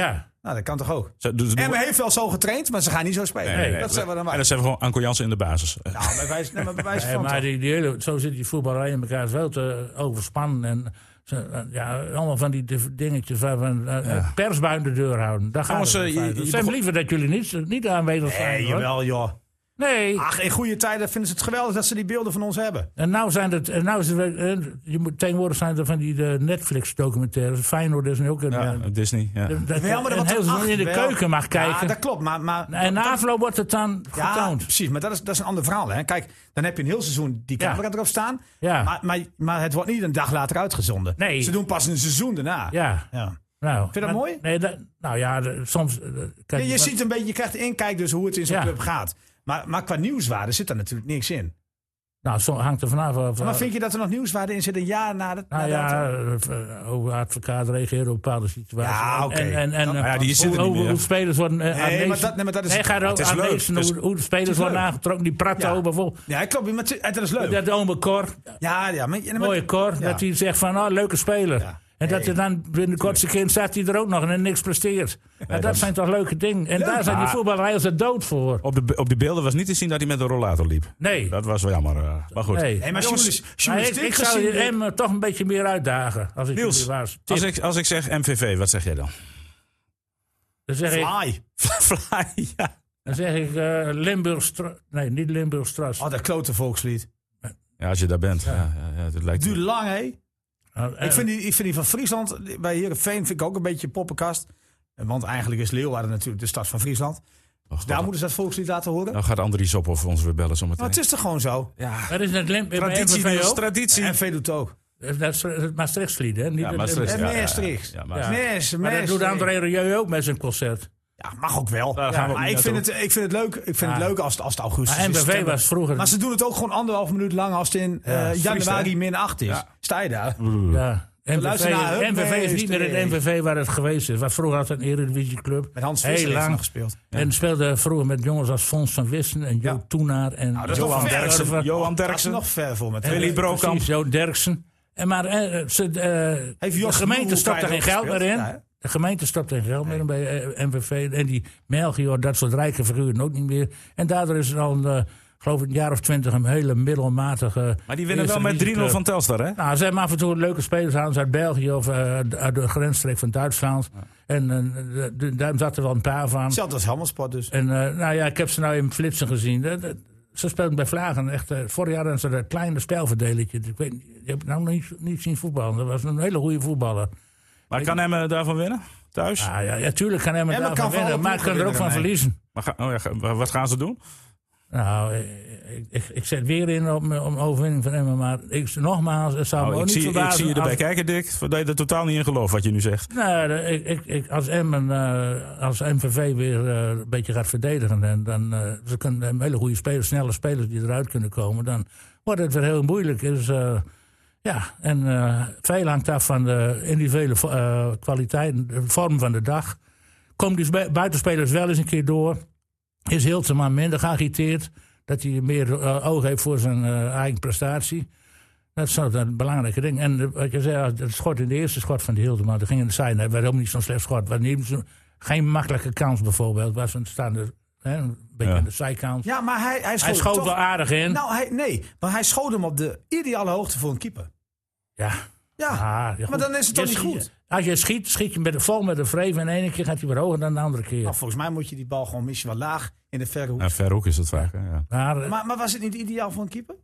[SPEAKER 3] Nou, dat kan toch ook.
[SPEAKER 1] Zo, dus doen
[SPEAKER 3] En
[SPEAKER 1] we-
[SPEAKER 3] we heeft wel zo getraind, maar ze gaan niet zo spelen.
[SPEAKER 1] Nee, nee, nee.
[SPEAKER 3] dat zijn we dan
[SPEAKER 1] En
[SPEAKER 3] maar.
[SPEAKER 1] dan zijn we gewoon Anko Jansen in de basis. Eh,
[SPEAKER 3] Nou, bij wijze, nee, maar bij wijze
[SPEAKER 4] Ja,
[SPEAKER 3] van
[SPEAKER 4] eh, maar
[SPEAKER 3] toch.
[SPEAKER 4] die, die hele, zo zit die voetballerij in elkaar wel te overspannen. En ze- eh, ja, allemaal van die div- dingetjes van, van eh, eh, pers buiten de deur houden. Daar gaan
[SPEAKER 1] Jongens,
[SPEAKER 4] we.
[SPEAKER 1] eh, je- je
[SPEAKER 4] Het zijn
[SPEAKER 1] begon-
[SPEAKER 4] liever dat jullie niet, niet aanwezig zijn.
[SPEAKER 3] Nee,
[SPEAKER 4] hoor.
[SPEAKER 3] jawel joh.
[SPEAKER 4] Nee.
[SPEAKER 3] Ach, in goede tijden vinden ze het geweldig dat ze die beelden van ons hebben.
[SPEAKER 4] En nou zijn het, en nou is het, weer- eh, je moet, tegenwoordig zijn er van die eh, Netflix-documentaires. Feyenoord is nu ook een.
[SPEAKER 1] ja,
[SPEAKER 4] eh,
[SPEAKER 1] Disney. Ja.
[SPEAKER 4] dat je
[SPEAKER 3] Wel, maar
[SPEAKER 4] een
[SPEAKER 3] wat
[SPEAKER 4] heel
[SPEAKER 3] ach,
[SPEAKER 4] veel in de
[SPEAKER 3] wel.
[SPEAKER 4] keuken mag
[SPEAKER 3] Ja,
[SPEAKER 4] kijken.
[SPEAKER 3] dat klopt. Maar, maar,
[SPEAKER 4] en na afloop wordt het dan
[SPEAKER 3] ja,
[SPEAKER 4] getoond.
[SPEAKER 3] precies. Maar dat is, dat is een ander verhaal. Hè. Kijk, dan heb je een heel seizoen die
[SPEAKER 4] Ja.
[SPEAKER 3] camera erop staan.
[SPEAKER 4] Ja.
[SPEAKER 3] Maar, maar, maar het wordt niet een dag later uitgezonden.
[SPEAKER 4] Ah. Nee.
[SPEAKER 3] Ze doen pas een seizoen daarna.
[SPEAKER 4] Ja.
[SPEAKER 3] Ja.
[SPEAKER 4] Nou, Vind
[SPEAKER 3] je dat mooi?
[SPEAKER 4] Nee, dat, nou ja, de- soms. eh, kan
[SPEAKER 3] Je, je
[SPEAKER 4] wat-
[SPEAKER 3] ziet een beetje, je krijgt inkijk dus hoe het in zo'n
[SPEAKER 4] Ja.
[SPEAKER 3] club gaat. Maar, maar qua nieuwswaarde zit daar natuurlijk niks in.
[SPEAKER 4] Nou, soms hangt er vanaf. af.
[SPEAKER 3] Maar vind je dat er nog nieuwswaarde in zit een jaar na de
[SPEAKER 4] Nou
[SPEAKER 3] na datum?
[SPEAKER 4] ja, eh, hoe advocaat reageert op bepaalde situaties.
[SPEAKER 3] Ja, oké.
[SPEAKER 4] En, en, en,
[SPEAKER 3] Nou
[SPEAKER 1] ja, die
[SPEAKER 4] hoe-
[SPEAKER 1] zitten er niet
[SPEAKER 4] hoe,
[SPEAKER 1] meer.
[SPEAKER 4] hoe spelers worden eh,
[SPEAKER 3] maar
[SPEAKER 4] aanwezen-
[SPEAKER 3] dat- nee, maar dat is-
[SPEAKER 4] Hij gaat ook
[SPEAKER 1] het is leuk.
[SPEAKER 4] aanwezen
[SPEAKER 1] Het is-
[SPEAKER 4] hoe, hoe de spelers
[SPEAKER 3] het is
[SPEAKER 4] worden
[SPEAKER 3] leuk.
[SPEAKER 4] aangetrokken. Die Prato
[SPEAKER 3] Ja.
[SPEAKER 4] bijvoorbeeld.
[SPEAKER 3] Ja, klopt. Maar het- dat is leuk.
[SPEAKER 4] Dat ome Cor,
[SPEAKER 3] ja, ja. Maar, maar-
[SPEAKER 4] mooie Cor,
[SPEAKER 3] ja.
[SPEAKER 4] dat hij zegt van, oh, leuke speler.
[SPEAKER 3] Ja.
[SPEAKER 4] En dat hij dan binnen de kortste keer staat hij er ook nog en hij niks presteert. En dat, zijn toch leuke dingen. En daar zijn die
[SPEAKER 1] Maar-
[SPEAKER 4] voetbalrijders er dood voor.
[SPEAKER 1] Op, de, be- op die beelden was niet te zien dat hij met een rollator liep.
[SPEAKER 4] Nee.
[SPEAKER 1] Dat was wel jammer. eh, maar goed.
[SPEAKER 4] Nee.
[SPEAKER 3] Nee, maar
[SPEAKER 1] Jongens,
[SPEAKER 3] journalis-
[SPEAKER 4] Maar ik,
[SPEAKER 3] journalistiek
[SPEAKER 4] ik zou
[SPEAKER 3] gezien-
[SPEAKER 4] je M toch een beetje meer uitdagen. Als ik
[SPEAKER 1] Niels,
[SPEAKER 4] jullie was.
[SPEAKER 1] als ik, als ik zeg MVV, wat zeg jij dan?
[SPEAKER 4] Dan zeg ik,
[SPEAKER 3] Fly.
[SPEAKER 1] Fly, ja.
[SPEAKER 4] dan zeg ik eh, Limburgstra- Nee, niet Limburgstras.
[SPEAKER 3] Oh, dat klote volkslied.
[SPEAKER 1] Ja, als je daar bent. Ja. Ja, ja, dat lijkt
[SPEAKER 3] Duurt lang, hè?
[SPEAKER 4] Nou, eh,
[SPEAKER 3] Ik vind, die, ik vind die van Friesland, bij Heerenveen vind ik ook een beetje poppenkast. Want eigenlijk is Leeuwarden natuurlijk de stad van Friesland.
[SPEAKER 1] Oh, God.
[SPEAKER 3] Daar moeten ze dat volkslied laten horen.
[SPEAKER 1] Nou gaat Andries op of ons weer bellen
[SPEAKER 3] Maar
[SPEAKER 1] zometeen.
[SPEAKER 3] het is toch gewoon zo? Ja.
[SPEAKER 4] Dat is net Lim- bij
[SPEAKER 1] Traditie,
[SPEAKER 4] MVV
[SPEAKER 1] Niels,
[SPEAKER 4] ook.
[SPEAKER 1] traditie.
[SPEAKER 3] En V doet ook.
[SPEAKER 4] Eh, Dat is het Maastrichtslied, hè? Niet
[SPEAKER 1] Ja,
[SPEAKER 4] het
[SPEAKER 1] Maastricht,
[SPEAKER 4] Lim-
[SPEAKER 3] En
[SPEAKER 1] ja, ja,
[SPEAKER 3] Maastricht.
[SPEAKER 1] ja, ja, maar-
[SPEAKER 4] Ja.
[SPEAKER 3] Mes,
[SPEAKER 4] Maar dat
[SPEAKER 3] mes.
[SPEAKER 4] doet André Rieu ook met zijn concert.
[SPEAKER 3] Ja, mag ook wel.
[SPEAKER 1] Daar gaan we ook
[SPEAKER 3] maar
[SPEAKER 1] niet
[SPEAKER 3] ik vind, het, ik vind het leuk, ik vind het
[SPEAKER 4] Ja.
[SPEAKER 3] leuk als, het- als het augustus
[SPEAKER 4] Maar
[SPEAKER 3] is.
[SPEAKER 4] MVV
[SPEAKER 3] september.
[SPEAKER 4] was vroeger-
[SPEAKER 3] Maar ze doen het ook gewoon anderhalf minuut lang als het in eh,
[SPEAKER 1] vries,
[SPEAKER 3] januari
[SPEAKER 1] hè?
[SPEAKER 3] min 8 is. Sta je
[SPEAKER 4] Mm.
[SPEAKER 3] daar?
[SPEAKER 4] Ja. MVV,
[SPEAKER 3] luister naar Hup,
[SPEAKER 4] MVV is niet meer het
[SPEAKER 3] meester.
[SPEAKER 4] MVV waar het geweest is. Waar vroeger had het een Eredivisieclub.
[SPEAKER 3] Met Hans
[SPEAKER 4] Heel
[SPEAKER 3] Visser heeft nog
[SPEAKER 4] lang.
[SPEAKER 3] gespeeld.
[SPEAKER 4] En speelde vroeger met jongens als Fons van Wissen en Jo Toenaar en
[SPEAKER 3] Nou, dat is
[SPEAKER 4] Johan
[SPEAKER 3] nog ver.
[SPEAKER 4] Derksen.
[SPEAKER 1] Johan
[SPEAKER 3] Oh, Dat is
[SPEAKER 1] Derksen.
[SPEAKER 3] nog ver voor met
[SPEAKER 4] En,
[SPEAKER 1] Willy
[SPEAKER 4] eh,
[SPEAKER 1] Brokamp.
[SPEAKER 4] precies, Jo Derksen. En maar eh, ze, eh,
[SPEAKER 3] Heeft
[SPEAKER 4] de
[SPEAKER 3] Jos
[SPEAKER 4] gemeente
[SPEAKER 3] Nieuwhoek
[SPEAKER 4] stopt er geen
[SPEAKER 3] eigenlijk
[SPEAKER 4] geld meer in.
[SPEAKER 3] gespeeld? Ja, hè?
[SPEAKER 4] de gemeente stopt er geen geld meer in bij eh, MVV. En die Melchior, dat soort rijke figuren ook niet meer. En daardoor is er al, een, eh, geloof ik, een jaar of twintig een hele middelmatige...
[SPEAKER 1] Maar die winnen wel
[SPEAKER 4] eerste
[SPEAKER 1] met 3-0
[SPEAKER 4] divisieclub.
[SPEAKER 1] van Telstar, hè?
[SPEAKER 4] Nou, ze hebben af en toe leuke spelers aan. ze Uit België of eh, uit de grensstreek van Duitsland. En eh, de- de- daar zat er wel een paar van.
[SPEAKER 3] Hetzelfde als Hammersport dus.
[SPEAKER 4] En eh, nou ja, ik heb ze nou in flitsen gezien. Dat- dat- ze speelden bij Vlagen. Echt, eh, vorig jaar hadden ze dat kleine stijlverdeletje. Ik weet, niet, je hebt nou nog niet, niet zien voetballen. Dat was een hele goede voetballer.
[SPEAKER 1] Maar kan hem eh, daarvan winnen? Thuis?
[SPEAKER 4] Ah, ja, ja, tuurlijk kan hem
[SPEAKER 3] Ja, maar
[SPEAKER 4] daarvan
[SPEAKER 3] kan van
[SPEAKER 4] winnen,
[SPEAKER 3] alle
[SPEAKER 4] maar kan er
[SPEAKER 3] ploegen
[SPEAKER 4] ook van
[SPEAKER 3] winnen, nee.
[SPEAKER 4] verliezen.
[SPEAKER 1] Maar ga- oh ja, ga- wat gaan ze doen?
[SPEAKER 4] Nou, eh, ik, ik, ik zet weer in op mijn om overwinning van Emmen. Maar ik, nogmaals, het zou
[SPEAKER 1] Nou,
[SPEAKER 4] me ook
[SPEAKER 1] ik,
[SPEAKER 4] niet
[SPEAKER 1] zie, ik
[SPEAKER 4] verbazen.
[SPEAKER 1] zie je
[SPEAKER 4] als-
[SPEAKER 1] erbij kijken, Dick. Dat je er totaal niet in gelooft wat je nu zegt.
[SPEAKER 4] Nou, de- ik, ik, ik, als, Emmen, eh, als MVV weer eh, een beetje gaat verdedigen... en dan eh, ze kunnen hebben hele goede spelers, snelle spelers die eruit kunnen komen... dan wordt het weer heel moeilijk. Dus, eh, ja, en eh, veel hangt af van de individuele vo- eh, kwaliteiten, de vorm van de dag. Komt die spe- buitenspelers wel eens een keer door... is Hiltema minder geagiteerd... dat hij meer eh, oog heeft voor zijn eh, eigen prestatie... Dat is nou een belangrijke ding. En eh, wat je zei, als het schot in de eerste schot van de Hildema, dat ging in de zijde. Hij werd ook niet zo'n slecht schot. Was niet zo- geen makkelijke kans bijvoorbeeld. Was een staande, hè, een beetje
[SPEAKER 1] Ja.
[SPEAKER 4] aan de zijkant.
[SPEAKER 3] Ja, maar hij, hij schoot,
[SPEAKER 4] hij schoot
[SPEAKER 3] toch-
[SPEAKER 4] wel aardig in.
[SPEAKER 3] Nou, hij, nee, maar hij schoot hem op de ideale hoogte voor een keeper.
[SPEAKER 4] ja.
[SPEAKER 3] Ja,
[SPEAKER 4] Ah, ja,
[SPEAKER 3] maar dan is het toch
[SPEAKER 4] Je
[SPEAKER 3] niet
[SPEAKER 4] schiet-
[SPEAKER 3] goed?
[SPEAKER 4] Als je schiet, schiet je met de vol met de vreven. En de ene keer gaat hij weer hoger dan de andere keer.
[SPEAKER 3] Nou, volgens mij moet je die bal gewoon misschien wel laag in de verre hoek.
[SPEAKER 1] Ja, verhoek is dat vaak. hè, Ja.
[SPEAKER 4] maar eh,
[SPEAKER 3] Maar, maar was het niet ideaal voor een keeper?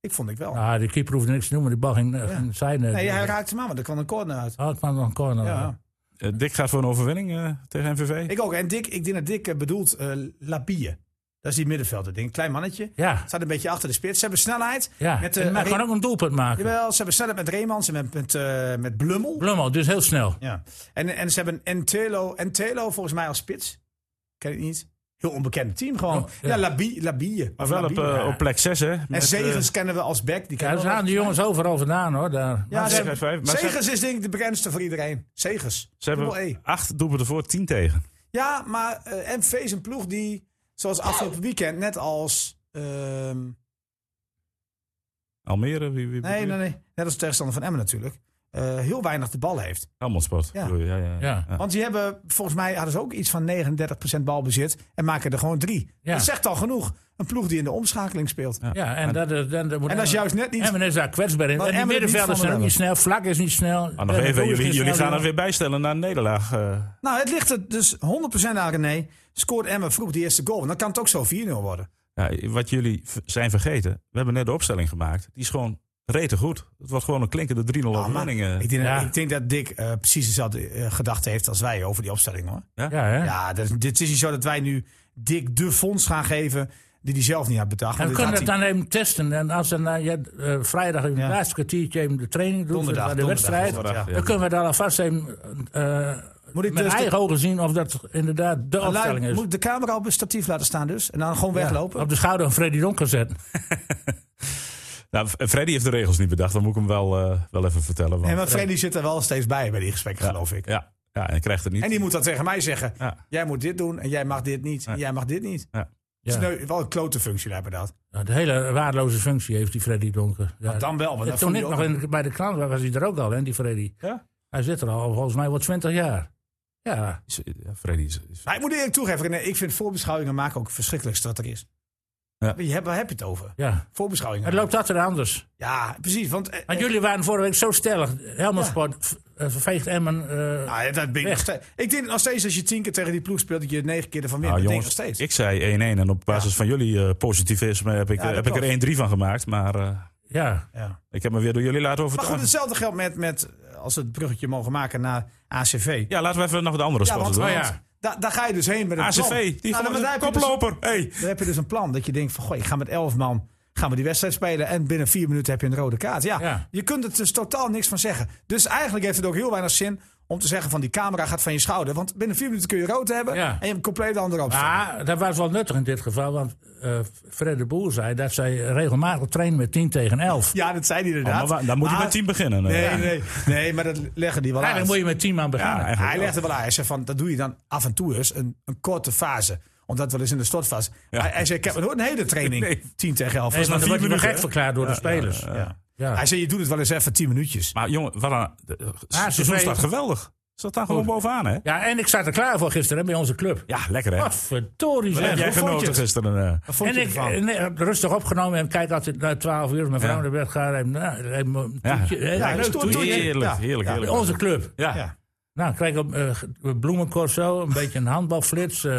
[SPEAKER 3] Ik vond ik wel.
[SPEAKER 4] ah, de keeper hoefde niks te doen, maar die bal ging, eh, ging de zijde.
[SPEAKER 3] nee, hij raakte hem aan, want er kwam een corner uit.
[SPEAKER 4] Oh, het kwam nog een corner.
[SPEAKER 3] Ja.
[SPEAKER 1] Eh, Dick gaat voor een overwinning eh, tegen MVV.
[SPEAKER 3] Ik ook. En Dick, ik denk dat Dick eh, bedoelt eh Labie. Dat is die middenvelder ding. Klein mannetje.
[SPEAKER 4] Ja.
[SPEAKER 3] Staat een beetje achter de spits. Ze hebben snelheid.
[SPEAKER 4] Ja,
[SPEAKER 3] Met,
[SPEAKER 4] en
[SPEAKER 3] eh,
[SPEAKER 4] hij
[SPEAKER 3] Re-
[SPEAKER 4] kan ook een doelpunt maken.
[SPEAKER 3] Jawel, ze hebben snelheid met Reemans en met, met, eh, met Blummel.
[SPEAKER 4] Blummel, dus heel snel.
[SPEAKER 3] Ja. En, en ze hebben Entelo, Entelo volgens mij als spits. Ken ik niet. Heel onbekend team gewoon.
[SPEAKER 4] Oh, ja.
[SPEAKER 3] ja. Labie, Labie.
[SPEAKER 1] Maar wel op,
[SPEAKER 3] Labie.
[SPEAKER 1] eh, op plek 6, hè? Met,
[SPEAKER 3] En
[SPEAKER 1] eh,
[SPEAKER 3] Zegers kennen we als back. Die
[SPEAKER 4] Ja,
[SPEAKER 3] kennen
[SPEAKER 4] daar
[SPEAKER 3] we wel.
[SPEAKER 4] gaan de jongens overal vandaan hoor. Daar.
[SPEAKER 3] Ja, ze hebben-
[SPEAKER 1] Zegers, maar ze-
[SPEAKER 3] Zegers is denk ik de bekendste voor iedereen. Zegers.
[SPEAKER 1] ze
[SPEAKER 3] Dubbel E.
[SPEAKER 1] hebben acht doelpunten voor, tien tegen.
[SPEAKER 3] Ja, maar eh MV is een ploeg die, zoals afgelopen weekend, net als... ehm,
[SPEAKER 1] Almere, wie... wie
[SPEAKER 3] nee, nee, nee. Net als de tegenstander van Emmen natuurlijk. eh, heel weinig de bal heeft.
[SPEAKER 1] Helmond Sport.
[SPEAKER 3] Ja.
[SPEAKER 1] bedoel je, Ja, ja,
[SPEAKER 4] Ja.
[SPEAKER 1] ja.
[SPEAKER 3] Want die hebben, volgens mij hadden ze ook iets van 39% balbezit. En maken er gewoon drie.
[SPEAKER 4] Ja.
[SPEAKER 3] Dat zegt al genoeg. Een ploeg die in de omschakeling speelt.
[SPEAKER 4] Ja, en dat, is- dan, dan moet
[SPEAKER 3] En dat is juist net niet.
[SPEAKER 4] Emmen is daar kwetsbaar in.
[SPEAKER 3] Wat
[SPEAKER 4] En die
[SPEAKER 3] Emmen er niet
[SPEAKER 4] middenvelders
[SPEAKER 3] van
[SPEAKER 4] zijn ook
[SPEAKER 3] hebben.
[SPEAKER 4] niet snel. Vlak is niet snel.
[SPEAKER 1] Maar nog
[SPEAKER 4] Berg
[SPEAKER 1] even,
[SPEAKER 4] ook is
[SPEAKER 1] jullie,
[SPEAKER 4] geen
[SPEAKER 1] jullie
[SPEAKER 4] snel
[SPEAKER 1] gaan het
[SPEAKER 4] jongen.
[SPEAKER 1] weer bijstellen naar een nederlaag. eh.
[SPEAKER 3] Nou, het ligt er dus 100% aan René. Scoort Emmen vroeg die eerste goal. En dan kan het ook zo 4-0 worden.
[SPEAKER 1] Ja, wat jullie v- zijn vergeten, we hebben net de opstelling gemaakt. Die is gewoon rete goed. Het was gewoon een klinkende 3-0
[SPEAKER 3] Oh, maar
[SPEAKER 1] overwinning. eh.
[SPEAKER 3] ik, denk,
[SPEAKER 4] Ja.
[SPEAKER 3] ik denk dat Dick eh, precies dezelfde eh, gedachte heeft als wij over die opstelling hoor.
[SPEAKER 4] Ja, hè?
[SPEAKER 3] Ja, dat, dit is niet zo dat wij nu Dick de fonds gaan geven die hij zelf niet had bedacht.
[SPEAKER 4] En
[SPEAKER 3] Want
[SPEAKER 4] we
[SPEAKER 3] dit
[SPEAKER 4] kunnen het
[SPEAKER 3] had hij-
[SPEAKER 4] dan even testen. En als dan eh, je, eh, vrijdag in het
[SPEAKER 3] Ja.
[SPEAKER 4] laatste kwartiertje even de training doet, eh,
[SPEAKER 3] Donderdag,
[SPEAKER 4] de
[SPEAKER 3] donderdag,
[SPEAKER 4] wedstrijd,
[SPEAKER 3] donderdag, ja.
[SPEAKER 4] dan kunnen we daar alvast even eh,
[SPEAKER 3] Moet ik
[SPEAKER 4] met
[SPEAKER 3] dus de-
[SPEAKER 4] eigen ogen zien of dat inderdaad de opstelling is.
[SPEAKER 3] Moet ik de camera op een statief laten staan dus? En dan gewoon
[SPEAKER 4] Ja,
[SPEAKER 3] weglopen?
[SPEAKER 4] Op de schouder van Freddy Donker zetten.
[SPEAKER 1] Nou, F- Freddy heeft de regels niet bedacht. Dan moet ik hem wel, eh, wel even vertellen. Want,
[SPEAKER 3] en maar Freddy zit er wel steeds bij bij die gesprekken, geloof ik.
[SPEAKER 1] ja, ja, en hij krijgt het niet.
[SPEAKER 3] En die moet dan tegen mij zeggen,
[SPEAKER 1] Ja.
[SPEAKER 3] jij moet dit doen en jij mag dit niet. En jij mag dit niet.
[SPEAKER 1] Ja.
[SPEAKER 3] Het
[SPEAKER 4] Ja.
[SPEAKER 3] is neu- wel een klote functie daar dat.
[SPEAKER 4] Nou, de hele waardeloze functie heeft die Freddy Donker. Ja,
[SPEAKER 3] Dan wel, want
[SPEAKER 4] Ja,
[SPEAKER 3] dan
[SPEAKER 4] toen
[SPEAKER 3] voel je
[SPEAKER 4] ik nog
[SPEAKER 3] ook-
[SPEAKER 4] in- bij de krant was, was hij er ook al, hè, die Freddy.
[SPEAKER 1] Ja?
[SPEAKER 4] Hij zit er al volgens mij wel 20 jaar. Ja,
[SPEAKER 1] Is- ja, Freddy is... is-
[SPEAKER 3] Maar ik moet eerlijk toegeven, René, ik vind voorbeschouwingen maken ook het verschrikkelijkste wat er is.
[SPEAKER 1] Ja.
[SPEAKER 3] Je hebt, waar heb je het over?
[SPEAKER 4] ja.
[SPEAKER 3] Voorbeschouwingen.
[SPEAKER 4] Het loopt altijd anders.
[SPEAKER 3] Ja, precies. Want, eh,
[SPEAKER 4] Want jullie waren vorige week zo stellig. Helmond Sport v- eh, verveegt Emmen. eh,
[SPEAKER 3] Nou, ja, dat ben ik, nog
[SPEAKER 4] Echt.
[SPEAKER 3] steeds. ik denk nog steeds als je tien keer tegen die ploeg speelt, dat je er negen keer ervan wint.
[SPEAKER 1] Nou,
[SPEAKER 3] dat denk ik nog
[SPEAKER 1] jongens,
[SPEAKER 3] steeds.
[SPEAKER 1] ik zei 1-1 en op basis van jullie eh, positivisme heb ik, eh,
[SPEAKER 3] Ja, dat
[SPEAKER 1] heb ik er 1-3 van gemaakt. Maar eh,
[SPEAKER 4] ja.
[SPEAKER 3] ja.
[SPEAKER 1] ik heb me weer door jullie laten
[SPEAKER 3] Maar
[SPEAKER 1] overtuigen.
[SPEAKER 3] goed, hetzelfde geldt met, met eh, als we het bruggetje mogen maken naar ACV.
[SPEAKER 1] Ja, laten we even nog de andere
[SPEAKER 3] Ja,
[SPEAKER 1] sporten
[SPEAKER 3] want,
[SPEAKER 1] doen.
[SPEAKER 3] want da- daar ga je dus heen met een plan.
[SPEAKER 1] ACV, die
[SPEAKER 3] Nou,
[SPEAKER 1] gewoon
[SPEAKER 3] dan-
[SPEAKER 1] een
[SPEAKER 3] daar heb je dus-
[SPEAKER 1] koploper. Hey.
[SPEAKER 3] Dan heb je dus een plan dat je denkt van, goh, ik ga met elf man gaan we die wedstrijd spelen en binnen vier minuten heb je een rode kaart. Ja,
[SPEAKER 4] Ja.
[SPEAKER 3] je kunt er dus totaal niks van zeggen. Dus eigenlijk heeft het ook heel weinig zin om te zeggen van die camera gaat van je schouder, want binnen vier minuten kun je rood hebben
[SPEAKER 4] Ja. Ah.
[SPEAKER 3] en je hebt een compleet andere opstelling.
[SPEAKER 4] Maar dat was wel nuttig in dit geval. Want eh, Fred de Boer zei dat zij regelmatig trainen met 10 tegen 11.
[SPEAKER 3] Ja, dat zei hij
[SPEAKER 1] Oh,
[SPEAKER 3] inderdaad.
[SPEAKER 1] maar wa- dan moet je
[SPEAKER 3] Maar-
[SPEAKER 1] met 10 beginnen.
[SPEAKER 3] Nee,
[SPEAKER 1] Ja.
[SPEAKER 3] nee, nee, nee, maar dat leggen die wel uit.
[SPEAKER 4] Eigenlijk moet je met 10 man beginnen.
[SPEAKER 1] Ja,
[SPEAKER 3] Hij legt er wel uit. Hij zegt van, dat doe je dan af en toe eens, een, een korte fase. Omdat wel eens in de stortfase.
[SPEAKER 1] Ja.
[SPEAKER 3] Hij, hij zei, ik heb het hoor, een hele training,
[SPEAKER 1] Nee.
[SPEAKER 3] 10 tegen 11.
[SPEAKER 4] Nee,
[SPEAKER 3] Dat
[SPEAKER 4] want
[SPEAKER 3] is maar
[SPEAKER 4] dan wordt
[SPEAKER 3] vier
[SPEAKER 4] hij
[SPEAKER 3] minuten,
[SPEAKER 4] gek verklaard door de spelers.
[SPEAKER 3] hè? Ja.
[SPEAKER 4] Ja.
[SPEAKER 3] Hij zei, je doet het wel eens even 10 minuutjes.
[SPEAKER 1] Maar jongen, wat een de- de- het seizoen
[SPEAKER 4] twee-
[SPEAKER 1] staat geweldig. Staat daar gewoon
[SPEAKER 4] Goed.
[SPEAKER 1] bovenaan, hè?
[SPEAKER 4] Ja, en ik zat er klaar voor gisteren hè, bij onze club.
[SPEAKER 1] Ja, lekker, hè?
[SPEAKER 4] Wat verdorie
[SPEAKER 1] Wat heb
[SPEAKER 4] zeg.
[SPEAKER 1] jij
[SPEAKER 3] hoe vond je
[SPEAKER 1] genoten
[SPEAKER 3] het?
[SPEAKER 1] gisteren? eh?
[SPEAKER 3] Wat vond
[SPEAKER 4] en
[SPEAKER 3] je
[SPEAKER 4] ik
[SPEAKER 3] ervan?
[SPEAKER 4] eh, nee, heb rustig opgenomen en kijk altijd naar 12 uur. Mijn vrouw
[SPEAKER 1] Ja.
[SPEAKER 4] naar bed gaat. en, nou, even een
[SPEAKER 1] Ja.
[SPEAKER 4] toetje, eh,
[SPEAKER 3] Ja,
[SPEAKER 4] leuk
[SPEAKER 3] dat is
[SPEAKER 4] toetje.
[SPEAKER 3] toetje.
[SPEAKER 1] Heerlijk,
[SPEAKER 3] Ja.
[SPEAKER 1] heerlijk,
[SPEAKER 3] Ja.
[SPEAKER 1] heerlijk.
[SPEAKER 4] Onze club.
[SPEAKER 1] Ja.
[SPEAKER 3] Ja.
[SPEAKER 4] Nou, krijg ik uh, bloemenkort zo, een beetje een handbalflits, eh,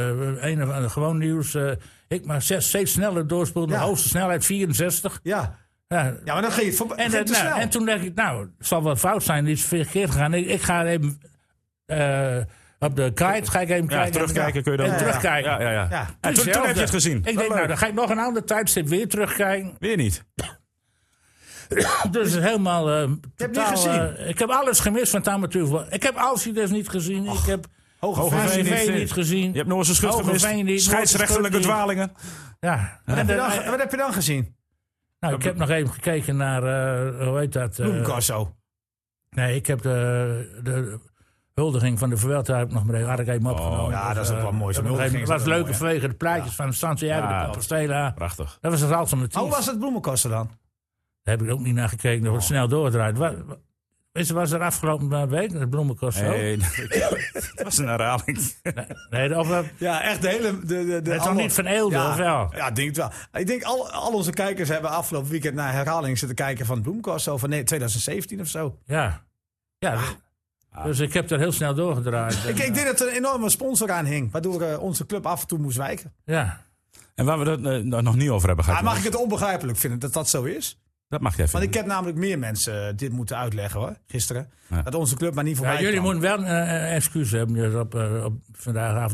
[SPEAKER 4] een of ander gewoon nieuws. eh, ik maar zes, steeds sneller doorspoelen, de
[SPEAKER 3] Ja.
[SPEAKER 4] hoogste snelheid 64.
[SPEAKER 3] Ja.
[SPEAKER 4] Ja.
[SPEAKER 3] ja, maar dan ging je voor,
[SPEAKER 4] En,
[SPEAKER 3] ging
[SPEAKER 4] dat-
[SPEAKER 3] te
[SPEAKER 4] nou,
[SPEAKER 3] snel.
[SPEAKER 4] en toen dacht ik, nou, het zal wel fout zijn, iets verkeerd gegaan. Ik, ik ga even eh, op de guide ga ik even
[SPEAKER 1] Ja,
[SPEAKER 4] kijken.
[SPEAKER 1] terugkijken kun je dan.
[SPEAKER 4] En
[SPEAKER 1] Ja,
[SPEAKER 4] terugkijken.
[SPEAKER 1] Ja, ja, ja.
[SPEAKER 3] Ja.
[SPEAKER 1] En toen, toen
[SPEAKER 4] Hetzelfde.
[SPEAKER 1] heb je het gezien.
[SPEAKER 4] Ik denk, nou, dan ga ik nog een ander tijdstip weer terugkijken.
[SPEAKER 1] Weer niet.
[SPEAKER 4] Dus het is helemaal. eh, totaal,
[SPEAKER 3] niet gezien.
[SPEAKER 4] eh, ik heb alles gemist van het amateurvoetbal. Ik heb Alcides niet gezien. ik heb
[SPEAKER 3] Hoge
[SPEAKER 1] Hogeveen
[SPEAKER 3] Veen.
[SPEAKER 1] niet,
[SPEAKER 4] HCV
[SPEAKER 1] eh,
[SPEAKER 4] niet gezien.
[SPEAKER 1] Je hebt nog eens een schut
[SPEAKER 4] Hogeveen niet,
[SPEAKER 1] gemist. Scheidsrechtelijke
[SPEAKER 4] Noordse schut
[SPEAKER 1] dwalingen.
[SPEAKER 4] Ja. En
[SPEAKER 3] Wat heb
[SPEAKER 4] dan-
[SPEAKER 3] je dan- Wat heb je dan gezien?
[SPEAKER 4] nou, ik heb nog even gekeken naar. eh, hoe heet dat? eh,
[SPEAKER 3] Bloemcorso.
[SPEAKER 4] nee, ik heb de, de huldiging van de Vuelta heb ik nog maar even, had ik even opgenomen.
[SPEAKER 3] Oh, ja, dat is ook wel mooi. Zo'n
[SPEAKER 4] Dat
[SPEAKER 3] huldiging is
[SPEAKER 4] was
[SPEAKER 3] wel
[SPEAKER 4] leuk
[SPEAKER 3] mooi, hè?
[SPEAKER 4] vanwege de plaatjes van de Santiago
[SPEAKER 1] Ja,
[SPEAKER 4] de
[SPEAKER 1] dat-
[SPEAKER 4] Compostela.
[SPEAKER 1] Prachtig.
[SPEAKER 4] Dat was het alternatief.
[SPEAKER 3] Hoe Oh, was Oh. het Bloemencorso dan?
[SPEAKER 4] Daar heb ik ook niet naar gekeken. Dat wordt snel doordraait. Wa- wa- Weet je, was er afgelopen eh, week het bloemenkorso?
[SPEAKER 1] Nee, het was een herhaling.
[SPEAKER 4] Nee, of, eh, dat-
[SPEAKER 3] Ja, echt de hele... De, de, de
[SPEAKER 4] Het is nog niet van Eelde,
[SPEAKER 3] ja,
[SPEAKER 4] of wel?
[SPEAKER 3] Ja, ik denk het wel. Ik denk, al, al onze kijkers hebben afgelopen weekend naar herhaling zitten kijken van Bloemencorso van nee, 2017 of zo.
[SPEAKER 4] Ja. ja. Dus ik heb er heel snel doorgedraaid.
[SPEAKER 3] Ah. Ik, ik denk dat er een enorme sponsor aan hing, waardoor eh, onze club af en toe moest wijken.
[SPEAKER 4] Ja. Nou,
[SPEAKER 1] En waar we dat eh, nog niet over hebben gehad.
[SPEAKER 3] Maar mag Ah, ik het onbegrijpelijk vinden dat dat zo is?
[SPEAKER 1] Dat mag jij
[SPEAKER 3] Want
[SPEAKER 1] vinden.
[SPEAKER 3] ik heb namelijk meer mensen eh, dit moeten uitleggen hoor, gisteren.
[SPEAKER 1] Ja.
[SPEAKER 3] Dat onze club maar niet
[SPEAKER 4] Ja,
[SPEAKER 3] voorbij
[SPEAKER 4] jullie
[SPEAKER 3] kwam.
[SPEAKER 4] moeten wel een eh, excuus hebben dus op, eh, op vandaag.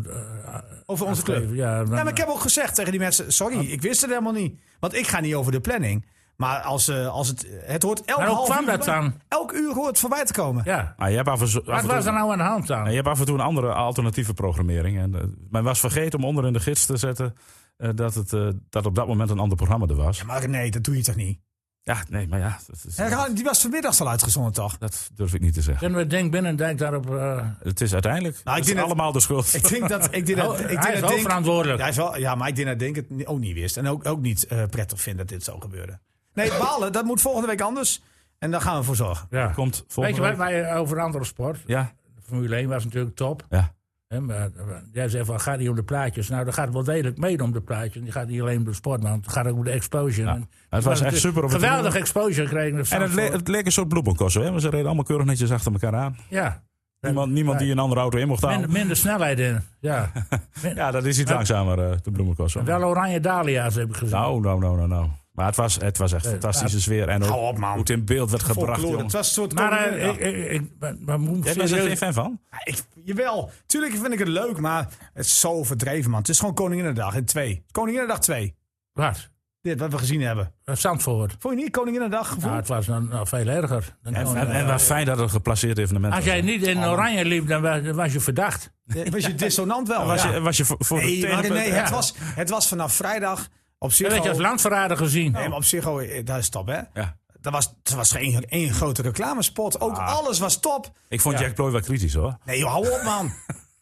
[SPEAKER 4] Uh,
[SPEAKER 3] Over onze club.
[SPEAKER 4] Ja, dan-
[SPEAKER 3] Ja, maar ik heb ook gezegd tegen die mensen, sorry,
[SPEAKER 4] Ah.
[SPEAKER 3] ik wist het helemaal niet. Want ik ga niet over de planning. Maar als, eh, als het, het hoort elk
[SPEAKER 4] Maar hoe
[SPEAKER 3] half
[SPEAKER 4] kwam
[SPEAKER 3] uur
[SPEAKER 4] dat
[SPEAKER 3] voorbij-
[SPEAKER 4] dan?
[SPEAKER 3] Elk uur hoort voorbij te komen.
[SPEAKER 4] ja.
[SPEAKER 1] Maar je hebt af en, zo- af
[SPEAKER 4] Wat
[SPEAKER 1] en toe-
[SPEAKER 4] was er nou aan de hand
[SPEAKER 1] Ja,
[SPEAKER 4] dan?
[SPEAKER 1] je hebt af en toe een andere alternatieve programmering. En, eh, men was vergeten om onder in de gids te zetten eh, dat, het, eh, dat op dat moment een ander programma er was.
[SPEAKER 3] Maar nee, dat doe je toch niet?
[SPEAKER 1] Ja, nee, maar ja, dat, is- eh,
[SPEAKER 3] Herhaling, Die was vanmiddags al uitgezonden toch?
[SPEAKER 1] dat durf ik niet te zeggen.
[SPEAKER 4] Kunnen we Denk Binnendijk daarop... eh
[SPEAKER 1] Het is uiteindelijk
[SPEAKER 3] Nou, ik
[SPEAKER 1] het is
[SPEAKER 3] denk dat-
[SPEAKER 1] allemaal de schuld.
[SPEAKER 3] Ik denk dat ik denk dat-
[SPEAKER 4] oh,
[SPEAKER 3] ik
[SPEAKER 4] hij
[SPEAKER 3] denk
[SPEAKER 4] is
[SPEAKER 3] dat
[SPEAKER 4] ook
[SPEAKER 3] denk-
[SPEAKER 4] verantwoordelijk.
[SPEAKER 3] Ja, hij is wel, ja, maar ik denk dat Denk het ni- ook niet wist. En ook, ook niet eh, prettig vindt dat dit zo gebeurde. Nee, balen, dat moet volgende week anders. En daar gaan we voor zorgen.
[SPEAKER 4] ja.
[SPEAKER 1] Komt
[SPEAKER 4] Weet je
[SPEAKER 1] volgende
[SPEAKER 4] wat
[SPEAKER 1] week.
[SPEAKER 4] wij eh, over andere sport...
[SPEAKER 1] Ja,
[SPEAKER 4] Formule 1 was natuurlijk top.
[SPEAKER 1] ja.
[SPEAKER 4] Hè, maar, maar jij zegt van, gaat niet om de plaatjes. Nou, dat gaat wel degelijk mee om de plaatjes. Die gaat niet alleen om de sport, maar het gaat ook om de exposure. En-
[SPEAKER 1] het was echt super op het
[SPEAKER 4] Geweldig exposure kregen. de
[SPEAKER 1] En het, le-
[SPEAKER 4] Zandvoort.
[SPEAKER 1] het leek een soort bloemenkosso, hè? want ze reden allemaal keurig netjes achter elkaar aan.
[SPEAKER 4] Ja.
[SPEAKER 1] Niemand, niemand die een andere auto in mocht
[SPEAKER 4] Minder,
[SPEAKER 1] halen.
[SPEAKER 4] minder snelheid in. Ja.
[SPEAKER 1] Ja, dat is iets langzamer, eh, de bloemenkosso.
[SPEAKER 4] Wel oranje dahlia's heb ik gezien.
[SPEAKER 1] Nou, nou, nou, nou, nou. Maar het was, het was echt een fantastische sfeer. En
[SPEAKER 3] Hou
[SPEAKER 1] ook
[SPEAKER 3] op, man.
[SPEAKER 1] hoe het in beeld werd gebracht,
[SPEAKER 3] Folklore.
[SPEAKER 1] jongen.
[SPEAKER 3] Het was een soort...
[SPEAKER 4] maar
[SPEAKER 3] comedy-
[SPEAKER 4] eh,
[SPEAKER 3] ja.
[SPEAKER 4] ik, ik, ik, maar, maar
[SPEAKER 1] Jij
[SPEAKER 4] moet
[SPEAKER 1] bent er geen
[SPEAKER 4] serieus-
[SPEAKER 1] fan van?
[SPEAKER 3] Ah, Ik, jawel, tuurlijk vind ik het leuk, maar het is zo verdreven, man. Het is gewoon Koninginnedag in 2. Koninginnedag 2.
[SPEAKER 4] Wat?
[SPEAKER 3] Dit wat we gezien hebben.
[SPEAKER 4] Eh, Zandvoort.
[SPEAKER 3] Vond je niet Koninginnedag gevoel?
[SPEAKER 4] Nou, het was dan nou, veel erger. Dan
[SPEAKER 1] En,
[SPEAKER 4] kon-
[SPEAKER 3] Oh,
[SPEAKER 1] en, en wat fijn dat het een geplaceerd evenement
[SPEAKER 3] Ah,
[SPEAKER 4] als
[SPEAKER 1] was.
[SPEAKER 4] jij niet in oranje liep, dan was, dan was je verdacht.
[SPEAKER 3] Eh, Was je dissonant wel?
[SPEAKER 1] was,
[SPEAKER 3] ja.
[SPEAKER 1] je, was je voor, voor
[SPEAKER 3] nee,
[SPEAKER 1] de
[SPEAKER 3] maar
[SPEAKER 1] tegen-
[SPEAKER 3] nee
[SPEAKER 1] ja.
[SPEAKER 3] het, was, het was vanaf vrijdag op zich.
[SPEAKER 4] Dan werd je als
[SPEAKER 3] al-
[SPEAKER 4] landverrader gezien.
[SPEAKER 3] oh. Nee, maar op zich, al- eh, dat is top, hè?
[SPEAKER 1] Ja.
[SPEAKER 3] Dat was, er was geen één grote reclamespot. Ook
[SPEAKER 1] Ah.
[SPEAKER 3] alles was top.
[SPEAKER 1] Ik vond Jack Ploy wel kritisch hoor.
[SPEAKER 3] Nee, joh, hou op, man.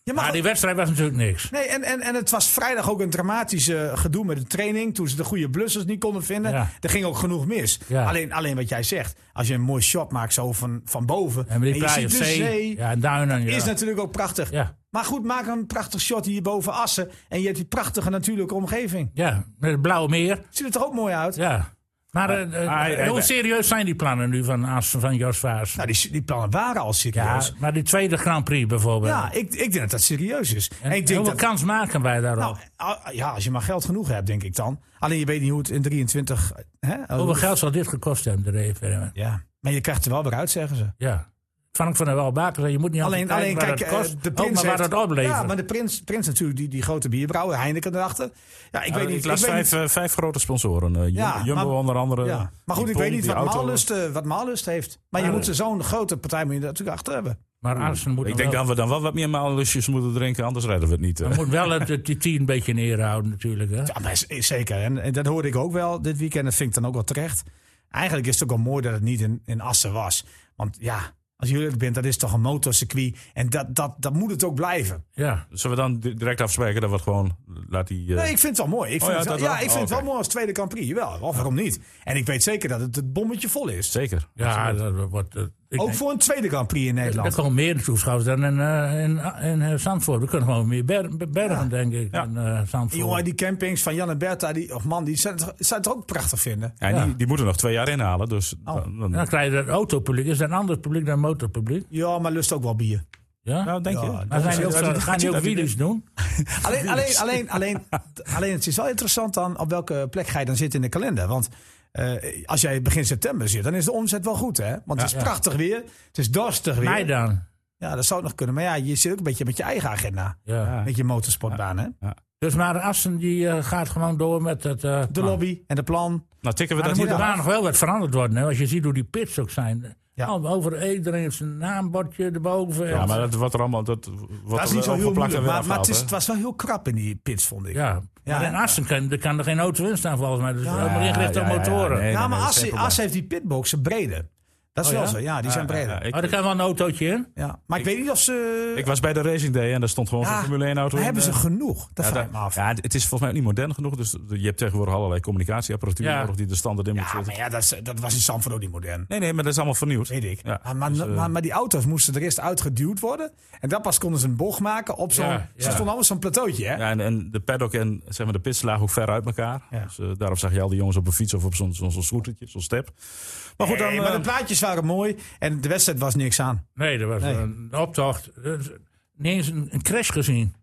[SPEAKER 3] Je mag
[SPEAKER 4] Maar die wedstrijd was natuurlijk niks.
[SPEAKER 3] Nee, en, en, en het was vrijdag ook een dramatisch eh, gedoe met de training. Toen ze de goede blussers niet konden vinden.
[SPEAKER 4] Ja.
[SPEAKER 3] Er ging ook genoeg mis.
[SPEAKER 4] Ja.
[SPEAKER 3] Alleen, alleen wat jij zegt. Als je een mooi shot maakt zo van, van boven.
[SPEAKER 4] En met die
[SPEAKER 3] je
[SPEAKER 4] plaaien
[SPEAKER 3] ziet de
[SPEAKER 4] zee,
[SPEAKER 3] zee.
[SPEAKER 4] Ja, en duinen. Ja.
[SPEAKER 3] Is natuurlijk ook prachtig.
[SPEAKER 4] ja.
[SPEAKER 3] Maar goed, maak een prachtig shot hier boven Assen. En je hebt die prachtige natuurlijke omgeving.
[SPEAKER 4] ja, met het Blauwe Meer.
[SPEAKER 3] Ziet het er ook mooi uit?
[SPEAKER 4] Ja. Maar eh, eh,
[SPEAKER 1] ah, eh,
[SPEAKER 4] hoe
[SPEAKER 1] eh,
[SPEAKER 4] serieus zijn die plannen nu van, As- van Jos Vaas?
[SPEAKER 3] Nou, die, die plannen waren al
[SPEAKER 4] ja,
[SPEAKER 3] serieus. Ja,
[SPEAKER 4] maar die tweede Grand Prix bijvoorbeeld.
[SPEAKER 3] ik, ik denk dat dat serieus is. En,
[SPEAKER 4] En,
[SPEAKER 3] ik denk
[SPEAKER 4] hoeveel
[SPEAKER 3] dat,
[SPEAKER 4] kans maken wij daarop?
[SPEAKER 3] nou, ah, ja, als je maar geld genoeg hebt, denk ik dan. Alleen je weet niet hoe het in 23... Hè?
[SPEAKER 4] hoeveel geld zal dit gekost hebben, de referendum?
[SPEAKER 3] Ja, maar je krijgt er wel weer uit, zeggen ze.
[SPEAKER 4] Ja. Frank van der Walbaker zei, je moet niet
[SPEAKER 3] Alleen,
[SPEAKER 4] altijd
[SPEAKER 3] alleen
[SPEAKER 4] kijken
[SPEAKER 3] kijk,
[SPEAKER 4] waar
[SPEAKER 3] eh,
[SPEAKER 4] het kost,
[SPEAKER 3] de
[SPEAKER 4] ook
[SPEAKER 3] prins
[SPEAKER 4] maar waar
[SPEAKER 3] heeft-
[SPEAKER 4] het oplevert.
[SPEAKER 3] Ja, maar de prins, prins natuurlijk, die, die grote bierbrouwer, Heineken erachter. Ja, ik
[SPEAKER 1] Ik,
[SPEAKER 3] weet niet.
[SPEAKER 1] las
[SPEAKER 3] ik weet
[SPEAKER 1] vijf,
[SPEAKER 3] niet-
[SPEAKER 1] eh, vijf grote sponsoren. eh, Jum-
[SPEAKER 3] Ja,
[SPEAKER 1] Jumbo
[SPEAKER 3] maar-
[SPEAKER 1] onder andere.
[SPEAKER 4] eh,
[SPEAKER 3] ja. Maar
[SPEAKER 1] die
[SPEAKER 3] goed, ik weet
[SPEAKER 1] pomp,
[SPEAKER 3] niet
[SPEAKER 1] die
[SPEAKER 3] wat
[SPEAKER 1] auto.
[SPEAKER 3] Maallust, eh, wat Maallust heeft. Maar je moet er zo'n grote partij moet je er natuurlijk achter hebben.
[SPEAKER 4] Maar Arsen moet,
[SPEAKER 1] Ik
[SPEAKER 4] nog
[SPEAKER 1] denk
[SPEAKER 4] wel,
[SPEAKER 1] dat we dan wel wat meer Maallustjes moeten drinken, anders rijden we het niet. eh.
[SPEAKER 4] dan moet wel het, het- die tien een beetje in ere houden natuurlijk. Hè?
[SPEAKER 3] Ja, maar z- zeker. En, en dat hoorde ik ook wel dit weekend. Dat vind ik dan ook wel terecht. Eigenlijk is het ook wel mooi dat het niet in, in Assen was. Want ja, als jullie het bent, dat is toch een motorcircuit. En dat, dat, dat moet het ook blijven.
[SPEAKER 4] Ja.
[SPEAKER 1] Zullen we dan di- direct afspreken dat we het gewoon laat die... eh,
[SPEAKER 3] Nee, ik vind het wel mooi. Ik vind,
[SPEAKER 1] ja,
[SPEAKER 3] het, wel,
[SPEAKER 1] dat wel?
[SPEAKER 3] ja, ik vind
[SPEAKER 1] Oh,
[SPEAKER 3] het wel
[SPEAKER 1] oké.
[SPEAKER 3] mooi als tweede Grand Prix. Jawel, of waarom niet? En ik weet zeker dat het het bommetje vol is.
[SPEAKER 1] Zeker.
[SPEAKER 4] Ja, dat wordt... eh, ik
[SPEAKER 3] Ook
[SPEAKER 4] denk-
[SPEAKER 3] voor een tweede Grand Prix in
[SPEAKER 4] Er
[SPEAKER 3] Nederland.
[SPEAKER 4] komen meer toeschouwers dan in, eh, in, in eh, Zandvoort. We kunnen gewoon meer ber- bergen, denk ik,
[SPEAKER 1] Ja.
[SPEAKER 4] dan eh, Zandvoort.
[SPEAKER 3] Jongen, die campings van Jan en Bertha, die, oh man, die zou het, zou het ook prachtig vinden.
[SPEAKER 1] Ja, en Die, die moeten nog twee jaar inhalen, dus...
[SPEAKER 3] Oh.
[SPEAKER 1] dan- dan-
[SPEAKER 4] Dan krijg je het autopubliek. Is dat een ander publiek dan motorpubliek?
[SPEAKER 3] Ja, maar lust ook wel bier.
[SPEAKER 4] Ja?
[SPEAKER 1] nou, denk
[SPEAKER 3] Ja,
[SPEAKER 1] je?
[SPEAKER 4] maar zijn die ook, zo- gaan die ook wheelies doen?
[SPEAKER 3] Alleen, alleen, alleen, alleen, alleen, het is wel interessant dan op welke plek ga je dan zitten in de kalender. Want eh, als jij begin september zit, dan is de omzet wel goed, hè? Want het is prachtig weer, het is dorstig weer.
[SPEAKER 4] Mij dan.
[SPEAKER 3] Ja, dat zou nog kunnen. Maar ja, je zit ook een beetje met je eigen agenda.
[SPEAKER 4] Ja.
[SPEAKER 3] Met je motorsportbaan, hè?
[SPEAKER 4] Dus maar Assen die eh, gaat gewoon door met het... eh,
[SPEAKER 3] De
[SPEAKER 4] plan.
[SPEAKER 3] lobby en de plan.
[SPEAKER 1] Nou, tikken we
[SPEAKER 3] Maar
[SPEAKER 1] dat
[SPEAKER 3] dan
[SPEAKER 1] niet
[SPEAKER 4] moet de
[SPEAKER 3] Ja.
[SPEAKER 4] baan nog wel wat veranderd worden. Hè? Als je ziet hoe die pits ook zijn.
[SPEAKER 3] Ja.
[SPEAKER 4] Al- Over iedereen heeft zijn naambordje erboven.
[SPEAKER 1] Ja, maar dat wordt er allemaal... Dat, wordt
[SPEAKER 3] Dat is
[SPEAKER 1] er
[SPEAKER 3] niet zo heel
[SPEAKER 1] opgeplakt en
[SPEAKER 3] moeilijk,
[SPEAKER 1] weer
[SPEAKER 3] maar, maar het,
[SPEAKER 1] afgehaald,
[SPEAKER 3] is,
[SPEAKER 1] hè?
[SPEAKER 3] het was wel heel krap in die pits, vond ik.
[SPEAKER 4] Ja. Maar
[SPEAKER 3] Ja.
[SPEAKER 4] in Assen kan, er kan er geen auto in staan volgens mij. Dus Dat is helemaal
[SPEAKER 1] Ja,
[SPEAKER 4] ingericht op
[SPEAKER 1] ja, ja,
[SPEAKER 4] motoren.
[SPEAKER 1] nee,
[SPEAKER 3] ja,
[SPEAKER 1] nee,
[SPEAKER 3] maar
[SPEAKER 1] nee,
[SPEAKER 3] As,
[SPEAKER 1] geen probleem.
[SPEAKER 3] As heeft die pitboxen breder. Dat is
[SPEAKER 4] Oh,
[SPEAKER 3] wel
[SPEAKER 4] ja?
[SPEAKER 3] zo, ja, die zijn breder. Ja,
[SPEAKER 1] Ja, ik-
[SPEAKER 4] Maar er kan wel een autootje in.
[SPEAKER 3] Maar ik, weet niet of ze...
[SPEAKER 1] Ik was bij de Racing Day en daar stond gewoon
[SPEAKER 3] Ja,
[SPEAKER 1] zo'n Formule 1 auto
[SPEAKER 3] maar
[SPEAKER 1] in.
[SPEAKER 3] hebben ze
[SPEAKER 1] eh.
[SPEAKER 3] genoeg? Dat
[SPEAKER 1] Ja,
[SPEAKER 3] vraag
[SPEAKER 1] dat-
[SPEAKER 3] ik me af.
[SPEAKER 1] ja, het is volgens mij ook niet modern genoeg. Dus je hebt tegenwoordig allerlei communicatieapparatuur
[SPEAKER 4] Ja.
[SPEAKER 1] nodig die de standaard in moet
[SPEAKER 3] Ja,
[SPEAKER 1] zitten.
[SPEAKER 3] maar ja, dat, is- dat was in Sanford ook niet modern.
[SPEAKER 1] Nee, nee, maar dat is allemaal vernieuwd.
[SPEAKER 3] Weet ik.
[SPEAKER 1] Ja,
[SPEAKER 3] maar, maar,
[SPEAKER 1] dus, eh,
[SPEAKER 3] maar, maar die auto's moesten er eerst uitgeduwd worden. En dan pas konden ze een bocht maken op zo'n...
[SPEAKER 4] Ja, ja.
[SPEAKER 3] Ze stonden allemaal zo'n plateautje, hè?
[SPEAKER 1] Ja, en, en de paddock en zeg maar, de pits lagen ook ver uit elkaar.
[SPEAKER 3] Ja.
[SPEAKER 1] Dus, eh, daarop zag je al die jongens op een fiets of op zo'n zo'n zo'n scootertje, zo'n step. Maar goed, dan...
[SPEAKER 3] Nee, maar de
[SPEAKER 1] eh,
[SPEAKER 3] plaatjes waren mooi en de wedstrijd was niks aan.
[SPEAKER 4] Nee, dat was een optocht. Er is Niet eens een, een crash gezien.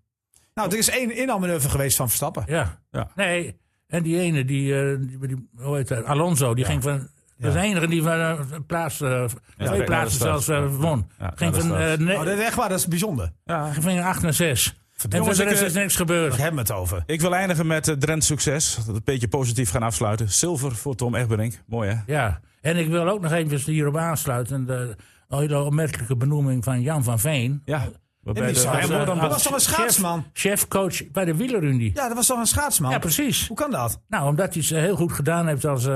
[SPEAKER 3] Nou, er is één inhaalmanoeuvre geweest van Verstappen.
[SPEAKER 4] Ja.
[SPEAKER 1] Ja.
[SPEAKER 4] Nee. En die ene, die, eh, die, die- hoe heet dat? Alonso, die ging van Dat is de enige die van eh, plaats, eh, twee
[SPEAKER 1] dat
[SPEAKER 4] plaatsen
[SPEAKER 1] is dat.
[SPEAKER 4] zelfs eh,
[SPEAKER 1] Ja.
[SPEAKER 4] won.
[SPEAKER 1] Ja,
[SPEAKER 4] Ging
[SPEAKER 1] dat is
[SPEAKER 4] van,
[SPEAKER 1] dat.
[SPEAKER 4] eh, ne-
[SPEAKER 3] Oh, dat is echt waar, dat is bijzonder.
[SPEAKER 4] ja, ging 8 naar 6. En
[SPEAKER 1] Jongens,
[SPEAKER 4] verder
[SPEAKER 1] ik,
[SPEAKER 4] is
[SPEAKER 1] eh,
[SPEAKER 4] er niks
[SPEAKER 3] Daar
[SPEAKER 4] gebeurd.
[SPEAKER 3] hebben we het over.
[SPEAKER 1] Ik wil eindigen met eh, Drents succes. Dat we een beetje positief gaan afsluiten. Zilver voor Tom Egberink. Mooi hè?
[SPEAKER 4] Ja, en ik wil ook nog even hierop aansluiten. De een hele opmerkelijke benoeming van Jan van Veen. eh,
[SPEAKER 1] Ja. Waarbij
[SPEAKER 3] die
[SPEAKER 1] de,
[SPEAKER 3] zou-
[SPEAKER 1] hij wordt dan
[SPEAKER 3] Dat was toch een schaatsman?
[SPEAKER 4] Chef, chefcoach bij de wielerunie. Ja,
[SPEAKER 3] Ja, dat was toch een schaatsman?
[SPEAKER 4] precies.
[SPEAKER 3] Hoe kan dat?
[SPEAKER 4] Nou, omdat hij het heel goed gedaan heeft als eh,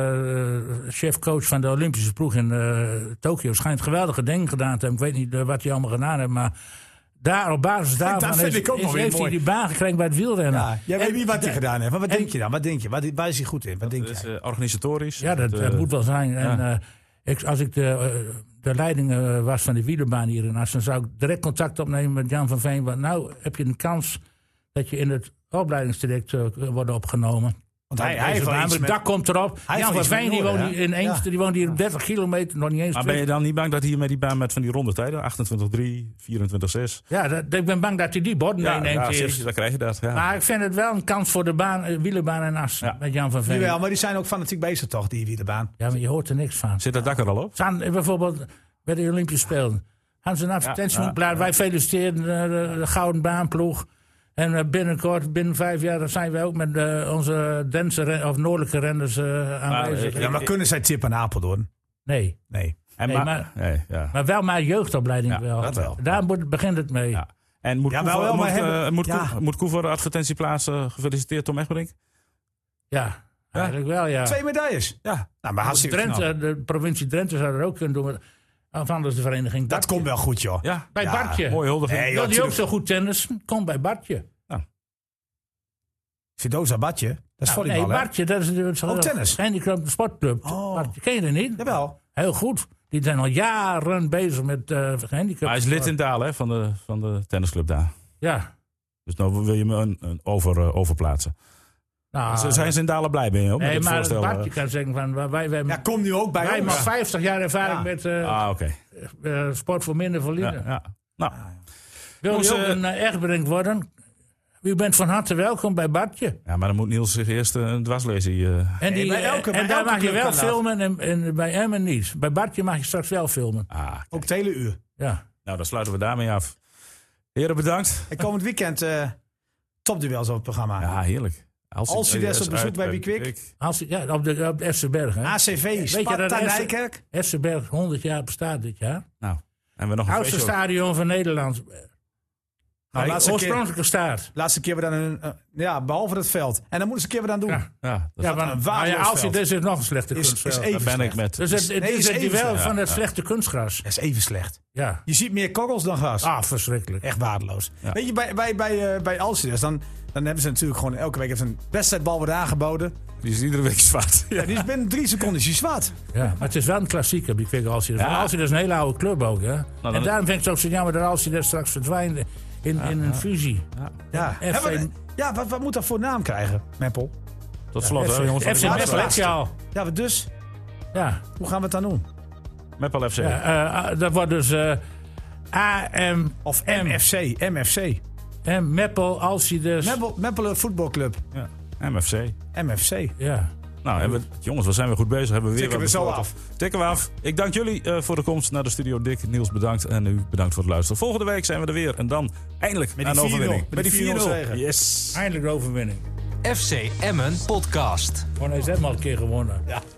[SPEAKER 4] chefcoach van de Olympische ploeg in eh, Tokio. Schijnt geweldige dingen gedaan te hebben. Ik weet niet eh, wat hij allemaal gedaan heeft, maar daar, op basis daarvan
[SPEAKER 3] vind
[SPEAKER 4] heeft,
[SPEAKER 3] ik ook
[SPEAKER 4] is-
[SPEAKER 3] nog weer
[SPEAKER 4] heeft hij
[SPEAKER 3] mooi.
[SPEAKER 4] die baan gekregen bij het wielrennen.
[SPEAKER 3] Ja, jij weet
[SPEAKER 4] En-
[SPEAKER 3] niet wat hij gedaan heeft. Maar wat
[SPEAKER 4] en-
[SPEAKER 3] denk je dan? Wat denk je? Wat, waar is hij goed in? Wat denk
[SPEAKER 1] Dat is
[SPEAKER 3] je?
[SPEAKER 1] eh, organisatorisch.
[SPEAKER 4] Ja, dat,
[SPEAKER 1] eh,
[SPEAKER 4] dat moet wel zijn. En, eh, ik, als ik de, eh, de leiding eh, was van de wielerbaan hier in Assen, dan zou ik direct contact opnemen met Jan van Veen. Want nou heb je een kans dat je in het opleidingsdirect eh, wordt opgenomen.
[SPEAKER 3] Want hij, hij
[SPEAKER 4] Hij
[SPEAKER 3] heeft wel iets
[SPEAKER 4] namelijk,
[SPEAKER 3] met...
[SPEAKER 4] dak komt erop.
[SPEAKER 3] heeft
[SPEAKER 4] Jan
[SPEAKER 3] wel
[SPEAKER 4] van
[SPEAKER 3] iets met
[SPEAKER 4] Veen die
[SPEAKER 3] Noorden,
[SPEAKER 4] woont hier
[SPEAKER 3] hè?
[SPEAKER 4] in Eemster, die woont hier op 30 kilometer, nog niet eens
[SPEAKER 1] Maar ben
[SPEAKER 4] terug.
[SPEAKER 1] je dan niet bang dat hij met die baan met van die ronde tijden? 28-3, 24-6.
[SPEAKER 4] Ja, dat, ik ben bang dat hij die borden meeneemt
[SPEAKER 1] ja,
[SPEAKER 4] eerst.
[SPEAKER 1] precies, dan krijg je dat. Ja.
[SPEAKER 4] Maar ik vind het wel een kans voor de baan, eh, wielerbaan en as
[SPEAKER 1] Ja.
[SPEAKER 4] met Jan van Veen.
[SPEAKER 3] Jawel, maar die zijn ook fanatiek bezig toch, die wielerbaan.
[SPEAKER 4] Ja, maar je hoort er niks van.
[SPEAKER 1] Zit dat dak er al op?
[SPEAKER 4] Staan eh, bijvoorbeeld bij de Olympische Spelen. Hadden ze een advertentie moeten plaatsen. Wij feliciteren eh, de, de Gouden Baanploeg. En eh, binnenkort, binnen vijf jaar, dan zijn wij ook met eh, onze Dense ren- of Noordelijke renners
[SPEAKER 3] Ah,
[SPEAKER 4] eh, aanwezig.
[SPEAKER 1] eh,
[SPEAKER 3] Ja, maar kunnen zij tip aan Apeldoorn?
[SPEAKER 4] nee,
[SPEAKER 3] Nee.
[SPEAKER 1] En
[SPEAKER 4] Nee,
[SPEAKER 1] ma-
[SPEAKER 4] maar-
[SPEAKER 1] nee, ja.
[SPEAKER 4] maar wel maar jeugdopleiding
[SPEAKER 1] Ja,
[SPEAKER 4] wel.
[SPEAKER 3] dat wel.
[SPEAKER 4] Daar moet, begint het mee.
[SPEAKER 1] Ja. En moet
[SPEAKER 3] Ja,
[SPEAKER 1] Koevoort-
[SPEAKER 3] wel, wel,
[SPEAKER 1] moet,
[SPEAKER 3] maar hebben-
[SPEAKER 1] eh, moet
[SPEAKER 3] ja.
[SPEAKER 1] Koe- moet Koevoort de advertentie plaatsen? Gefeliciteerd Tom Egberink.
[SPEAKER 4] Ja, eigenlijk wel, ja.
[SPEAKER 3] Twee medailles. Ja. Nou, maar hartstikke
[SPEAKER 4] Drenthe,
[SPEAKER 3] knap.
[SPEAKER 4] de provincie Drenthe zou dat ook kunnen doen. maar- Of anders de vereniging.
[SPEAKER 3] Dat komt wel goed, joh.
[SPEAKER 1] Ja,
[SPEAKER 4] Bij
[SPEAKER 3] ja,
[SPEAKER 4] Bartje.
[SPEAKER 1] mooi huldiging.
[SPEAKER 3] Nee, joh,
[SPEAKER 4] Wil die ook
[SPEAKER 3] natuurlijk.
[SPEAKER 4] zo goed tennissen? Kom bij Bartje.
[SPEAKER 3] Fidoza Batje. Dat is
[SPEAKER 4] Nou,
[SPEAKER 3] volleybal,
[SPEAKER 4] nee,
[SPEAKER 3] hè?
[SPEAKER 4] Bartje, dat is de
[SPEAKER 3] Oh, tennis.
[SPEAKER 4] Handicap sportclub.
[SPEAKER 3] Oh.
[SPEAKER 4] Bartje, ken je dat niet?
[SPEAKER 3] Jawel.
[SPEAKER 4] Heel goed. Die zijn al jaren bezig met eh handicap.
[SPEAKER 1] Maar hij is lid in Dalen hè, van, de, van de tennisclub daar.
[SPEAKER 4] Ja.
[SPEAKER 1] Dus nou wil je me een, een over, eh, overplaatsen.
[SPEAKER 4] Nou,
[SPEAKER 3] Ah,
[SPEAKER 1] Zo zijn ze in Dalen blij ben je ook? met
[SPEAKER 4] nee,
[SPEAKER 1] het
[SPEAKER 4] maar
[SPEAKER 1] voorstel,
[SPEAKER 4] Bartje
[SPEAKER 1] eh?
[SPEAKER 4] kan zeggen van wij, wij, wij,
[SPEAKER 3] Ja, kom nu ook bij
[SPEAKER 4] wij
[SPEAKER 3] ons.
[SPEAKER 4] maar 50 jaar ervaring
[SPEAKER 3] Ja.
[SPEAKER 4] met eh,
[SPEAKER 1] Ah, oké.
[SPEAKER 4] eh, sport voor minder
[SPEAKER 1] Ja,
[SPEAKER 4] valide.
[SPEAKER 1] ja. Nou,
[SPEAKER 4] Wil
[SPEAKER 1] Jongens,
[SPEAKER 4] je ook
[SPEAKER 1] eh,
[SPEAKER 4] een uh, worden? U bent van harte welkom bij Bartje.
[SPEAKER 1] ja, maar dan moet Niels zich eerst eh, een dwarslesie... eh,
[SPEAKER 4] En,
[SPEAKER 3] Nee,
[SPEAKER 4] die,
[SPEAKER 3] bij elke-
[SPEAKER 4] eh,
[SPEAKER 3] bij
[SPEAKER 4] en daar
[SPEAKER 3] elke
[SPEAKER 4] mag je
[SPEAKER 3] club
[SPEAKER 4] wel
[SPEAKER 3] kan dat.
[SPEAKER 4] filmen en, en bij Emmen niet. Bij Bartje mag je straks wel filmen.
[SPEAKER 1] ah,
[SPEAKER 3] Ook het hele uur.
[SPEAKER 4] Ja.
[SPEAKER 1] nou, dan sluiten we daarmee af. Heren, bedankt.
[SPEAKER 3] En komend weekend eh topduels op het programma.
[SPEAKER 1] Ja, heerlijk. Als,
[SPEAKER 3] Als u des op bezoek bij Wie Kwik.
[SPEAKER 4] Als, ja op, de, op de FC Berg. Hè?
[SPEAKER 3] ACV,
[SPEAKER 4] je dat
[SPEAKER 3] Sparta,
[SPEAKER 4] Essen-
[SPEAKER 3] Nijkerk.
[SPEAKER 4] FC Berg 100 jaar bestaat dit jaar.
[SPEAKER 1] Nou, en we nog een
[SPEAKER 4] Oudste
[SPEAKER 1] feestje ook.
[SPEAKER 4] stadion van Nederland.
[SPEAKER 3] Nou,
[SPEAKER 4] Nee,
[SPEAKER 3] laatste keer-
[SPEAKER 4] oorspronkelijke staat.
[SPEAKER 3] Laatste keer we dan een, eh, ja, behalve het veld. En dan moeten ze een keer we dan doen.
[SPEAKER 4] Ja.
[SPEAKER 1] Ja, dat
[SPEAKER 4] Ja,
[SPEAKER 3] een
[SPEAKER 4] want nou
[SPEAKER 3] waardeloos
[SPEAKER 4] ja, als je
[SPEAKER 3] veld.
[SPEAKER 4] dit is nog een slechte
[SPEAKER 3] Is, is
[SPEAKER 4] kunstgras.
[SPEAKER 1] daar
[SPEAKER 3] even
[SPEAKER 1] ben ik
[SPEAKER 3] slecht.
[SPEAKER 1] met...
[SPEAKER 4] dus het, het
[SPEAKER 3] nee,
[SPEAKER 4] is
[SPEAKER 3] is
[SPEAKER 4] het
[SPEAKER 3] even
[SPEAKER 4] duel
[SPEAKER 3] zo.
[SPEAKER 4] van het slechte kunstgras.
[SPEAKER 3] Dat is even slecht.
[SPEAKER 4] Ja.
[SPEAKER 3] Je ziet meer korrels dan gras.
[SPEAKER 4] Ah, verschrikkelijk.
[SPEAKER 3] Echt waardeloos.
[SPEAKER 1] Ja.
[SPEAKER 3] Weet je, bij, bij, bij, eh bij Alcides, dan, dan hebben ze natuurlijk gewoon elke week even een wedstrijdbal wordt aangeboden.
[SPEAKER 1] Die is iedere week zwart.
[SPEAKER 3] En die is binnen drie seconden is die zwart.
[SPEAKER 4] Ja, maar het is wel een klassieker, die Kwik Alcides. Want
[SPEAKER 1] Ja.
[SPEAKER 4] Alcides is een hele oude club ook. Hè?
[SPEAKER 1] dan-
[SPEAKER 4] en daarom vind ik het ook zo jammer dat Alcides straks verdwijnt in, in een fusie.
[SPEAKER 3] Ja, Hebben we- ja wat, wat moet dat voor naam krijgen, Meppel?
[SPEAKER 1] Tot slot, hè, jongens.
[SPEAKER 4] FC
[SPEAKER 1] van de
[SPEAKER 4] Best
[SPEAKER 1] Zwarte.
[SPEAKER 4] weet je al.
[SPEAKER 3] Ja, wat dus
[SPEAKER 4] Ja.
[SPEAKER 3] hoe gaan we het dan doen?
[SPEAKER 1] Meppel FC.
[SPEAKER 4] Ja, eh, eh, dat wordt dus eh AM
[SPEAKER 3] Of
[SPEAKER 4] M.
[SPEAKER 3] MFC, MFC.
[SPEAKER 4] en Meppel, dus. Alcides.
[SPEAKER 3] Meppel, Meppelen Voetbalclub,
[SPEAKER 1] Ja. MFC.
[SPEAKER 3] MFC.
[SPEAKER 4] Ja.
[SPEAKER 1] Nou, hebben we, jongens, wat zijn we goed bezig. Hebben we weer
[SPEAKER 3] Tikken
[SPEAKER 1] wat
[SPEAKER 3] we zo
[SPEAKER 1] besproken.
[SPEAKER 3] af.
[SPEAKER 1] Tikken we af. Ik dank jullie eh, voor de komst naar de studio. Dick, Niels bedankt. En u bedankt voor het luisteren. Volgende week zijn we er weer. En dan eindelijk
[SPEAKER 3] die
[SPEAKER 1] aan de
[SPEAKER 3] 4-0.
[SPEAKER 1] overwinning.
[SPEAKER 3] Met die 4-0 zegen.
[SPEAKER 1] Yes.
[SPEAKER 4] Eindelijk de overwinning.
[SPEAKER 2] FC Emmen Podcast.
[SPEAKER 4] Gewoon eens helemaal een keer gewonnen.
[SPEAKER 3] Ja.